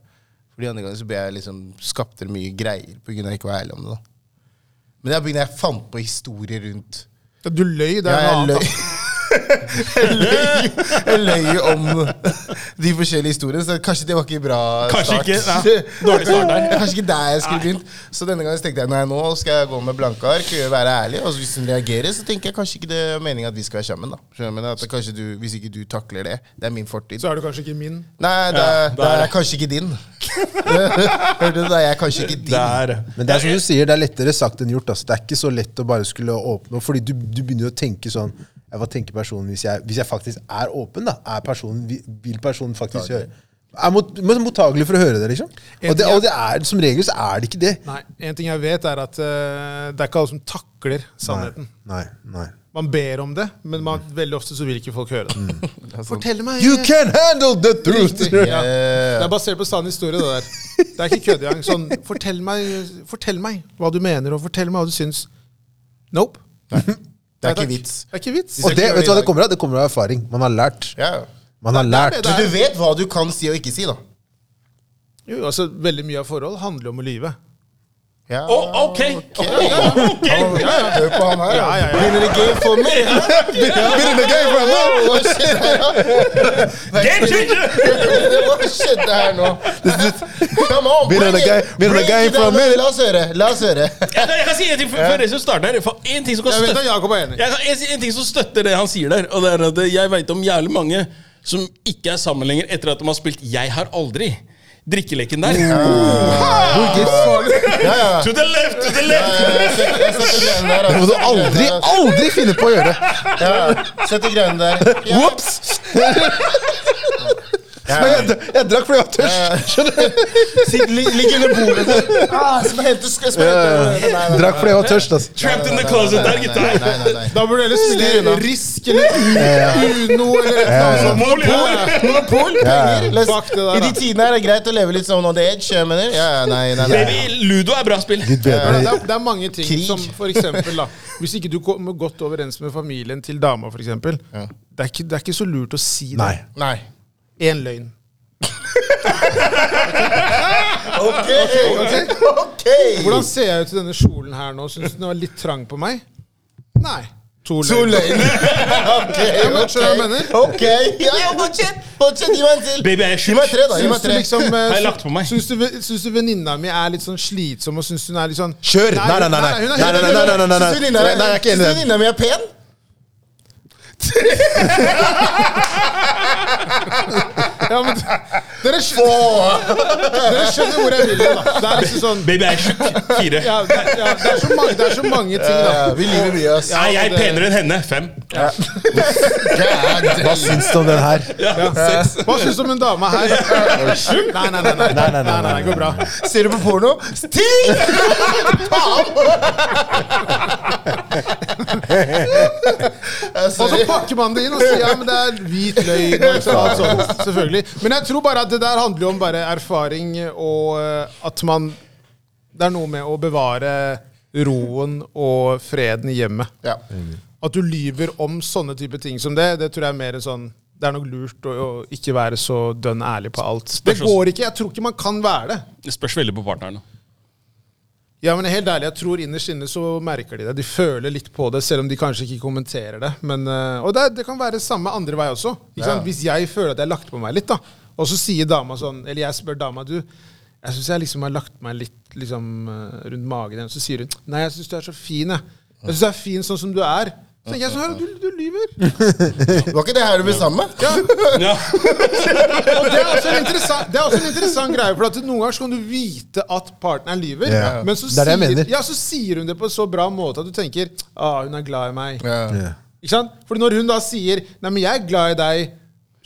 S1: For de andre gangene så ble jeg liksom, skapte det mye greier pga. ikke å være ærlig om det. da. Men det er på grunn av at jeg fant på historier rundt
S3: Du løy. Det
S1: ja,
S3: er noe
S1: jeg løy.
S3: annet.
S1: (laughs) Jeg løy- Jeg løy jo om de forskjellige historiene, så kanskje det var ikke bra
S4: Kanskje
S1: start.
S4: ikke, nei. Dårlig
S1: (laughs)
S4: start der.
S1: Kanskje ikke der jeg skulle begynt. Så denne gangen så tenkte jeg nei, nå skal jeg gå med blanke ark og være ærlig. Og hvis hun reagerer, så tenker jeg kanskje ikke det er meningen at vi skal være sammen. da Skjønner du? hva jeg mener? At kanskje du, Hvis ikke du takler det, det er min fortid.
S3: Så er det kanskje ikke min.
S1: Nei, det er,
S4: Ja,
S1: det
S4: der.
S1: er kanskje ikke din. (laughs) Hørte du? Det er jeg kanskje ikke din.
S4: Der.
S2: Men det er som du sier, det er lettere sagt enn gjort. Altså. Det er ikke så lett å bare skulle åpne opp. Fordi du, du begynner jo å tenke sånn ja, Hva tenker personen hvis jeg, hvis jeg faktisk er åpen? da? Er personen, vi- Vil personen faktisk høre? Er mot, mot- mottagelig for å høre det, liksom? Og, det, og det er, som regel så er det ikke det.
S3: Nei, En ting jeg vet, er at eh, det er ikke alle som takler sannheten.
S2: Nei, nei.
S3: Man ber om det, men man, veldig ofte så vil ikke folk høre
S1: Mm.
S3: det.
S1: sånn-
S3: Fortell meg! eh,
S2: You can handle the truth!
S3: Ja. Det er basert på sann historie, det der. Det er ikke kødd engang. Sånn, fortell meg, fortell meg hva du mener, og fortell meg hva du syns. Nope.
S1: Det er
S3: Nei,
S1: ikke
S3: takk.
S1: vits.
S3: Det er ikke vits.
S2: Og det, vet du hva det kommer av? Det kommer av erfaring. Man har lært.
S1: Ja.
S2: Man har lært.
S1: Så du vet hva du kan si og ikke si, da.
S3: Jo, altså, veldig mye av forhold handler om å lyve.
S1: Ja.
S4: Å, ok! ok, (laughs) ok.
S1: Ja, ja, hør på han her. Ja, ja, ja. Been in the game for me. Been in the game for me. Hva skjedde her
S4: Game changer!
S1: nå? Hva skjedde her nå? Come on,
S2: Been in the
S1: bring it.
S2: game- been in the
S1: Bring
S2: game
S1: it
S2: for a
S1: down.
S2: minute.
S1: La oss høre. La oss høre.
S4: Ja, nei, Jeg kan si en ting før- før Resul starter. her, for En ting som kan
S3: Jeg vet
S4: støtte
S3: at Jakob er enig.
S4: jeg kan, en, en ting som støtter det han sier der, og det er at jeg veit om jævlig mange som ikke er sammen lenger etter at de har spilt 'Jeg har aldri'. Drikkeleken der.
S1: Ja, ja.
S4: To the left, to the left!
S1: Jeg setter- jeg setter greiene der,
S2: Det må
S1: altså.
S2: du aldri, aldri finne på å gjøre.
S1: Ja, ja. Setter greiene der. Ja.
S2: Ops! Jeg, jeg drakk fordi jeg var tørst.
S1: Sitt- lig- Ligg under bordet. Ah, Skal jeg hente skal jeg hente- Nei, nei, nei.
S2: Drakk fordi jeg var tørst, altså.
S4: Trapped in the closet der,
S1: Nei, nei,
S4: gutta.
S1: nei, nei, nei.
S3: Da burde du heller
S1: Styr unna.
S3: spille Risk eller U- Uno eller et eller annet.
S4: Monopol, ja.
S1: Monopol, penger. Les-
S3: Fuck det der,
S1: I de
S3: da.
S1: tidene er det greit å leve litt sånn on the edge. Jeg mener. Ja, ja, nei, nei, nei.
S4: Baby, Ludo er bra spill.
S2: Gud bedre.
S3: Ja, det, er, det er mange ting
S1: Krig.
S3: som for eksempel, da, Hvis ikke du kommer godt overens med familien til dama, f.eks. eksempel Det, er ikke- det er ikke så lurt å si
S2: Nei.
S3: det.
S1: nei.
S3: Én løgn.
S1: Ok, ok, ok.
S3: Hvordan ser jeg ut i denne kjolen her nå? Syns du den var litt trang på meg? Nei. To
S1: To
S3: løgn.
S1: løgn. (laughs) Ok,
S3: Ja, men
S1: ok.
S3: skjønner du hva jeg mener?
S1: Ok, (laughs) ja, ja, fortsett. Fortsett, gi meg en til.
S4: Baby, jeg er
S1: Gi meg
S4: sjuk.
S1: tre, da. Gi
S3: Syns
S1: meg
S3: du,
S1: tre.
S3: liksom, eh,
S4: Har jeg lagt på meg?
S3: syns du, ve- syns du venninna mi er litt sånn slitsom, og syns hun er litt sånn
S2: Kjør! Nei, nei, nei. nei,
S3: hun er
S2: nei, nei,
S3: helt-
S2: nei, nei, nei, nei, nei.
S1: Syns du venninna-
S2: Nei, jeg er ikke
S1: syns du
S2: enig i det.
S1: venninna mi er pen?
S3: Ja,
S2: (laughs)
S3: men, dere, skjønner, dere skjønner hvor jeg vil hen, da. Det er liksom sånn
S4: Baby, jeg er sjuk. Fire.
S3: ja, det, er- ja, det, er så mange, det er så mange ting, da.
S1: Ja, vi lever mye, ass.
S4: Er jeg penere enn henne? Fem.
S2: Hva syns du om den her?
S3: Hva syns du om en dame her? Nei, nei, nei. nei,
S2: nei, nei,
S3: nei, nei, det går bra.
S1: Ser du på porno? Ti!
S3: (laughs) Og så pakker man det inn og sier ja, men det er hvit løgn. og ikke sant, alt sånt, selvfølgelig. Men jeg tror bare at det der handler jo om bare erfaring og eh, at man Det er noe med å bevare roen og freden i hjemmet.
S1: Ja.
S3: At du lyver om sånne type ting som det, det tror jeg er mer sånn Det er nok lurt å, å ikke være så dønn ærlig på alt. Det går ikke. Jeg tror ikke man kan være det.
S4: Det spørs veldig på partneren.
S3: Ja, men helt ærlig, jeg tror innerst inne så merker de det. De føler litt på det, selv om de kanskje ikke kommenterer det. Men, eh, og det, er- det kan være samme andre vei også. Ikke sant? Hvis jeg føler at jeg har lagt på meg litt, da, og så sier dama sånn Eller jeg spør dama du, jeg syns jeg liksom har lagt meg litt liksom, eh, rundt magen. din." Så sier hun nei, jeg syns du er så fin, jeg. Jeg syns du er fin sånn som du er. Så tenker jeg sånn, «Hør, du, du lyver.
S1: Var ikke det her du ble sammen med?
S4: Ja.
S3: Og det, er også en interessant- det er også en interessant greie, for at noen ganger så kan du vite at partneren lyver.
S2: Ja.
S3: Men så
S2: Det er det jeg
S3: sier,
S2: mener.
S3: ja, så sier hun det på en så bra måte at du tenker ah, hun er glad i meg.
S1: Ja.
S2: Ja.
S3: Ikke sant? Fordi når hun da sier 'Nei, men jeg er glad i deg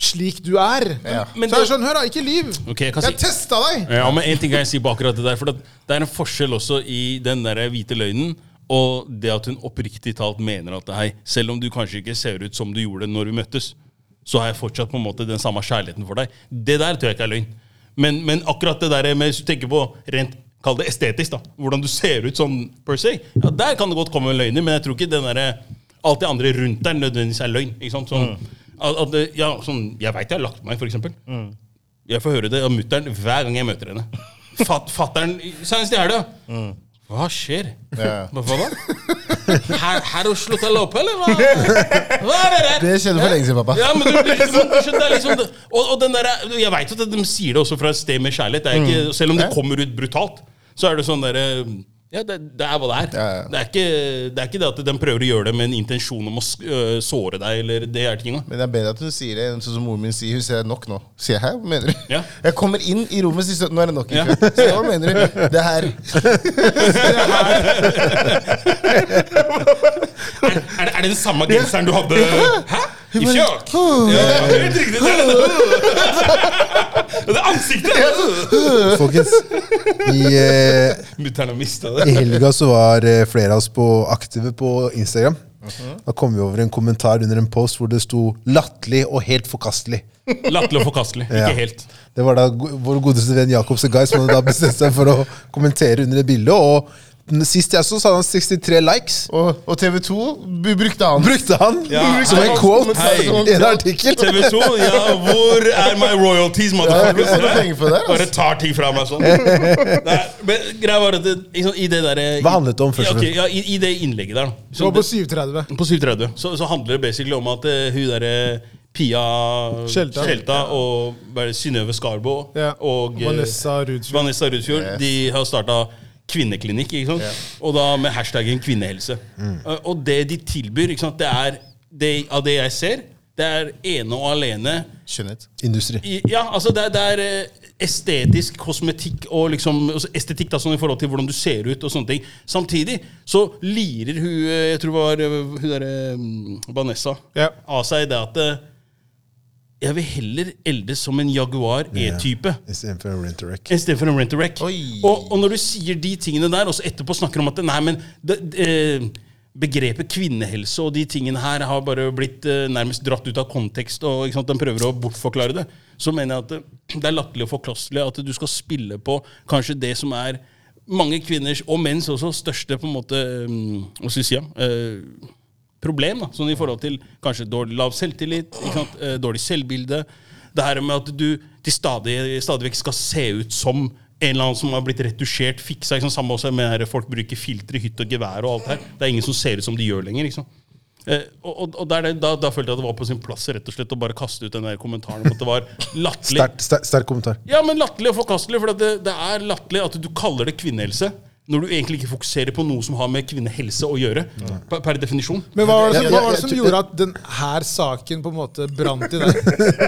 S3: slik du er',
S1: Ja.
S4: Men
S3: så er det
S4: det-
S3: sånn Hør, da, ikke liv!
S4: Ok, jeg kan
S3: jeg
S4: si-
S3: testa deg!
S4: Ja, men en ting kan jeg si på akkurat det der. For det, det er en forskjell også i den der hvite løgnen og det at hun oppriktig talt mener at hei, selv om du kanskje ikke ser ut som du gjorde når vi møttes, så har jeg fortsatt på en måte den samme kjærligheten for deg. Det der tror jeg ikke er løgn. Men, men akkurat det der med, hvis du tenker på rent Kall det estetisk, da. Hvordan du ser ut sånn per se. Ja, Der kan det godt komme løgner, men jeg tror ikke den der, alt det andre rundt der nødvendigvis er løgn. ikke sant? Sånn, at, at, det- ja, sånn, jeg veit jeg har lagt meg, for eksempel. Jeg får høre det av mutter'n hver gang jeg møter henne. Fat, fatter'n Senest i helga. Hva skjer?
S1: Ja.
S4: Hva hva da? Her, her Oslo til opp, eller? Hva, hva er det der?
S2: Det skjedde for lenge siden, pappa.
S4: Ja, men du, du, du, skjønner, det er liksom det. Og, og den der, Jeg veit at de sier det også fra et sted med kjærlighet. Det er
S1: Mm.
S4: ikke, selv om det kommer ut brutalt, så er det sånn derre ja, det, det er hva det er.
S1: Ja, ja.
S4: Det, er ikke, det er ikke det at de prøver å gjøre det med en intensjon om å sk- øh, såre deg, eller det er tinga.
S1: Men det er bedre at du sier det enn sånn som moren min sier. Hun sier nok nå. Sier jeg, hæ, hva mener du?
S4: Ja.
S1: Jeg kommer inn i rommet sier sånn, nå er det nok. i
S4: Ja.
S1: kveld. Så hva mener du? Det her.
S4: Er, er, det, er det den samme genseren du hadde? Hæ? I fjøk? Ja, ja, helt riktig. Det er
S2: (laughs)
S4: det. Det er ansiktet!
S2: Folkens, i, eh,
S4: Mutter'n har mista
S2: i
S4: det.
S2: helga så var eh, flere av oss på aktive på Instagram.
S1: Mhm.
S2: Da kom vi over en kommentar under en post hvor det sto 'latterlig og helt forkastelig'.
S4: Latterlig og forkastelig. Ikke
S2: Ja.
S4: helt.
S2: Det var da go- vår godeste venn Jakob Segai som hadde da bestemt seg for å kommentere under det bildet. Og den sist jeg så, så hadde han 63 likes.
S1: Og, og TV 2 brukte han.
S2: Brukte han
S4: Ja.
S2: Ah, som en quote
S4: Hei.
S2: i en artikkel!
S4: TV 2, ja, hvor er my royalties,
S1: Ja, jeg får noe penger for det, altså.
S4: motherfucker? Bare tar ting fra
S2: (laughs)
S4: meg sånn. Nei, men greia var at det, liksom, i det derre
S2: Hva handlet det om først og
S4: Ja, ok,
S2: fremst?
S4: ja, i, I det innlegget der, da.
S3: Så
S4: Så
S3: på
S4: det,
S3: 7.30.
S4: på 7.30 så, så handler det basically om at eh, hun derre Pia
S3: Skjelta.
S4: Skjelta og hva er det, Synnøve Skarbo
S3: Ja.
S4: og eh,
S3: Vanessa Rudsfjord.
S4: Vanessa Rudfjord. De har starta kvinneklinikk, ikke sant? og da med hashtaggen kvinnehelse. Eh, Og det de tilbyr, ikke sant? det er det, av det jeg ser, det er ene og alene
S1: Skjønnhet.
S2: Industri.
S4: i- Ja, altså det, er- det er eh, estetisk kosmetikk og liksom altså Estetikk da, sånn i forhold til hvordan du ser ut og sånne ting. Samtidig så lirer hun eh, Jeg tror det var eh, hun derre Vanessa
S3: Ja.
S4: av seg det at eh, Jeg vil heller eldes som en Jaguar E-type.
S2: Istedenfor en Renterec.
S4: Istedenfor en rent-a-wreck.
S1: Oi.
S4: Og, og når du sier de tingene der, og så etterpå snakker du om at nei, men det, eh, begrepet kvinnehelse og de tingene her har bare blitt eh, nærmest dratt ut av kontekst, og ikke sant, den prøver å bortforklare det, så mener jeg at det, det er latterlig og forkastelig at du skal spille på kanskje det som er mange kvinners, og menns også, største på en måte mm, Hva skal vi si? ja, eh, problem, da, sånn i forhold til kanskje dårlig lav selvtillit, ikke sant? Eh, dårlig selvbilde. Det her med at du til stadig, stadig vekk skal se ut som en eller annen som har blitt retusjert, fiksa. Ikke sant? Samme også med her, folk bruker filtre, hytt og gevær og alt her. Det er ingen som ser ut som de gjør lenger. Ikke sant? Eh, og, og, og der, da, da følte jeg at det var på sin plass rett og slett å bare kaste ut den der kommentaren om at det var latterlig.
S2: Sterk, sterk, sterk kommentar.
S4: Ja, men latterlig og forkastelig. For at det, det er latterlig at du kaller det kvinnehelse når du egentlig ikke fokuserer på noe som har med kvinnehelse å gjøre. Per, per definisjon.
S3: Men hva var, det som,
S2: Ja,
S3: hva
S2: ja,
S3: var det
S2: jeg
S3: som
S2: tror-
S3: gjorde at denne saken på en måte brant i deg?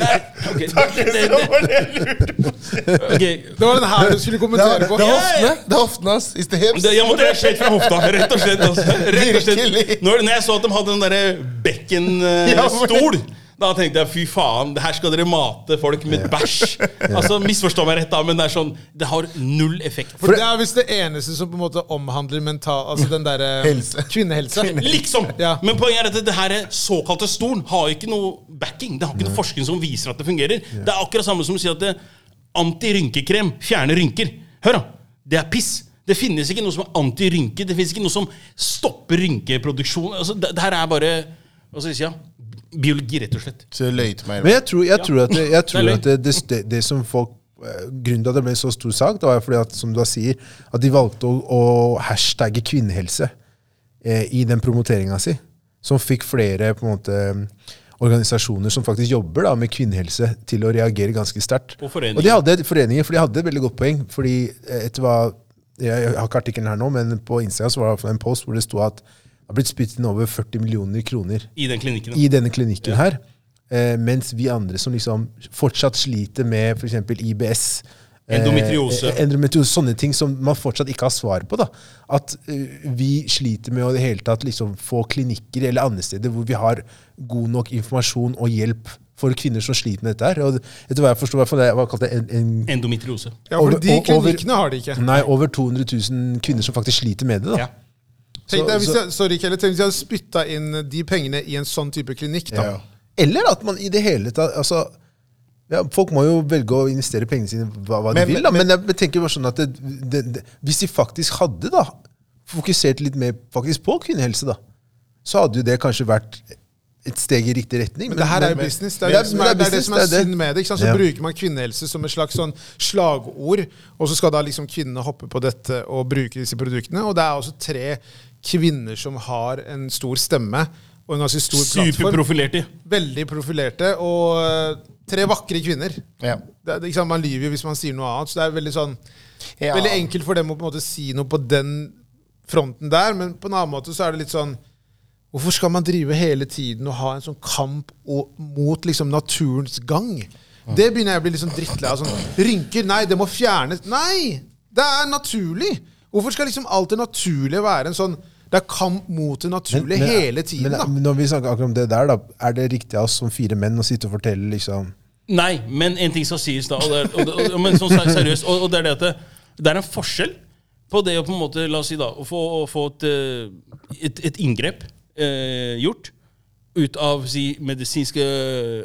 S4: Nei, ok, det, det, det, ok,
S3: Det var den her du skulle
S1: Det er,
S3: kommentere på.
S1: det er hoftene. Det er hoftene hans. It's the hips.
S4: det, jeg måtte rett og slett fra hofta. Rett og slett. Altså. Rett og slett.
S1: Virkelig.
S4: Når, når jeg så at de hadde den derre
S1: (laughs) Ja, men-
S4: bekkenstol da tenkte jeg fy faen, det her skal dere mate folk med
S1: (laughs)
S4: bæsj. Altså, Misforstå meg rett, da, men det er sånn, det har null effekt.
S3: For det er visst det eneste som på en måte omhandler mental Altså den
S2: (laughs)
S3: derre
S1: Helse.
S3: kvinnehelse.
S4: Liksom!
S3: Ja.
S4: Men poenget er at det her såkalte stolen har ikke noe backing. Det har ikke noe forskning som viser at det fungerer. Det er akkurat samme som å si at det- antirynkekrem fjerner rynker. Hør, da! Det er piss. Det finnes ikke noe som er antirynke. Det finnes ikke noe som stopper rynkeproduksjon. Altså, det, det her er bare hva skal jeg si, ja? biologi, rett og slett.
S1: Så løy til meg.
S2: Men jeg tror, jeg tror at, det, jeg tror
S4: (laughs) Det er
S2: at det, det, det, det som folk eh, Grunnen til at det ble en så stor sak, det var fordi at, som du da sier, at de valgte å, å hashtagge kvinnehelse eh, i den promoteringa si. Som fikk flere på en måte organisasjoner som faktisk jobber da med kvinnehelse, til å reagere ganske sterkt.
S4: Og foreninger.
S2: de hadde foreninger, for de hadde et veldig godt poeng. fordi eh, etter hva, Jeg jeg har ikke artikkelen her nå, men på Instagram så var det i hvert fall en post hvor det sto at det har blitt spyttet inn over 40 millioner kroner
S4: I den klinikken.
S2: i denne klinikken her. Eh, mens vi andre som liksom fortsatt sliter med f.eks. IBS
S4: Endometriose.
S2: Eh, endometriose, Sånne ting som man fortsatt ikke har svar på. da. At eh, vi sliter med å i det hele tatt liksom få klinikker eller andre steder hvor vi har god nok informasjon og hjelp for kvinner som sliter med dette her. Og etter hva jeg forstår, i hvert fall det var kalt det en, en,
S4: Endometriose.
S3: Ja, for
S2: Over- Mm.
S3: de
S2: og- over-
S3: klinikkene har de ikke.
S2: Nei, over 200 000 kvinner som faktisk sliter med det. da.
S3: Ja. Tenk
S2: Så-
S3: deg, hvis
S2: så-
S3: jeg, sorry, Kelle, tenk hvis jeg hadde spytta inn de pengene i en sånn type klinikk. da.
S2: Ja. Eller at man i det hele tatt altså, ja, Folk må jo velge å investere pengene sine hva, hva
S1: Men-
S2: de vil, da. men jeg tenker bare sånn at det, det, det, hvis de faktisk hadde da, fokusert litt mer faktisk på kvinnehelse, da, så hadde jo det kanskje vært et steg i riktig retning.
S3: Men det her er jo business. Det er
S2: Ja,
S3: det som
S2: men
S3: er, det er, det som er
S2: business, det
S3: synd med det. Ikke sant? Så
S2: Ja.
S3: bruker man kvinnehelse som et slags sånn slagord, og så skal da liksom kvinnene hoppe på dette og bruke disse produktene. Og det er også tre kvinner som har en stor stemme og en ganske stor plattform.
S4: Superprofilerte.
S3: Veldig profilerte, og eh, tre vakre kvinner.
S1: Ja.
S3: Det, er- ikke sant? Man lyver jo hvis man sier noe annet. Så det er veldig sånn
S1: Ja.
S3: Veldig enkelt for dem å på en måte si noe på den fronten der, men på en annen måte så er det litt sånn Hvorfor skal man drive hele tiden og ha en sånn kamp og, mot liksom naturens gang?
S1: Mm.
S3: Det begynner jeg å bli litt sånn drittlei av. Sånn, rynker? Nei, det må fjernes. Nei! Det er naturlig! Hvorfor skal liksom alt det naturlige være en sånn Det er kamp mot det naturlige hele tiden,
S2: men,
S3: da.
S2: men når vi snakker akkurat om det der, da, er det riktig av oss som fire menn å sitte og fortelle liksom
S4: Nei, men en ting skal sies da. Og det er, og det, og, men sånn ser- seriøst, og, og det er det at det, det er en forskjell på det å på en måte, la oss si da, å få, å få et, eh, et, et inngrep eh, gjort ut av si, medisinske,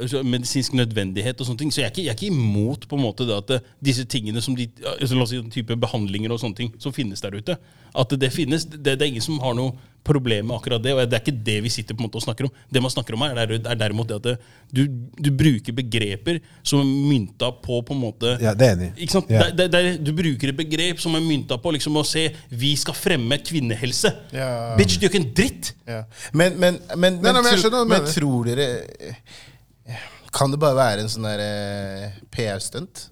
S4: altså, medisinsk nødvendighet og sånne ting. Så jeg er ikke, jeg er ikke imot på en måte det at eh, disse tingene som de, altså, la oss si den type behandlinger og sånne ting som finnes der ute, at det finnes. Det, det er ingen som har noe problem med akkurat det. og Det er ikke det vi sitter på en måte og snakker om. Det man snakker om her, er, er derimot det at det, du, du bruker begreper som er mynta på på en måte
S2: Ja, det er enig.
S4: ikke sant?
S2: Ja.
S4: Det- det- det- du bruker et begrep som er mynta på liksom, å se vi skal fremme kvinnehelse.
S1: Ja.
S4: Bitch, du gjør ikke en dritt!
S1: Ja. Men, men, men,
S3: Nei, nei, men jeg
S1: tro-
S3: skjønner hva du
S1: men
S3: mener.
S1: tror dere eh, Kan det bare være en sånn der eh, PR-stunt?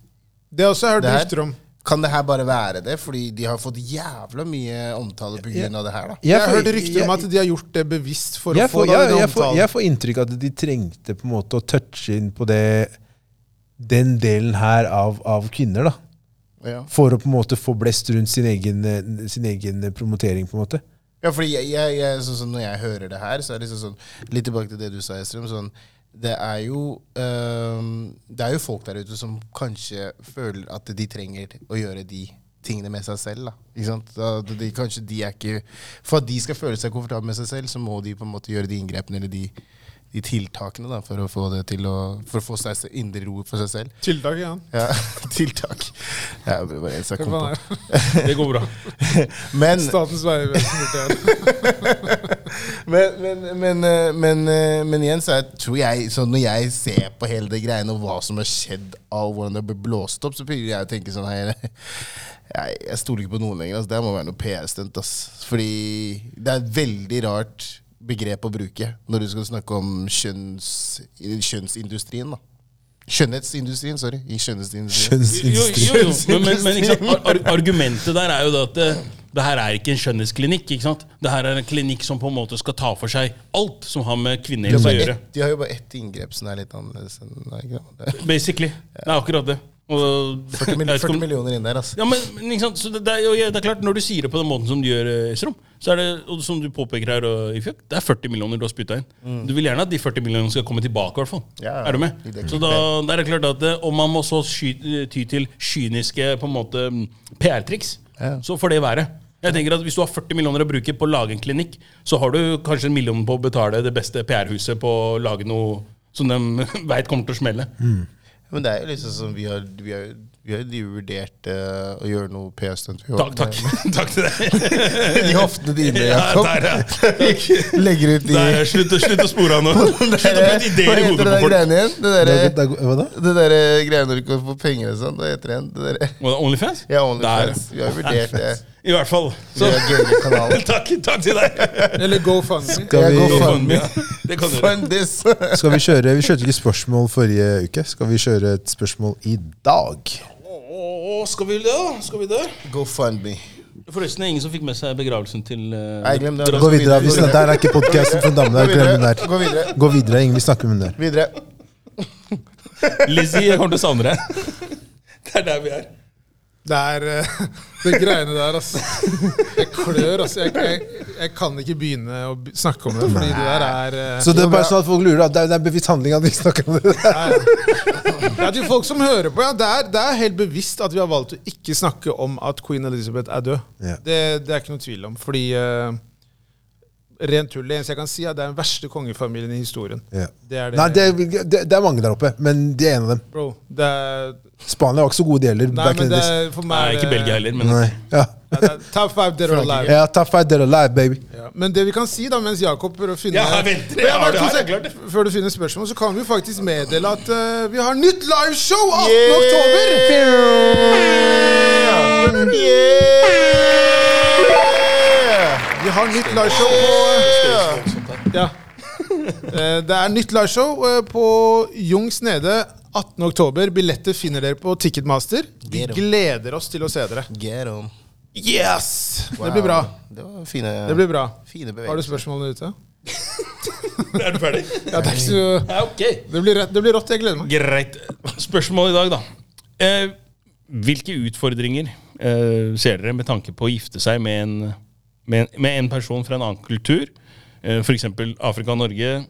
S3: Det har også jeg hørt
S1: Det her?
S3: rykter om.
S1: Kan det her bare være det? Fordi de har fått jævla mye omtale pga. av det her. da.
S3: Jeg,
S2: får-
S3: har hørt rykter om
S2: jeg-
S3: at de har gjort det bevisst for å
S2: jeg
S3: få
S2: får,
S3: da
S2: jeg,
S3: den
S2: jeg, får,
S3: omtalen.
S2: jeg får inntrykk av at de trengte på en måte å touche inn på det, den delen her av, av kvinner, da.
S1: Ja,
S2: For å på en måte få blest rundt sin egen, eh, sin egen promotering, på en måte.
S1: ja fordi jeg, jeg, jeg, sånn, som Når jeg hører det her, så er det liksom sånn Litt tilbake til det du sa, Estrøm. Sånn, det, er jo, øhm, det er jo folk der ute som kanskje føler at de trenger å gjøre de tingene med seg selv. da. Ikke sant? Da- De, kanskje de er ikke, For at de skal føle seg komfortable med seg selv, så må de på en måte gjøre de inngrepene eller de, de tiltakene da, for å få det til å, for å få seg se- indre ro for seg selv.
S3: Tiltak igjen.
S1: Ja, (laughs) tiltak. Ja, det var en som jeg kom på.
S4: Det går bra.
S1: Men,
S3: Statens vegvesen gjorde det.
S1: men, men, men, eh, men, eh, men igjen så er, tror jeg så Når jeg ser på hele det greiene og hva som har skjedd av hvordan det ble blåst opp, så begynner jeg å tenke sånn her (laughs) Jeg, jeg stoler ikke på noen lenger. Altså, det her må være noe PR-stunt. ass. Fordi det er et veldig rart begrep å bruke når du skal snakke om kjønns, kjønnsindustrien. da Skjønnhetsindustrien, sorry. I skjønnhetsindustrien.
S4: (laughs) Jo,
S2: Skjønnsinnstilt.
S4: jo, jo. Men, men, men ikke sant? Ar ar argumentet der er jo det at det, det her er ikke en skjønnhetsklinikk. ikke sant? Det her er en klinikk som på en måte skal ta for seg alt som har med
S1: De har
S4: kvinnehelse å
S1: bare
S4: gjøre.
S1: ett- de har jo bare ett inngrep som er litt annerledes enn nei, ikke sant?
S4: (laughs) Basically. Det er akkurat det. Og,
S1: 40,
S4: jeg
S1: mill-
S4: vet ikke om-
S1: 40 millioner inn der, altså.
S4: Ja, men, men ikke sant? Så det, det, er, jo- ja, det er klart, Når du sier det på den måten som du gjør, eh, Strom, så er det og som du påpeker her, og, Ifjok, det er 40 millioner du har spytta inn. Du vil gjerne at de 40 millionene skal komme tilbake, i hvert fall.
S1: Mm. Ja, ja.
S4: er du med?
S1: I det
S4: Så da da er det klart at eh, Om man må så sky, eh, ty til kyniske på en måte mm, PR-triks, så får det være. Jeg tenker at Hvis du har 40 millioner å bruke på å lage en klinikk, så har du kanskje en million på å betale det beste PR-huset på å lage noe som de (laughs) veit kommer til å smelle.
S1: Men det er jo liksom som vi har, vi har, vi har jo vurdert eh, å gjøre noe PR-stunt. Vi har-
S4: Takk, takk. (laughs) takk til deg.
S1: (laughs) De hoftene dine,
S4: Ja,
S1: Jakob.
S4: der, ja.
S1: (laughs) Legger ut (laughs) de
S4: Nei, slutt, å- slutt å spore
S1: (laughs)
S4: av nå. Slutt å putte
S1: Hva
S4: ideer i
S1: heter det
S4: hodet på
S1: der
S4: folk.
S1: greiene igjen? Det derre
S2: Det er go- Hva da?
S1: det derre greiene når du kan få penger og sånn. Hva heter det igjen? Det derre (laughs)
S4: Var det Onlyfans?
S1: Ja, OnlyFans. Vi har jo vurdert det.
S4: Der. I hvert fall. Så
S1: Vi har
S4: (laughs)
S1: Gøye-kanalen.
S4: takk, takk til
S1: (laughs)
S4: deg.
S3: (laughs) Eller GoFundMe.
S2: Skal
S1: Jeg
S2: vi,
S1: går
S4: GoFundMe, ja. Det kan du gjøre.
S1: Fund this!
S2: skal vi kjøre Vi kjørte ikke spørsmål forrige uke. Skal vi kjøre et spørsmål i dag?
S4: Å, Skal vi det? Skal vi det?
S1: Go fund me.
S4: Forresten, det er ingen som fikk med seg begravelsen til eh,
S1: Nei, glem det.
S4: Dra-
S2: Gå videre. Vi snakker, der er ikke podkasten for damene.
S1: Gå
S2: Glem den
S1: videre.
S2: der.
S1: Gå videre.
S2: Gå videre, Ingen. Vi snakker med den der.
S1: videre.
S4: Lizzie, jeg kommer til å savne deg. (laughs) Det er der vi er.
S3: Det er eh, det greiene der, altså. Jeg klør, altså. Jeg, jeg, jeg kan ikke begynne å b- snakke om det, fordi det der er eh,
S2: Så det er bare sånn at folk lurer at det er, det er bevisst handling at vi snakker om det. der.
S3: Det er til folk som hører på, ja. Det er, det er helt bevisst at vi har valgt å ikke snakke om at queen Elizabeth er død.
S2: Ja.
S3: Det, det er ikke noe tvil om. Fordi eh, rent tull. Det eneste jeg kan si, er at det er den verste kongefamilien i historien.
S2: Ja.
S3: Det er det.
S2: Nei, det, er- det, det er mange der oppe, men de er en av dem.
S3: Bro, det er,
S2: Spania var ikke så gode de heller.
S3: nei,
S2: back in
S3: men
S2: the
S3: det
S2: days.
S3: er for
S4: Nei,
S3: meg er
S4: ikke
S3: det-
S4: Belgia heller, men
S2: Nei. Ja.
S3: Ja, det er Top five dead or alive.
S2: ja, tough fight, they're alive, baby.
S3: Ja. Men det vi kan si, da, mens Jakob prøver å finne
S4: Ja, jeg venter.
S3: Men jeg
S4: Ja,
S3: bare
S4: du
S3: to
S4: har det,
S3: sek-
S4: klart det.
S3: Før du finner spørsmål, så kan vi faktisk meddele at eh, vi har nytt liveshow 18. oktober!
S1: Yeah! Yeah!
S3: Vi har nytt liveshow
S1: Yeah!
S3: på Ja. Eh, Det er nytt liveshow eh, på Jungs Nede 18. oktober. Billetter finner dere på Ticketmaster. Vi
S1: Get 'em.
S3: gleder oss til å se dere.
S1: Get 'em.
S3: Yes!
S1: Wow.
S3: Det blir bra.
S1: Det var fine,
S3: Det blir bra.
S1: fine
S3: Har du
S1: bevegelser.
S3: spørsmålene ute?
S4: (laughs) Er du ferdig?
S3: Ja, det, er ikke så,
S4: Ja, ok.
S3: det, blir, rett- det blir rått. Jeg gleder meg.
S4: Greit. Spørsmål i dag, da. Eh, hvilke utfordringer eh, ser dere med tanke på å gifte seg med en, med en, med en person fra en annen kultur? Eh, F.eks. Afrika og Norge.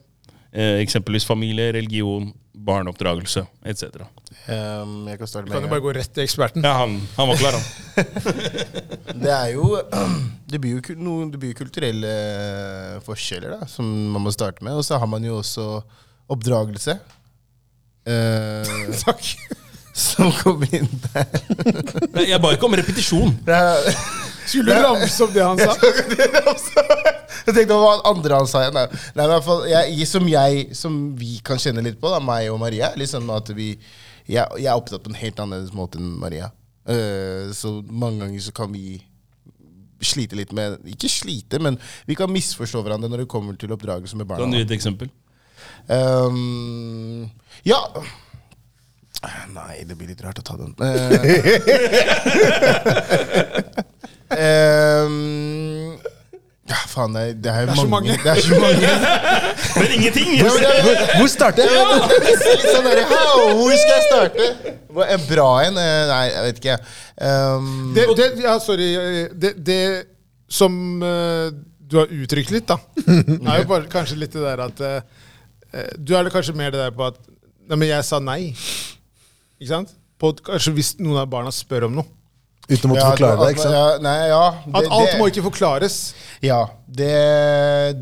S4: Eh, eksempelvis familie, religion, barneoppdragelse etc.
S1: Um, jeg kan starte med en
S3: Kan jo
S1: gang.
S3: bare gå rett til eksperten.
S4: Ja, han, han var klar, han.
S1: Det er jo (clears throat) Det blir jo kul- noen det blir jo kulturelle eh, forskjeller da, som man må starte med. Og så har man jo også oppdragelse. eh,
S3: Takk.
S1: (laughs) som kommer inn der.
S4: Nei, Jeg ba ikke om repetisjon.
S1: Det er-
S3: Skulle du ramse opp det han
S1: (laughs)
S3: sa?
S1: Jeg tenkte på hva andre han sa igjen. da. Nei, men i hvert fall, jeg, som jeg, som vi kan kjenne litt på, da, meg og Maria liksom at vi, jeg, jeg er opptatt på en helt annerledes måte enn Maria. Eh, så mange ganger så kan vi slite litt med Ikke slite, men vi kan misforstå hverandre når det kommer til oppdragelse med barna.
S4: Kan du gi et eksempel?
S1: Ehm, ja Nei, det blir litt rart å ta den. Eh, (laughs) ehm, ja, faen, det er, det er,
S3: Det er så mange.
S1: Det er så
S3: (laughs)
S1: mange.
S4: Men ingenting!
S1: Ja, men det er-
S2: Hvor, hvor starter jeg?
S1: Litt sånn der, «How? Hvor skal jeg starte? Hva- En bra en? Eh, Nei, jeg vet ikke. Ehm,
S3: det, det, ja, sorry. eh, Det, det som eh, du har uttrykt litt, da, er jo bare kanskje litt det der at eh, eh, Du er det kanskje mer det der på at Nei, men jeg sa nei. Ikke sant? På, at kanskje hvis noen av barna spør om noe.
S2: Uten å måtte
S1: ja,
S2: forklare det,
S1: at-
S2: ikke sant?
S1: Ja, nei, ja,
S3: At
S1: det-
S3: alt
S1: det-
S3: må ikke forklares.
S1: Ja, det,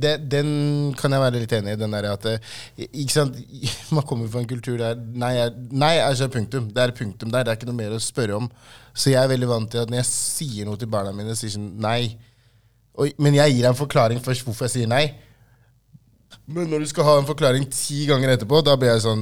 S1: det, den kan jeg være litt enig i. Den der at eh, ikke sant? (laughs) Man kommer fra en kultur der nei er, nei er så punktum. Det er punktum der. Det er ikke noe mer å spørre om. Så jeg er veldig vant til at når jeg sier noe til barna mine, sier sånn nei. Og, men jeg gir deg en forklaring først hvorfor jeg sier nei. Men når du skal ha en forklaring ti ganger etterpå, da blir jeg sånn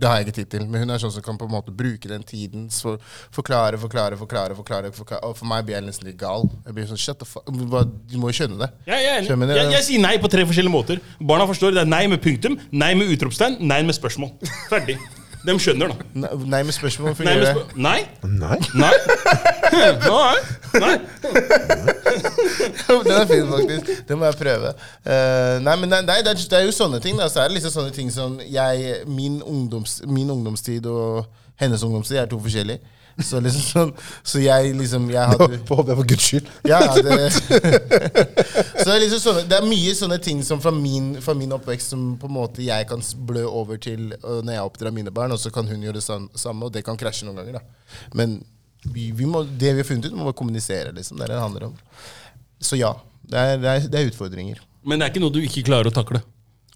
S1: Det har jeg ikke tid til. Men hun er sånn som kan på en måte bruke den tiden. Så forklare, forklare, forklare. forklare, forklare. Og for meg blir jeg nesten litt gal. Jeg blir sånn, shut the fuck Hva- Du må jo skjønne det.
S4: Ja, jeg, er enig.
S1: Skjønner du?
S4: jeg, jeg sier nei på tre forskjellige måter. Barna forstår det er nei med punktum, nei med utropstegn, nei med spørsmål. Ferdig. De skjønner, da.
S1: Ne- Nei, med spørsmål
S4: Nei.
S1: fungerer
S4: Med
S1: det.
S4: spør nei?
S2: Nei.
S1: (laughs)
S4: Nei. Nei. Nei.
S1: Den er fin, faktisk. Den må jeg prøve. Eh, nei, men nei, nei, det, er, det er jo sånne ting. Da. Så er det liksom sånne ting som jeg Min, ungdoms, min ungdomstid og hennes ungdomstid er to forskjellige. Så liksom sånn Så jeg liksom Jeg hadde
S2: Håper håper jeg for guds skyld.
S1: Ja, ja, det, (laughs) så det, er liksom sånne, det er mye sånne ting som fra min, fra min oppvekst som på en måte jeg kan s- blø over til øh, når jeg oppdrar mine barn, og så kan hun gjøre det sam- samme, og det kan krasje noen ganger. da. Men vi, vi må, det vi har funnet ut, må bare kommunisere. liksom, Det er det det handler om. Så ja, det er, det er, det er utfordringer.
S4: Men det er ikke noe du ikke klarer å takle.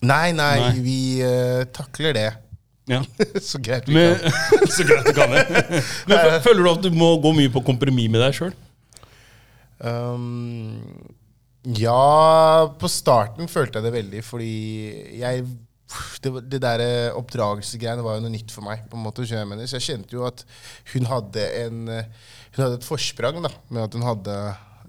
S1: Nei, nei,
S4: Nei.
S1: vi øh, takler det. (laughs)
S4: Ja.
S1: så greit vi
S4: (laughs) Men, (laughs)
S1: kan.
S4: så greit du kan det. Men fø- føler du at du må gå mye på kompromiss med deg sjøl?
S1: Um, ja, på starten følte jeg det veldig, fordi jeg det, var- det der eh, oppdragelsesgreiene var jo noe nytt for meg. på en måte, skjønner jeg mener. Så jeg kjente jo at hun hadde, en, eh, hun hadde et forsprang da, med at hun hadde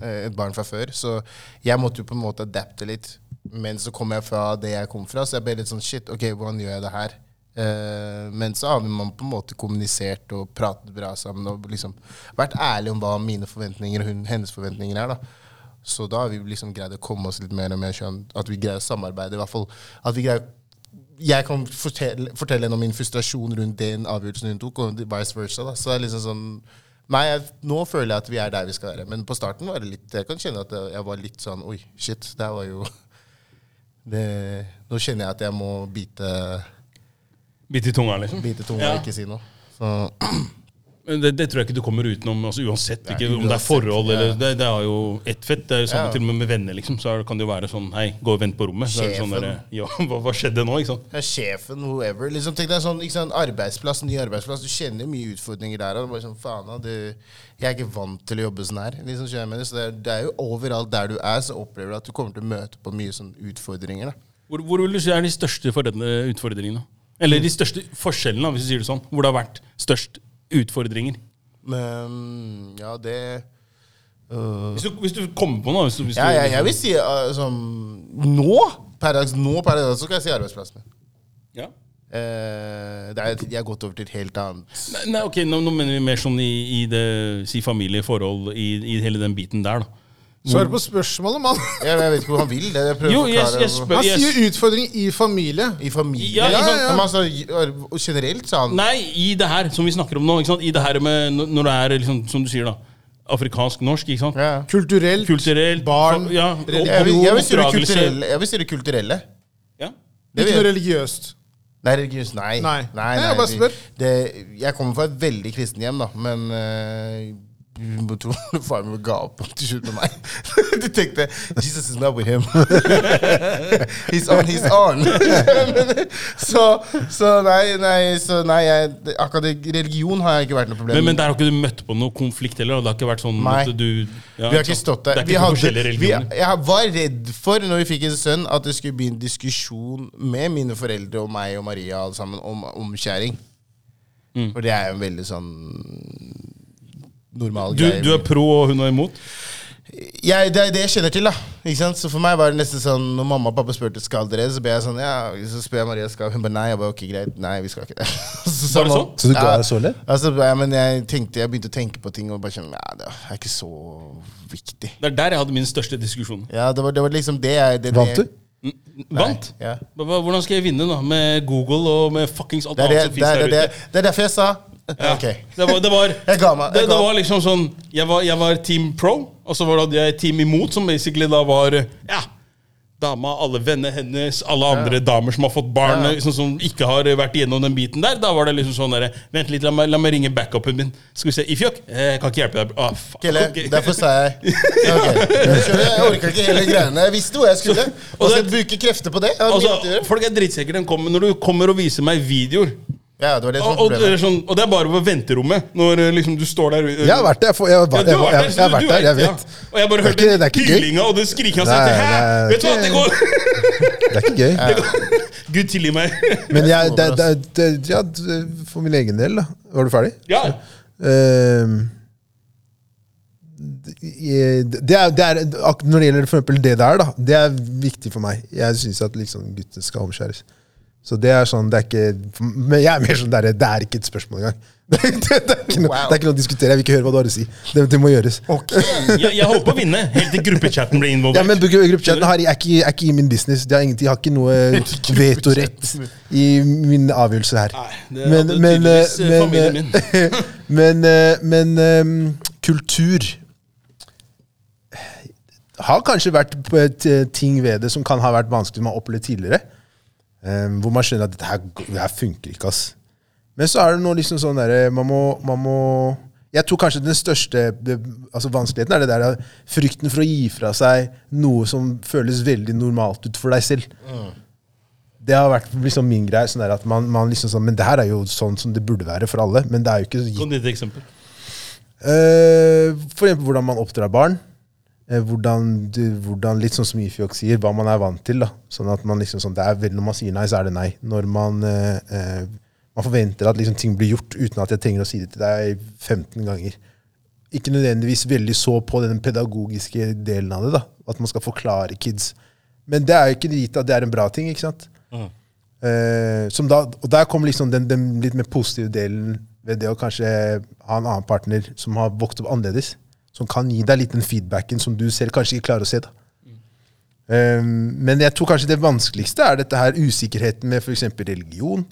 S1: eh, et barn fra før. Så jeg måtte jo på en måte adapte litt. Men så kom jeg fra det jeg kom fra, så jeg ble litt sånn shit, ok, hvordan gjør jeg det her? Eh, men så har man på en måte kommunisert og pratet bra sammen og liksom vært ærlig om hva mine forventninger og hun, hennes forventninger er. da. Så da har vi liksom greid å komme oss litt mer og mer skjønn, at vi greier å samarbeide. i hvert fall, at vi greier jeg kan fortelle, fortelle henne om min frustrasjon rundt den avgjørelsen hun tok, og vice versa. da, så det er liksom sånn Nei, jeg, nå føler jeg at vi er der vi skal være. Men på starten var det litt Jeg kan kjenne at jeg jeg var litt sånn Oi, shit. Det her var jo (laughs) det, Nå kjenner jeg at jeg må bite,
S4: Bitt i tunga, liksom.
S1: bite tunga
S4: Ja.
S1: og ikke si noe. Så
S4: Men det, det tror jeg ikke du kommer utenom. altså Uansett ikke, om det er
S1: uansett,
S4: forhold
S1: ja.
S4: eller Det, det er jo ett fett. Det er jo samme
S1: Ja.
S4: til og med med venner, liksom. Så er- kan det jo være sånn Hei, gå og vent på rommet. Så er det sånn
S1: Sjefen.
S4: der, ja, (laughs) hva, hva skjedde nå? ikke sant?
S1: ja, sjefen, whoever liksom, Tenk deg sånn, ikke sant, arbeidsplass, ny arbeidsplass. Du kjenner jo mye utfordringer der. Og det er bare sånn, faen, da, du, jeg er ikke vant til å jobbe sånn her. Liksom, skjønner jeg mener. Så det, er, det er jo overalt der du er, så opplever du at du kommer til å møte på mye sånn utfordringer. da.
S4: Hvor, hvor vil du si er de største forredne- utfordringene? Eller de største forskjellene, da, hvis du sier det sånn. Hvor det har vært størst utfordringer.
S1: Men ja, det
S4: Hvis du, hvis du kommer på noe hvis du, hvis du,
S1: Ja, jeg, jeg vil si uh, som Nå, per dags, nå per dags, så kan jeg si arbeidsplassen min.
S4: Ja.
S1: Eh, det er, jeg har gått over til et helt annet
S4: Nei, Nei, ok, nå, nå mener vi mer sånn i, i det Si familieforhold, i, i hele den biten der, da.
S3: Svar på spørsmålet, mann!
S1: Jeg, jeg vet ikke hvor han vil. Det, jeg prøver
S4: Jo,
S1: å
S4: jeg,
S1: forklare
S4: jeg
S1: hvor-
S3: (laughs)
S4: spør
S3: Han
S4: jeg,
S3: sier utfordring i familie.
S1: I familie?
S4: Ja, ja, ja.
S1: Men altså, i- og generelt, sånn. sa han.
S4: Nei, i det her som vi snakker om nå. Ikke sant? I det her med n- Når det er liksom, som du sier, da. Afrikansk-norsk, ikke sant?
S1: Ja.
S3: Kulturelt.
S4: Kulturelt.
S3: Barn,
S4: fa- Ja, og-
S3: religion,
S1: Jeg, vil, jeg, vil si det
S4: oppdragelse.
S1: kulturelle, jeg vil si det kulturelle.
S4: Ja.
S1: Det
S3: Ikke
S1: vil-
S3: noe religiøst.
S1: Nei, religiøst. Nei.
S3: Nei. Nei, jeg bare
S1: vi-
S3: spør.
S1: Det, jeg kommer fra et veldig kristen hjem, da, men eh, du må tro faren min ga opp til slutt med meg. (laughs) Du tenkte 'Jesus is not with him'. (laughs) he's on, he's on. (laughs) så, så nei, nei, så nei jeg, akkurat det- religion har jeg ikke vært noe problem
S4: Men, men
S1: med.
S4: der har ikke du møtt på noe konflikt heller? da. Det har ikke vært sånn
S1: Nei.
S4: at du ja,
S1: Vi har ikke
S4: sant.
S1: stått der.
S4: Det er
S1: Vi
S4: ikke to
S1: hadde,
S4: forskjellige
S1: vi,
S4: religioner.
S1: jeg var redd for, når vi fikk en sønn, at det skulle bli en diskusjon med mine foreldre og meg og Maria alle sammen om omskjæring.
S4: Mm.
S1: For det er jo en veldig sånn normal
S4: Du,
S1: greie.
S4: du er pro, og hun er imot?
S1: jeg, det er det jeg kjenner til, da. Ikke sant? Så for meg var det nesten sånn Når mamma og pappa spurte skal dere, så ble jeg sånn Ja, så spør jeg Maria skal Hun bare nei. Jeg bare ok, greit. Nei, vi skal ikke det. (laughs) så,
S4: Var det sånn?
S2: Så du ga deg så lett?
S1: Altså, ja, men jeg tenkte Jeg begynte å tenke på ting og bare kjenne Ja, det er ikke så viktig.
S4: Det er der jeg hadde min største diskusjon.
S1: Ja, det var, det var liksom det jeg det,
S2: Vant du?
S4: Vant?
S1: Ja.
S4: Hva- hva- Hvordan skal jeg vinne, da? Med Google og med fuckings alt
S1: Det er, det,
S4: annet som
S1: det,
S4: finnes
S1: er,
S4: der
S1: det,
S4: ute?
S1: er, det er derfor jeg sa Ok.
S4: Det var, det var,
S1: Jeg ga meg, jeg
S4: det, det
S1: ga-
S4: var liksom sånn jeg var, jeg var team pro, og så var det jeg team imot, som basically da var Ja, dama, alle vennene hennes, alle andre damer som har fått barn,
S1: Ja.
S4: liksom, som ikke har vært igjennom den biten der. Da var det liksom sånn derre Vent litt, la meg, la meg ringe backupen min. Skal vi se Ifjok? Eh, jeg kan ikke hjelpe deg. Ah, fuck.
S1: Kille,
S4: ok.
S1: derfor sa jeg Ok. Jeg, skjønner, jeg orka ikke hele greiene. Jeg visste hvor jeg skulle. Og så
S4: det-
S1: bruke krefter på det. Jeg har mye annet å
S4: Altså,
S1: gjøre.
S4: folk er drittsekker den kommer, når du kommer og viser meg videoer.
S1: Ja, det var det som
S4: Og,
S1: var
S4: og, det er
S1: problemet.
S4: sånn, og det er bare på venterommet, når eh, liksom, du står der
S2: Jeg har vært der. Jeg, får- jeg,
S4: Ja,
S2: var-
S4: du
S2: jeg,
S4: har
S2: var-
S4: vært der,
S2: jeg,
S4: så
S2: jeg har
S4: du-
S2: vært
S4: du
S2: der,
S4: vet,
S2: jeg
S4: ja.
S2: vet.
S4: Og jeg
S2: Det
S4: bare
S2: er
S4: hørte
S2: ikke- det er ikke gøy.
S4: hylinga og det skrikinga
S2: Nei,
S4: seg til Hæ!
S2: det er
S4: Vet du hva, det går
S2: Det er ikke gøy.
S4: Gud tilgi meg. (laughs)
S2: Men jeg, det, det, det, ja, d- for min egen del, da. Var du ferdig?
S4: Ja.
S2: Ehm, d- i- det er, det er, ak- når det gjelder for eksempel det der, da, det er viktig for meg. Jeg syns at liksom gutter skal omskjæres. Så det er sånn, det er ikke Men jeg er mer sånn der, det er ikke et spørsmål engang. (laughs) Det, er- det, er ikke noe, det er ikke noe å diskutere. Jeg vil ikke høre hva du har å si. Det, det må gjøres.
S4: Jeg, jeg holdt på å vinne helt til gruppechatten ble
S2: Ja, men
S4: involvert.
S2: gru- Gruppechatten har- er ikke, er ikke i min business. De har, ingenting- de har ikke noe vetorett i min avgjørelse her.
S4: Nei, det hadde tydeligvis, eh, familien min.
S2: men, eh, men eh, kultur har kanskje vært på et, eh, ting ved det som kan ha vært vanskelig man har opplevd tidligere. Eh, hvor man skjønner at dette her, g- det her funker ikke, ass. Men så er det noe liksom sånn derre man, må- man må Jeg tror kanskje den største det, altså vanskeligheten er det der eh, frykten for å gi fra seg noe som føles veldig normalt ut for deg selv. Det har vært liksom min greie. sånn der at man, man liksom sånn, Men det her er jo sånn som det burde være for alle. Men det er jo ikke gitt
S4: Sånn et eksempel.
S2: Eh, for eksempel hvordan man oppdrar barn. Eh, hvordan, du, hvordan, litt sånn som Ifjok sier, hva man er vant til. da. Sånn at man liksom, sånn, det er vel Når man sier nei, så er det nei. Når man, eh, eh, man forventer at liksom, ting blir gjort uten at jeg trenger å si det til deg 15 ganger. Ikke nødvendigvis veldig så på den pedagogiske delen av det. da. At man skal forklare kids. Men det er jo ikke gitt at det er en bra ting. ikke sant? Eh, som da, og der kommer liksom den, den litt mer positive delen ved det å kanskje ha en annen partner som har vokst opp annerledes. Som kan gi deg litt den feedbacken som du selv kanskje ikke klarer å se. da. Eh, men jeg tror kanskje det vanskeligste er dette her usikkerheten med f.eks. religion.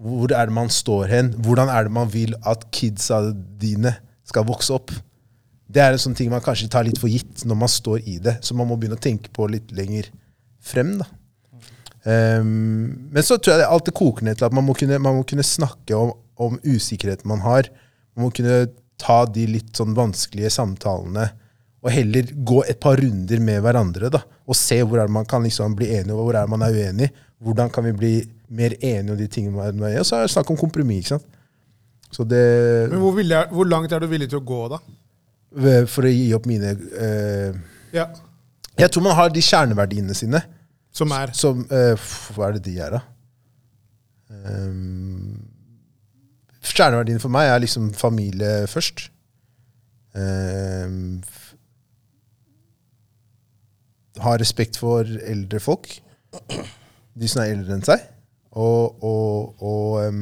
S2: Hvor er det man står hen? Hvordan er det man vil at kidsa dine skal vokse opp. Det er en sånn ting man kanskje tar litt for gitt når man står i det. Så man må begynne å tenke på litt lenger frem. da. Ehm, men så tror jeg det alltid koker ned til at man må kunne, man må kunne snakke om, om usikkerheten man har. Man må kunne ta de litt sånn vanskelige samtalene og heller gå et par runder med hverandre da, og se hvor er det man kan liksom bli enig, og hvor er det man er uenig. Hvordan kan vi bli mer enige om de tingene man er uenig i? Og så er det snakk om kompromiss. ikke sant? Så det,
S3: Men hvor, villig er, hvor langt er du villig til å gå, da?
S2: for å gi opp mine eh,
S3: Ja.
S2: Jeg tror man har de kjerneverdiene sine.
S3: Som er
S2: Som eh, f- Hva er det de er, da? Um, kjerneverdiene for meg er liksom familie først. Um, f- ha respekt for eldre folk. De som er eldre enn seg. Og, og, og um,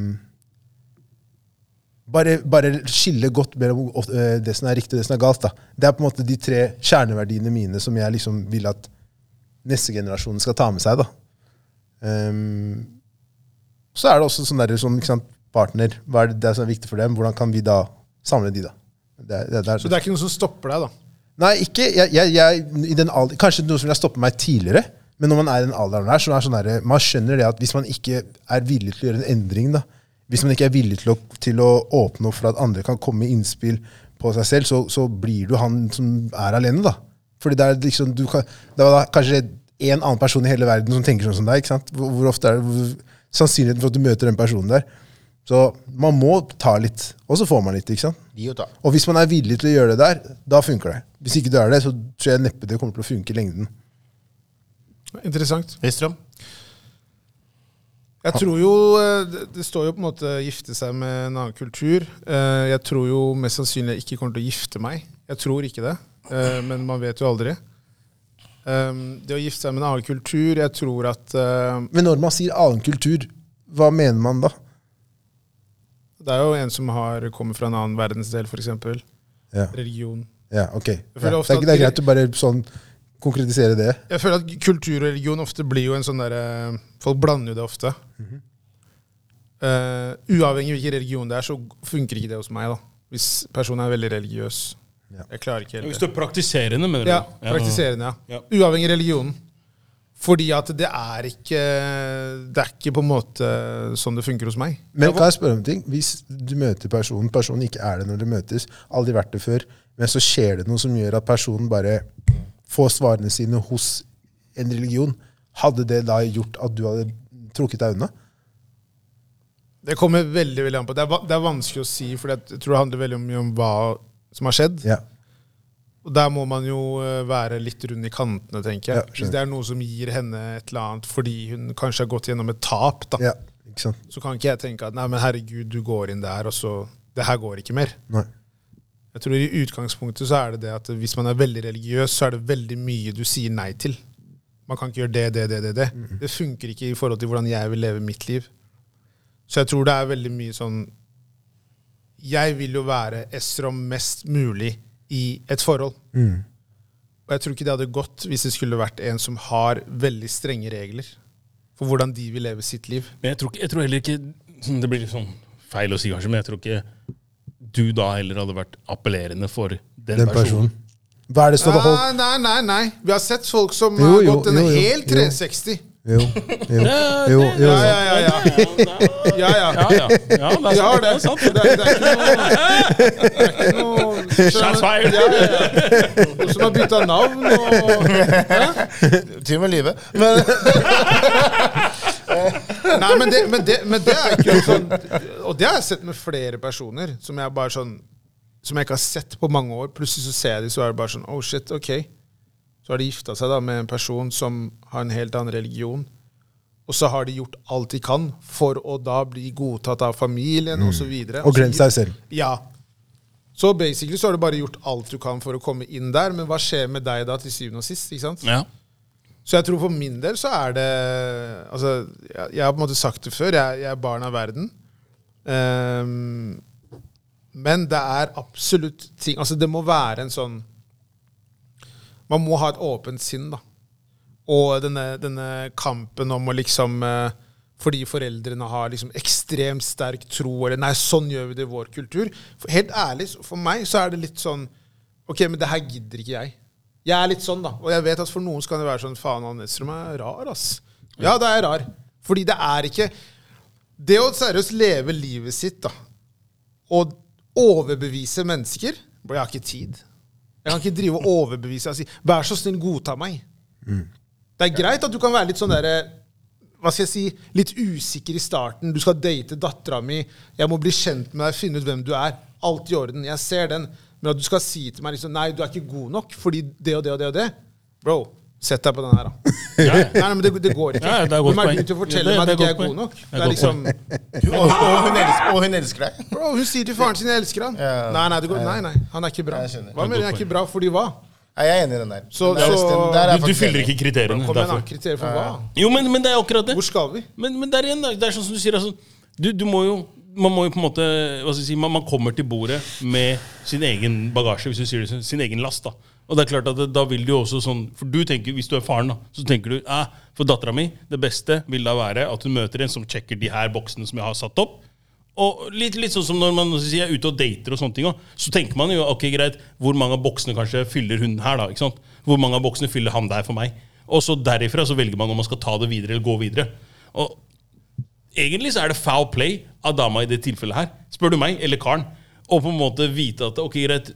S2: bare, bare skille godt mellom eh, det som er riktig og det som er galt. Da. Det er på en måte de tre kjerneverdiene mine som jeg liksom vil at neste generasjon skal ta med seg. Da. Ehm, så er det også sånn der, sånn, ikke sant, partner. Hva er det, det som er viktig for dem? Hvordan kan vi da samle de, da? Det, er- det, er-
S3: Så det er ikke noe som stopper deg, da?
S2: Nei, ikke jeg, jeg, jeg, i den alder, Kanskje noe som ville stoppe meg tidligere. Men når man er i den alderen her, så er det sånn der, man skjønner det at hvis man ikke er villig til å gjøre en endring, da, hvis man ikke er villig til å, til å åpne opp for at andre kan komme med innspill på seg selv, så, så blir du han som er alene. da. Fordi det er liksom, du kan, det var da kanskje én annen person i hele verden som tenker sånn som deg. ikke sant? Hvor, hvor ofte er det, hvor, Sannsynligheten for at du møter den personen der. Så man må ta litt, og så får man litt. ikke sant?
S1: Gi og ta.
S2: Og hvis man er villig til å gjøre det der, da funker det. Hvis ikke du er det, så tror jeg neppe det kommer til å funke i lengden.
S3: Interessant.
S1: Høystrøm?
S3: Jeg tror jo eh, Det det står jo på en måte 'gifte seg med en annen kultur'. Eh, Jeg tror jo mest sannsynlig jeg ikke kommer til å gifte meg. Jeg tror ikke det, eh, men man vet jo aldri. Um, Det å gifte seg med en annen kultur Jeg tror at eh,
S2: Men når man sier annen kultur, hva mener man da?
S3: det er jo en som har kommer fra en annen verdensdel, f.eks.
S2: Ja,
S3: Religion.
S2: ja ok. Ja. Det,
S3: føler
S2: er,
S3: ofte
S2: ikke- det er
S3: at-
S2: greit å bare sånn konkretisere det.
S3: Jeg føler at kultur og religion ofte blir jo en sånn derre Folk blander jo det ofte. Eh, uavhengig av hvilken religion det er, så funker ikke det hos meg. da Hvis personen er veldig religiøs.
S2: Ja.
S3: Jeg klarer ikke
S4: Hvis
S3: helt
S4: du
S3: det.
S4: er praktiserende, mener du?
S3: Ja, praktiserende, ja.
S4: Ja.
S3: Uavhengig av religionen. Fordi at det er ikke Det er ikke på en måte sånn det funker hos meg.
S2: Men kan jeg spørre om en ting? Hvis du møter personen, personen ikke er det når dere møtes, aldri vært det før, men så skjer det noe som gjør at personen bare får svarene sine hos en religion, hadde det da gjort at du hadde trukket deg unna?
S3: Det kommer veldig veldig an på. Det er, va- det er vanskelig å si, for jeg tror det handler veldig mye om hva som har skjedd.
S2: Ja.
S3: Og der må man jo eh, være litt rund i kantene, tenker jeg.
S2: Ja, skjønner.
S3: Hvis det er noe som gir henne et eller annet fordi hun kanskje har gått gjennom et tap, da,
S2: ja. Ikke sant?
S3: så kan ikke jeg tenke at nei, men herregud, du går inn der, og så Det her går ikke mer.
S2: Nei.
S3: Jeg tror i utgangspunktet så er det det at hvis man er veldig religiøs, så er det veldig mye du sier nei til. Man kan ikke gjøre det, det, det, det. Det
S2: Mhm.
S3: Det funker ikke i forhold til hvordan jeg vil leve mitt liv. Så jeg tror det er veldig mye sånn Jeg vil jo være Esrom mest mulig i et forhold.
S2: Mm.
S3: Og jeg tror ikke det hadde gått hvis det skulle vært en som har veldig strenge regler for hvordan de vil leve sitt liv.
S4: Men jeg tror, ikke, jeg tror heller ikke (clears throat) sånn, Det blir litt sånn feil å si, kanskje, men jeg tror ikke du da heller hadde vært appellerende for den,
S2: den personen.
S4: personen.
S2: Hva er det som hadde
S3: Nei,
S2: holdt
S3: nei, nei, nei. Vi har sett folk som
S2: Jo,
S3: har
S2: jo,
S3: gått en
S2: jo, jo,
S3: hel
S2: jo.
S3: 360.
S2: Jo, jo, jo. jo.
S3: Ja, ja, ja, ja. Ja, ja.
S4: Ja, ja.
S2: (laughs)
S4: ja det
S3: Vi
S4: er
S3: har
S4: sant.
S3: det.
S4: Det er
S3: Det
S4: sant.
S3: er, det er ikke noe, det er ikke
S4: Shots
S3: noe
S4: fired.
S3: Noen som har bytta navn og
S1: Til og med live.
S3: (laughs)
S1: Men
S3: Nei, men det, men, det, men det er ikke noe sånn Og det har jeg sett med flere personer som jeg bare sånn Som jeg ikke har sett på mange år. Plutselig så ser jeg dem, så er det bare sånn Oh shit, ok. Så har de gifta seg da med en person som har en helt annen religion. Og så har de gjort alt de kan for å da bli godtatt av familien og osv.
S2: Mm. Og glemt seg selv.
S3: Ja. Så basically så har du bare gjort alt du kan for å komme inn der, men hva skjer med deg da til syvende og sist? ikke sant?
S4: Ja.
S3: Så jeg tror for min del så er det Altså, jeg, jeg har på en måte sagt det før, jeg, jeg er barn av verden. Ehm, men det er absolutt ting Altså, det må være en sånn Man må ha et åpent sinn, da. Og denne, denne kampen om å liksom eh, fordi foreldrene har liksom ekstremt sterk tro, eller 'nei, sånn gjør vi det i vår kultur'. For, helt ærlig, så- for meg så er det litt sånn Ok, men det her gidder ikke jeg. Jeg er litt sånn, da. Og jeg vet at for noen så kan det være sånn Faen, han Nesrum er rar, ass. Ja, da er jeg rar. Fordi det er ikke Det å seriøst leve livet sitt, da, og overbevise mennesker bro, Jeg har ikke tid. Jeg kan ikke drive og overbevise og si 'vær så snill, godta meg'. Det er greit at du kan være litt sånn derre hva skal jeg si, litt usikker i starten. Du skal date dattera mi. Jeg må bli kjent med deg, finne ut hvem du er. Alt i orden. Jeg ser den. Men at du skal si til meg liksom, nei, du er ikke god nok fordi det og det og det og det Bro, sett deg på den her, da.
S4: Ja,
S3: Nei, nei, men det, det går ikke.
S4: Ja, det er godt
S3: Hvem er du
S4: poeng.
S3: til å
S4: Ja,
S3: fortelle
S4: det-
S3: meg
S4: det
S3: at jeg
S4: er godt
S3: ikke er
S4: poeng.
S3: god nok?
S4: Det er
S3: Det er
S4: godt
S3: liksom,
S1: Og, og, hun elsker, og hun elsker deg.
S3: bro, Hun sier til faren sin 'jeg elsker han'.
S1: Ja.
S3: Nei, nei, det går, nei, nei, han er ikke bra.
S1: Jeg skjønner.
S3: Hva mener du, jeg er ikke bra fordi hva?
S1: Nei, jeg er enig i den der.
S3: Så-
S1: Den er-
S3: så-
S1: den der er
S4: Du, du
S1: faktisk
S4: fyller
S1: enig.
S4: ikke kriteriene.
S3: Kom igjen, da.
S4: derfor.
S3: Kriterier for hva?
S4: Jo, men, men det er akkurat det.
S3: Hvor skal vi?
S4: Men, men der igjen, da, det er sånn som du sier. Altså, du, du må jo man må jo på en måte, hva skal jeg si, man, man kommer til bordet med sin egen bagasje, hvis du sier det sånn, sin egen last. da. Og det er klart at det, da vil du jo også sånn, for du tenker, Hvis du er faren, da, så tenker du eh, for dattera mi, det beste vil da være at hun møter en som sjekker de her boksene som jeg har satt opp. Og litt, litt sånn som når man hva skal jeg si, er ute og dater, og sånne ting, også, så tenker man jo ok, greit, hvor mange av boksene kanskje fyller hun her? da, ikke sant? Hvor mange av boksene fyller han der for meg? Og så derifra så velger man om man skal ta det videre eller gå videre. Og egentlig så er det foul play av dama i det tilfellet her, spør du meg, eller karen, og på en måte vite at ok, greit,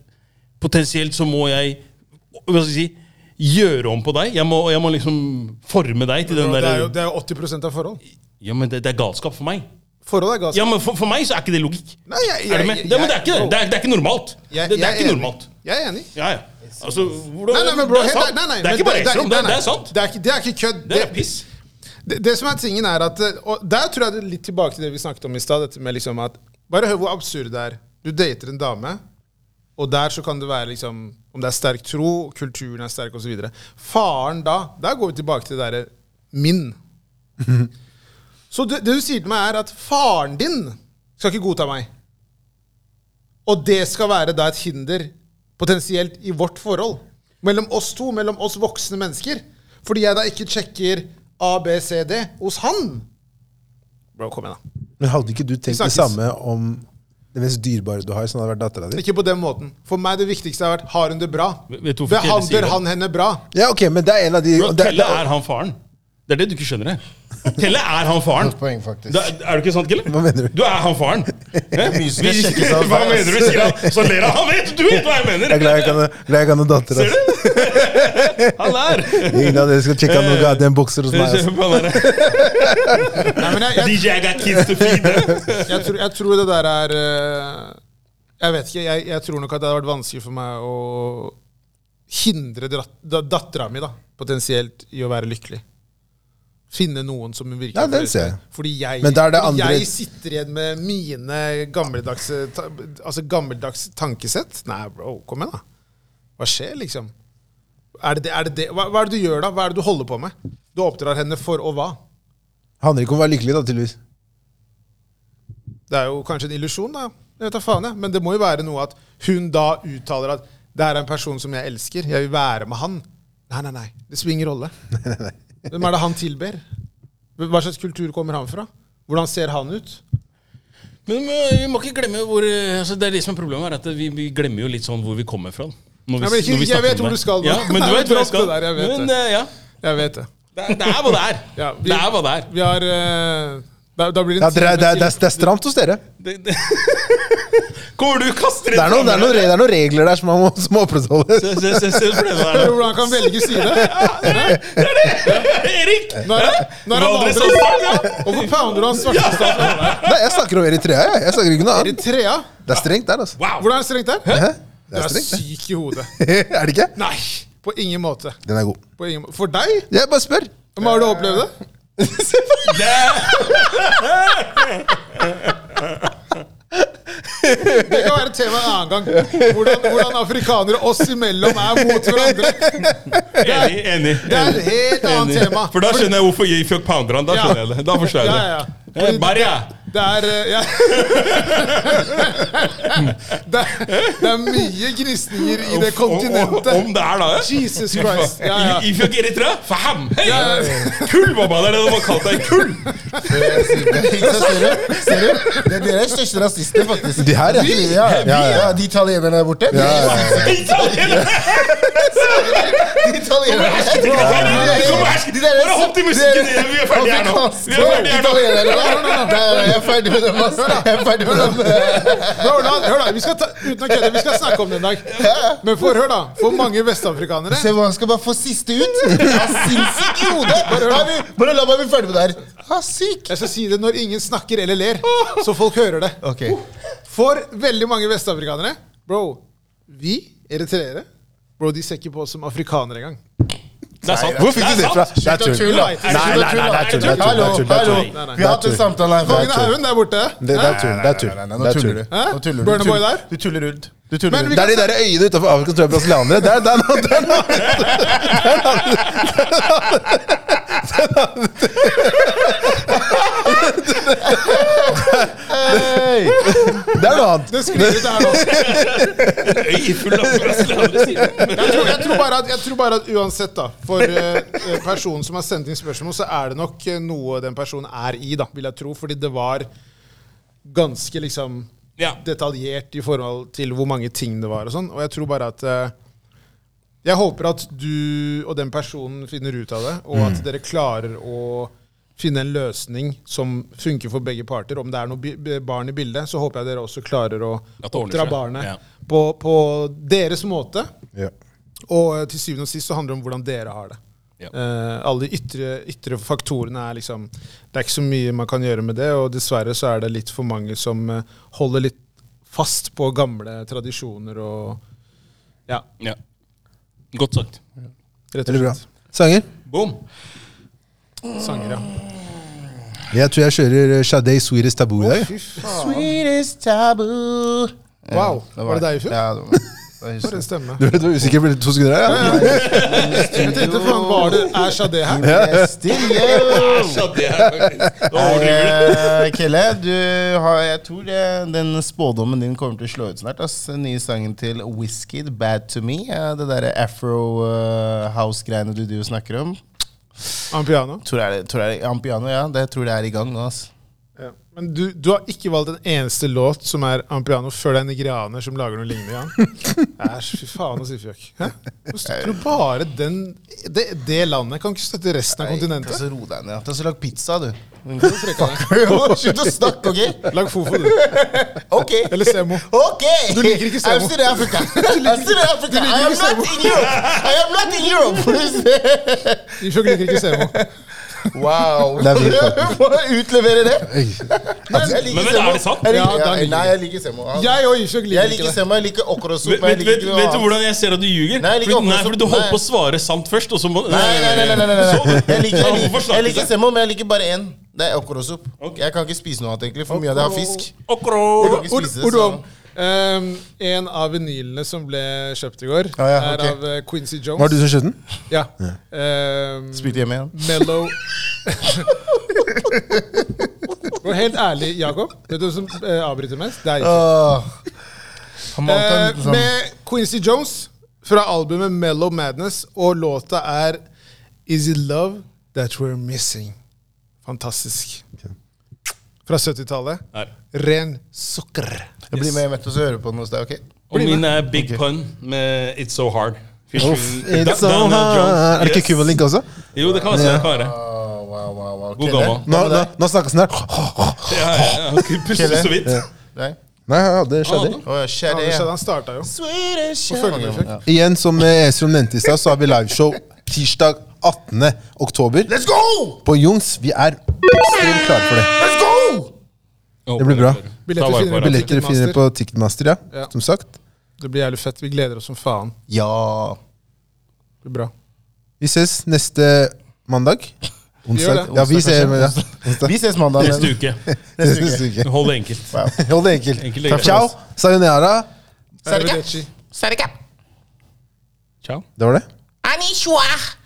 S4: potensielt så må jeg hva skal jeg si, gjøre om på deg. Jeg må, jeg må liksom forme deg til den
S3: Bro, Det er jo
S4: der
S3: det er jo 80 av forhold.
S4: Ja, men det, det er galskap for meg.
S3: Forhold er galskap.
S4: Ja, men for, for meg så er ikke det logikk.
S3: Nei, jeg- jeg-
S4: er du med? Det, men det er ikke det. Det er, det er ikke normalt.
S3: Jeg-
S4: Det, det
S3: jeg
S4: er ikke
S3: enig.
S4: normalt.
S3: Jeg er enig.
S4: Ja, ja. Altså, hvordan,
S3: Nei, nei, men bro,
S4: det er
S3: helt
S4: sant.
S3: ærlig- nei, nei,
S4: det
S3: men
S4: er ikke bare ekstrom, det,
S3: nei, nei.
S4: det er sant.
S3: Det er ikke, det er ikke kødd.
S4: Det er piss.
S3: Det, det som er tingen er at eh, Og der tror jeg det er litt tilbake til det vi snakket om i stad. dette med liksom at Bare hør hvor absurd det er. Du dater en dame, og der så kan det være liksom Om det er sterk tro, kulturen er sterk, osv. Faren da Der går vi tilbake til det derre min. Så det, det du sier til meg, er at faren din skal ikke godta meg. Og det skal være da et hinder, potensielt, i vårt forhold. Mellom oss to, mellom oss voksne mennesker. Fordi jeg da ikke sjekker A, B, C, D hos han. Bro, kom igjen, da.
S2: Men hadde ikke du tenkt det
S3: snakkes.
S2: samme om det mest dyrebare du har, som hadde vært dattera di?
S3: Ikke på den måten. For meg det viktigste har vært har hun det bra.
S4: Vet- vet du hvorfor Kelle sier
S3: Behandler
S4: det?
S3: han henne bra?
S2: Ja, ok, men det er en av de
S4: Bro,
S2: det,
S4: Kelle er han faren. Det er det du ikke
S2: (laughs)
S4: skjønner. jeg. Kelle er han faren.
S1: Godt poeng, faktisk.
S4: Da, er du ikke sant, Kelle?
S2: Hva mener du?
S4: Du er han faren. Eh?
S1: Mye skal
S4: Vi-
S1: sjekkes av
S4: Hva
S1: deg,
S4: mener du?
S1: ass.
S4: Sier han. Så ler han. Han vet du vet hva jeg mener!
S2: Jeg er glad jeg kan, glad jeg kan ha datter.
S4: Ser
S2: ass.
S4: du? Han er
S2: Ingen av dere skal sjekke om noen goddamn bokser hos
S4: (laughs)
S2: meg. altså. ass.
S4: Han er-
S3: Nei, men
S2: (laughs)
S3: jeg, jeg,
S4: (laughs) DJ, I got kids to feed.
S3: jeg, tror, jeg tror det der er eh, Jeg vet ikke. Jeg, jeg tror nok at det hadde vært vanskelig for meg å hindre dattera mi, da, potensielt, i å være lykkelig. Finne noen som hun virkelig
S2: Ja, den
S3: forelsker.
S2: ser jeg.
S3: Fordi jeg,
S2: Men da er det andre-
S3: jeg sitter igjen med mine gammeldagse ta- Altså gammeldags tankesett. Nei, bro, kom igjen, da. Hva skjer, liksom? Er det det, er det det? Hva, hva er det du gjør, da? Hva er det du holder på med? Du oppdrar henne for og hva?
S2: Handler ikke om å være lykkelig, da, tydeligvis.
S3: Det er jo kanskje en illusjon, da. Jeg vet da faen, jeg. Men det må jo være noe at hun da uttaler at det her er en person som jeg elsker, jeg vil være med han. Nei, nei, nei. Det spiller ingen
S2: (laughs)
S3: rolle. Hvem er det han tilber? Hva slags kultur kommer han fra? Hvordan ser han ut?
S4: Men men vi må ikke glemme hvor eh, altså Det er det som er problemet, er at vi, vi glemmer jo litt sånn hvor vi kommer fra. Når
S3: Nei, men ikke- jeg
S4: snakker
S3: vet
S4: om
S3: hvor
S4: det.
S3: du skal nå.
S4: Ja, men du
S3: Nei,
S4: vet hvor jeg
S3: dropp
S4: skal.
S3: det der, jeg vet
S4: men,
S3: det.
S4: eh, ja.
S3: Jeg vet det.
S4: Det, er- det er hva det er.
S3: Ja, vi-
S4: Det er hva det er.
S3: Vi har eh, da, da blir det
S2: Ja,
S3: en
S2: det, er, det, er, det, er,
S3: time
S2: det er stramt hos dere.
S4: Det, det. Kommer du og kaster
S2: Det er, noen, det, er noen,
S4: frem-
S2: re- det er noen regler der som man må, som må opprettholdes.
S4: Se, se, se, se problemet der
S3: til.
S4: nå.
S3: Hvordan han kan velge
S2: (laughs)
S3: side?
S4: Erik!
S3: Nå er han- nå er han
S4: Valdres
S3: andre.
S4: og
S2: sånn.
S4: Sogn, ja.
S3: Hvorfor pounder du han svarte staten?
S2: Nei, jeg snakker om Eritrea. Jeg, jeg snakker ikke noe annet.
S3: Eritrea?
S2: Det er strengt der, altså.
S4: Wow.
S3: Hvordan er det strengt der?
S2: Hæ?
S3: Du
S2: Det er
S3: er
S2: strengt,
S3: syk i hodet.
S2: det. (laughs) Er det ikke?
S3: Nei, på ingen måte.
S2: Den er god.
S3: På ingen må- For deg?
S2: Jeg bare spør.
S3: Men har du opplevd det? Det kan være et tema en annen gang. Hvordan, hvordan afrikanere oss imellom er mot hverandre.
S4: Enig. enig.
S3: Det er et helt annet tema.
S4: For da skjønner jeg hvorfor jeg fikk pounderne. Da
S3: Ja.
S4: skjønner jeg det. Da forstår jeg
S3: Ja,
S4: det.
S3: ja, ja.
S4: Eh, Barja!
S3: Det er eh,
S4: (laughs)
S3: ja. (laughs) det, er- det er mye gnisninger i det
S4: Om- om-
S3: kontinentet.
S4: Om det er da, ja.
S3: Jesus Christ. Ja,
S1: (laughs)
S3: ja.
S4: Ifjø Eritrea? For ham! Hei!
S3: Ja, ja,
S4: Kull, mamma! Det er det de har kalt deg. Kull!
S1: Så Ser du? Ser du? Det er dere er største rasister, faktisk.
S2: De her, ja.
S1: De, ja,
S2: Ja,
S1: ja,
S2: ja.
S1: de italienerne der borte. De,
S2: Ja, ja, ja.
S4: Italienere!
S1: de italienerne
S4: Kom og hersk! Kom og hersk!
S1: De der-
S4: Bare hopp til musikken! Vi er ferdige her nå. Vi er ferdige her nå.
S1: Italienere der. Nei, nei, Jeg er ferdig med dem, ass. Jeg er ferdig med dem.
S3: Men Hør da, hør da, vi skal, ta, uten å kødde, vi skal snakke om det en dag. Men for, hør da, for mange vestafrikanere
S1: Se hva han skal bare få siste
S4: (laughs)
S1: ut. Han er sinnssyk i hodet. Nei, vi- Bare la meg bli ferdig med det her. Han er syk.
S3: Jeg skal si det når ingen snakker eller ler, så folk hører det.
S1: Ok.
S3: For veldig mange vestafrikanere Bro, vi eritreere Bro, de ser ikke på oss som afrikanere engang.
S4: Det er sant.
S2: Hvor fikk du det fra? Det er tull.
S1: Tull, da.
S2: Nei, nei, nei, det er tull. Det er tull.
S1: Hallo,
S2: Det er tull. Det er
S1: hallo.
S2: tull.
S3: nei.
S1: Vi har hatt en samtale her før.
S3: Kongen av haugen der borte.
S2: Det det er tull. Det er tull.
S1: Nei, nei, Nå
S2: Det er tull.
S1: tuller du.
S3: Hæ?
S1: Nå tuller du.
S3: Burna
S1: Du
S3: Boy
S1: tuller.
S3: der?
S1: Du tuller rundt. Du tuller
S3: Men vi
S1: rundt.
S2: Det er de der øyene utenfor Afrika som tror jeg er brasilianere. Det er det er noe- det er noe- (laughs) det er noe annet.
S3: Det skriver ut det her nå.
S4: Øy full av brasilianere, sier de.
S3: Jeg tror, jeg, tror bare at, jeg tror bare at uansett, da, for eh, eh, personen som har sendt inn spørsmål, så er det nok eh, noe den personen er i, da, vil jeg tro. Fordi det var ganske liksom
S4: Ja.
S3: detaljert i forhold til hvor mange ting det var og sånn. Og jeg tror bare at eh, Jeg håper at du og den personen finner ut av det, og
S4: Mm.
S3: at dere klarer å finne en løsning som funker for begge parter. Om det er noe bi- bi- barn i bildet, så håper jeg dere også klarer å
S4: At det ordner
S3: oppdra
S4: seg.
S3: barnet
S4: Ja.
S3: på, på deres måte.
S2: Ja.
S3: Og eh, til syvende og sist så handler det om hvordan dere har det.
S4: Ja.
S3: Eh, alle de ytre, ytre faktorene er liksom Det er ikke så mye man kan gjøre med det, og dessverre så er det litt for mange som eh, holder litt fast på gamle tradisjoner og Ja,
S4: (laughs) Ja. Godt sagt.
S3: rett og
S2: Veldig bra.
S3: slett.
S2: Sanger?
S4: Boom.
S3: Sanger, ja.
S2: Jeg tror jeg kjører Shadé Sweetest Taboo i dag.
S3: Fy faen,
S1: Sweetest taboo.
S3: Wow. Var det deg i fjor?
S1: Ja, det var- det
S3: for
S1: var
S3: en stemme.
S2: Du vet du er usikker på to sekunder? her, Ja.
S3: Jeg tenkte faen, var det er Shadé
S1: (laughs)
S3: her?
S1: Studio.
S4: Æsj, at det er (laughs) faktisk Nå overdriver du.
S1: Eh, Kelle, du har, jeg tror det, den spådommen din kommer til å slå ut snart. Ass. Den nye sangen til Whisked, 'Bad To Me'. eh, det derre afro-house-greiene du, du snakker om.
S3: Ampiano.
S1: Tror jeg, det- tror jeg, Ampiano, ja. Det tror jeg er i gang nå. ass.
S3: Ja. Men du, du har ikke valgt en eneste låt som er Ampiano, før det er en nigerianer som lager noe lignende.
S2: (laughs)
S3: Jan. Æsj, fy faen og sifjøk. Hæ? Hvorfor støtter du bare den, det, det landet? Kan du ikke støtte resten av
S1: Nei,
S3: kontinentet?
S1: ta så ro deg ned. Ta så lag pizza, du. Fucker, jo. Slutt å snakke, OK?
S3: Lag fofo, du.
S1: Ok.
S3: Eller Semo.
S1: Ok!
S3: Du liker ikke Semo.
S1: I'm still in
S3: (laughs)
S1: Africa. I'm still in Africa. I am
S3: ikke
S1: not in Europe. I am not in
S3: (laughs)
S1: Europe.
S3: Ifjøk liker ikke Semo.
S1: (laughs) Wow.
S2: Det er virkelig.
S1: Bare utlevere det. (laughs) Men jeg
S4: Men
S1: liker
S4: vet du, er det
S1: Semo.
S4: sant?
S1: Jeg
S3: Ja, da
S1: liker,
S3: liker
S1: nei,
S3: jeg.
S1: jeg liker Semo.
S3: Jeg og Ifjøk
S1: Jeg liker
S3: liker ikke det.
S1: Semo, jeg liker okkerosoup,
S4: Vet,
S1: men jeg
S4: vet,
S1: liker
S4: vet,
S1: ikke noe
S4: vet du
S1: annet.
S4: hvordan jeg ser at du ljuger?
S1: Nei, jeg liker
S4: Fordi-
S1: åpne
S4: nei, fordi du
S1: som-
S4: holdt
S1: nei.
S4: på å svare sant først, og så må
S1: Nei, nei, nei, nei, nei, nei, nei.
S4: Så-
S1: Jeg liker,
S4: Ja,
S1: jeg
S4: hvorfor
S1: liker,
S4: snakker
S1: jeg
S4: du?
S1: liker Semo, men jeg liker bare én. Det er okkerosoup. Jeg kan ikke spise noe annet, egentlig, for mye av det har fisk.
S4: Okro.
S1: ikke
S3: Ord,
S1: spise det,
S3: ord om
S1: så-
S3: ehm, en av vinylene som ble kjøpt i går,
S1: Ja, ja, ok.
S3: er av eh, Quincy Jones.
S2: Var det du som skjøt den?
S3: Ja. Ehm,
S1: Spilte hjemme igjen.
S3: Mellow (laughs) Og helt ærlig, Jakob, vet du hvem som eh, avbryter mest? Det er ikke.
S1: Åh. Han malte en
S3: Eh,
S1: liten sånn
S3: med Quincy Jones fra albumet Mellow Madness, og låta er Is It Love That We're Missing. Fantastisk. Fra 70-tallet.
S4: Her.
S3: Ren sukker.
S1: Jeg blir med hjem etter og så hører på den hos deg, OK?
S4: Og min er Big Pun med It's So Hard. Featuring Da-
S2: It's so
S4: Daniel Jones.
S2: hard. Er det ikke
S4: Yes.
S2: Kummelink også?
S4: Jo, det kan jeg si. Det kan være. (laughs)
S1: Wow, wow, wow, wow.
S4: God
S1: Kelle?
S4: gammel.
S2: Nå, nå, nå snakkes den der.
S4: Ja, ja, ja. Han kunne puste
S1: Kjelle.
S4: så vidt.
S1: Nei?
S2: Nei, jeg hadde Shadé.
S1: Å, ja,
S3: Ja,
S1: kjære
S3: det skjedde,
S1: jeg.
S3: han starta jo.
S1: Swedish
S3: følger med, Fredrik.
S2: Igjen, som eh, Esrom nevnte i stad, så har vi liveshow tirsdag 18. oktober
S1: Let's go!
S2: på Jungs. Vi er ekstremt klare for det.
S1: Let's go!
S2: Det blir bra.
S3: Billetter
S4: Ta
S3: finner du på
S4: vare på hverandre.
S2: Billetter finner dere på Ticketmaster, ja.
S3: Ja.
S2: Som sagt.
S3: Det blir jævlig fett. Vi gleder oss som faen.
S1: Ja.
S3: Det blir bra.
S2: Vi ses neste mandag. Onsdag.
S3: det.
S2: Ja, vi
S1: Onsdag,
S2: ser
S1: kanskje.
S2: ja.
S1: Vi ses mandag.
S4: Neste
S1: men-
S4: uke.
S1: Neste uke.
S2: Neste uke.
S4: Hold det enkelt.
S1: Wow.
S2: Hold det enkelt.
S4: Enkelt og greit.
S2: Ciao. Sayonara.
S1: Sarika.
S3: Arrivederci.
S6: Sarika.
S4: Ciao.
S2: Det var det.
S6: Anishwa.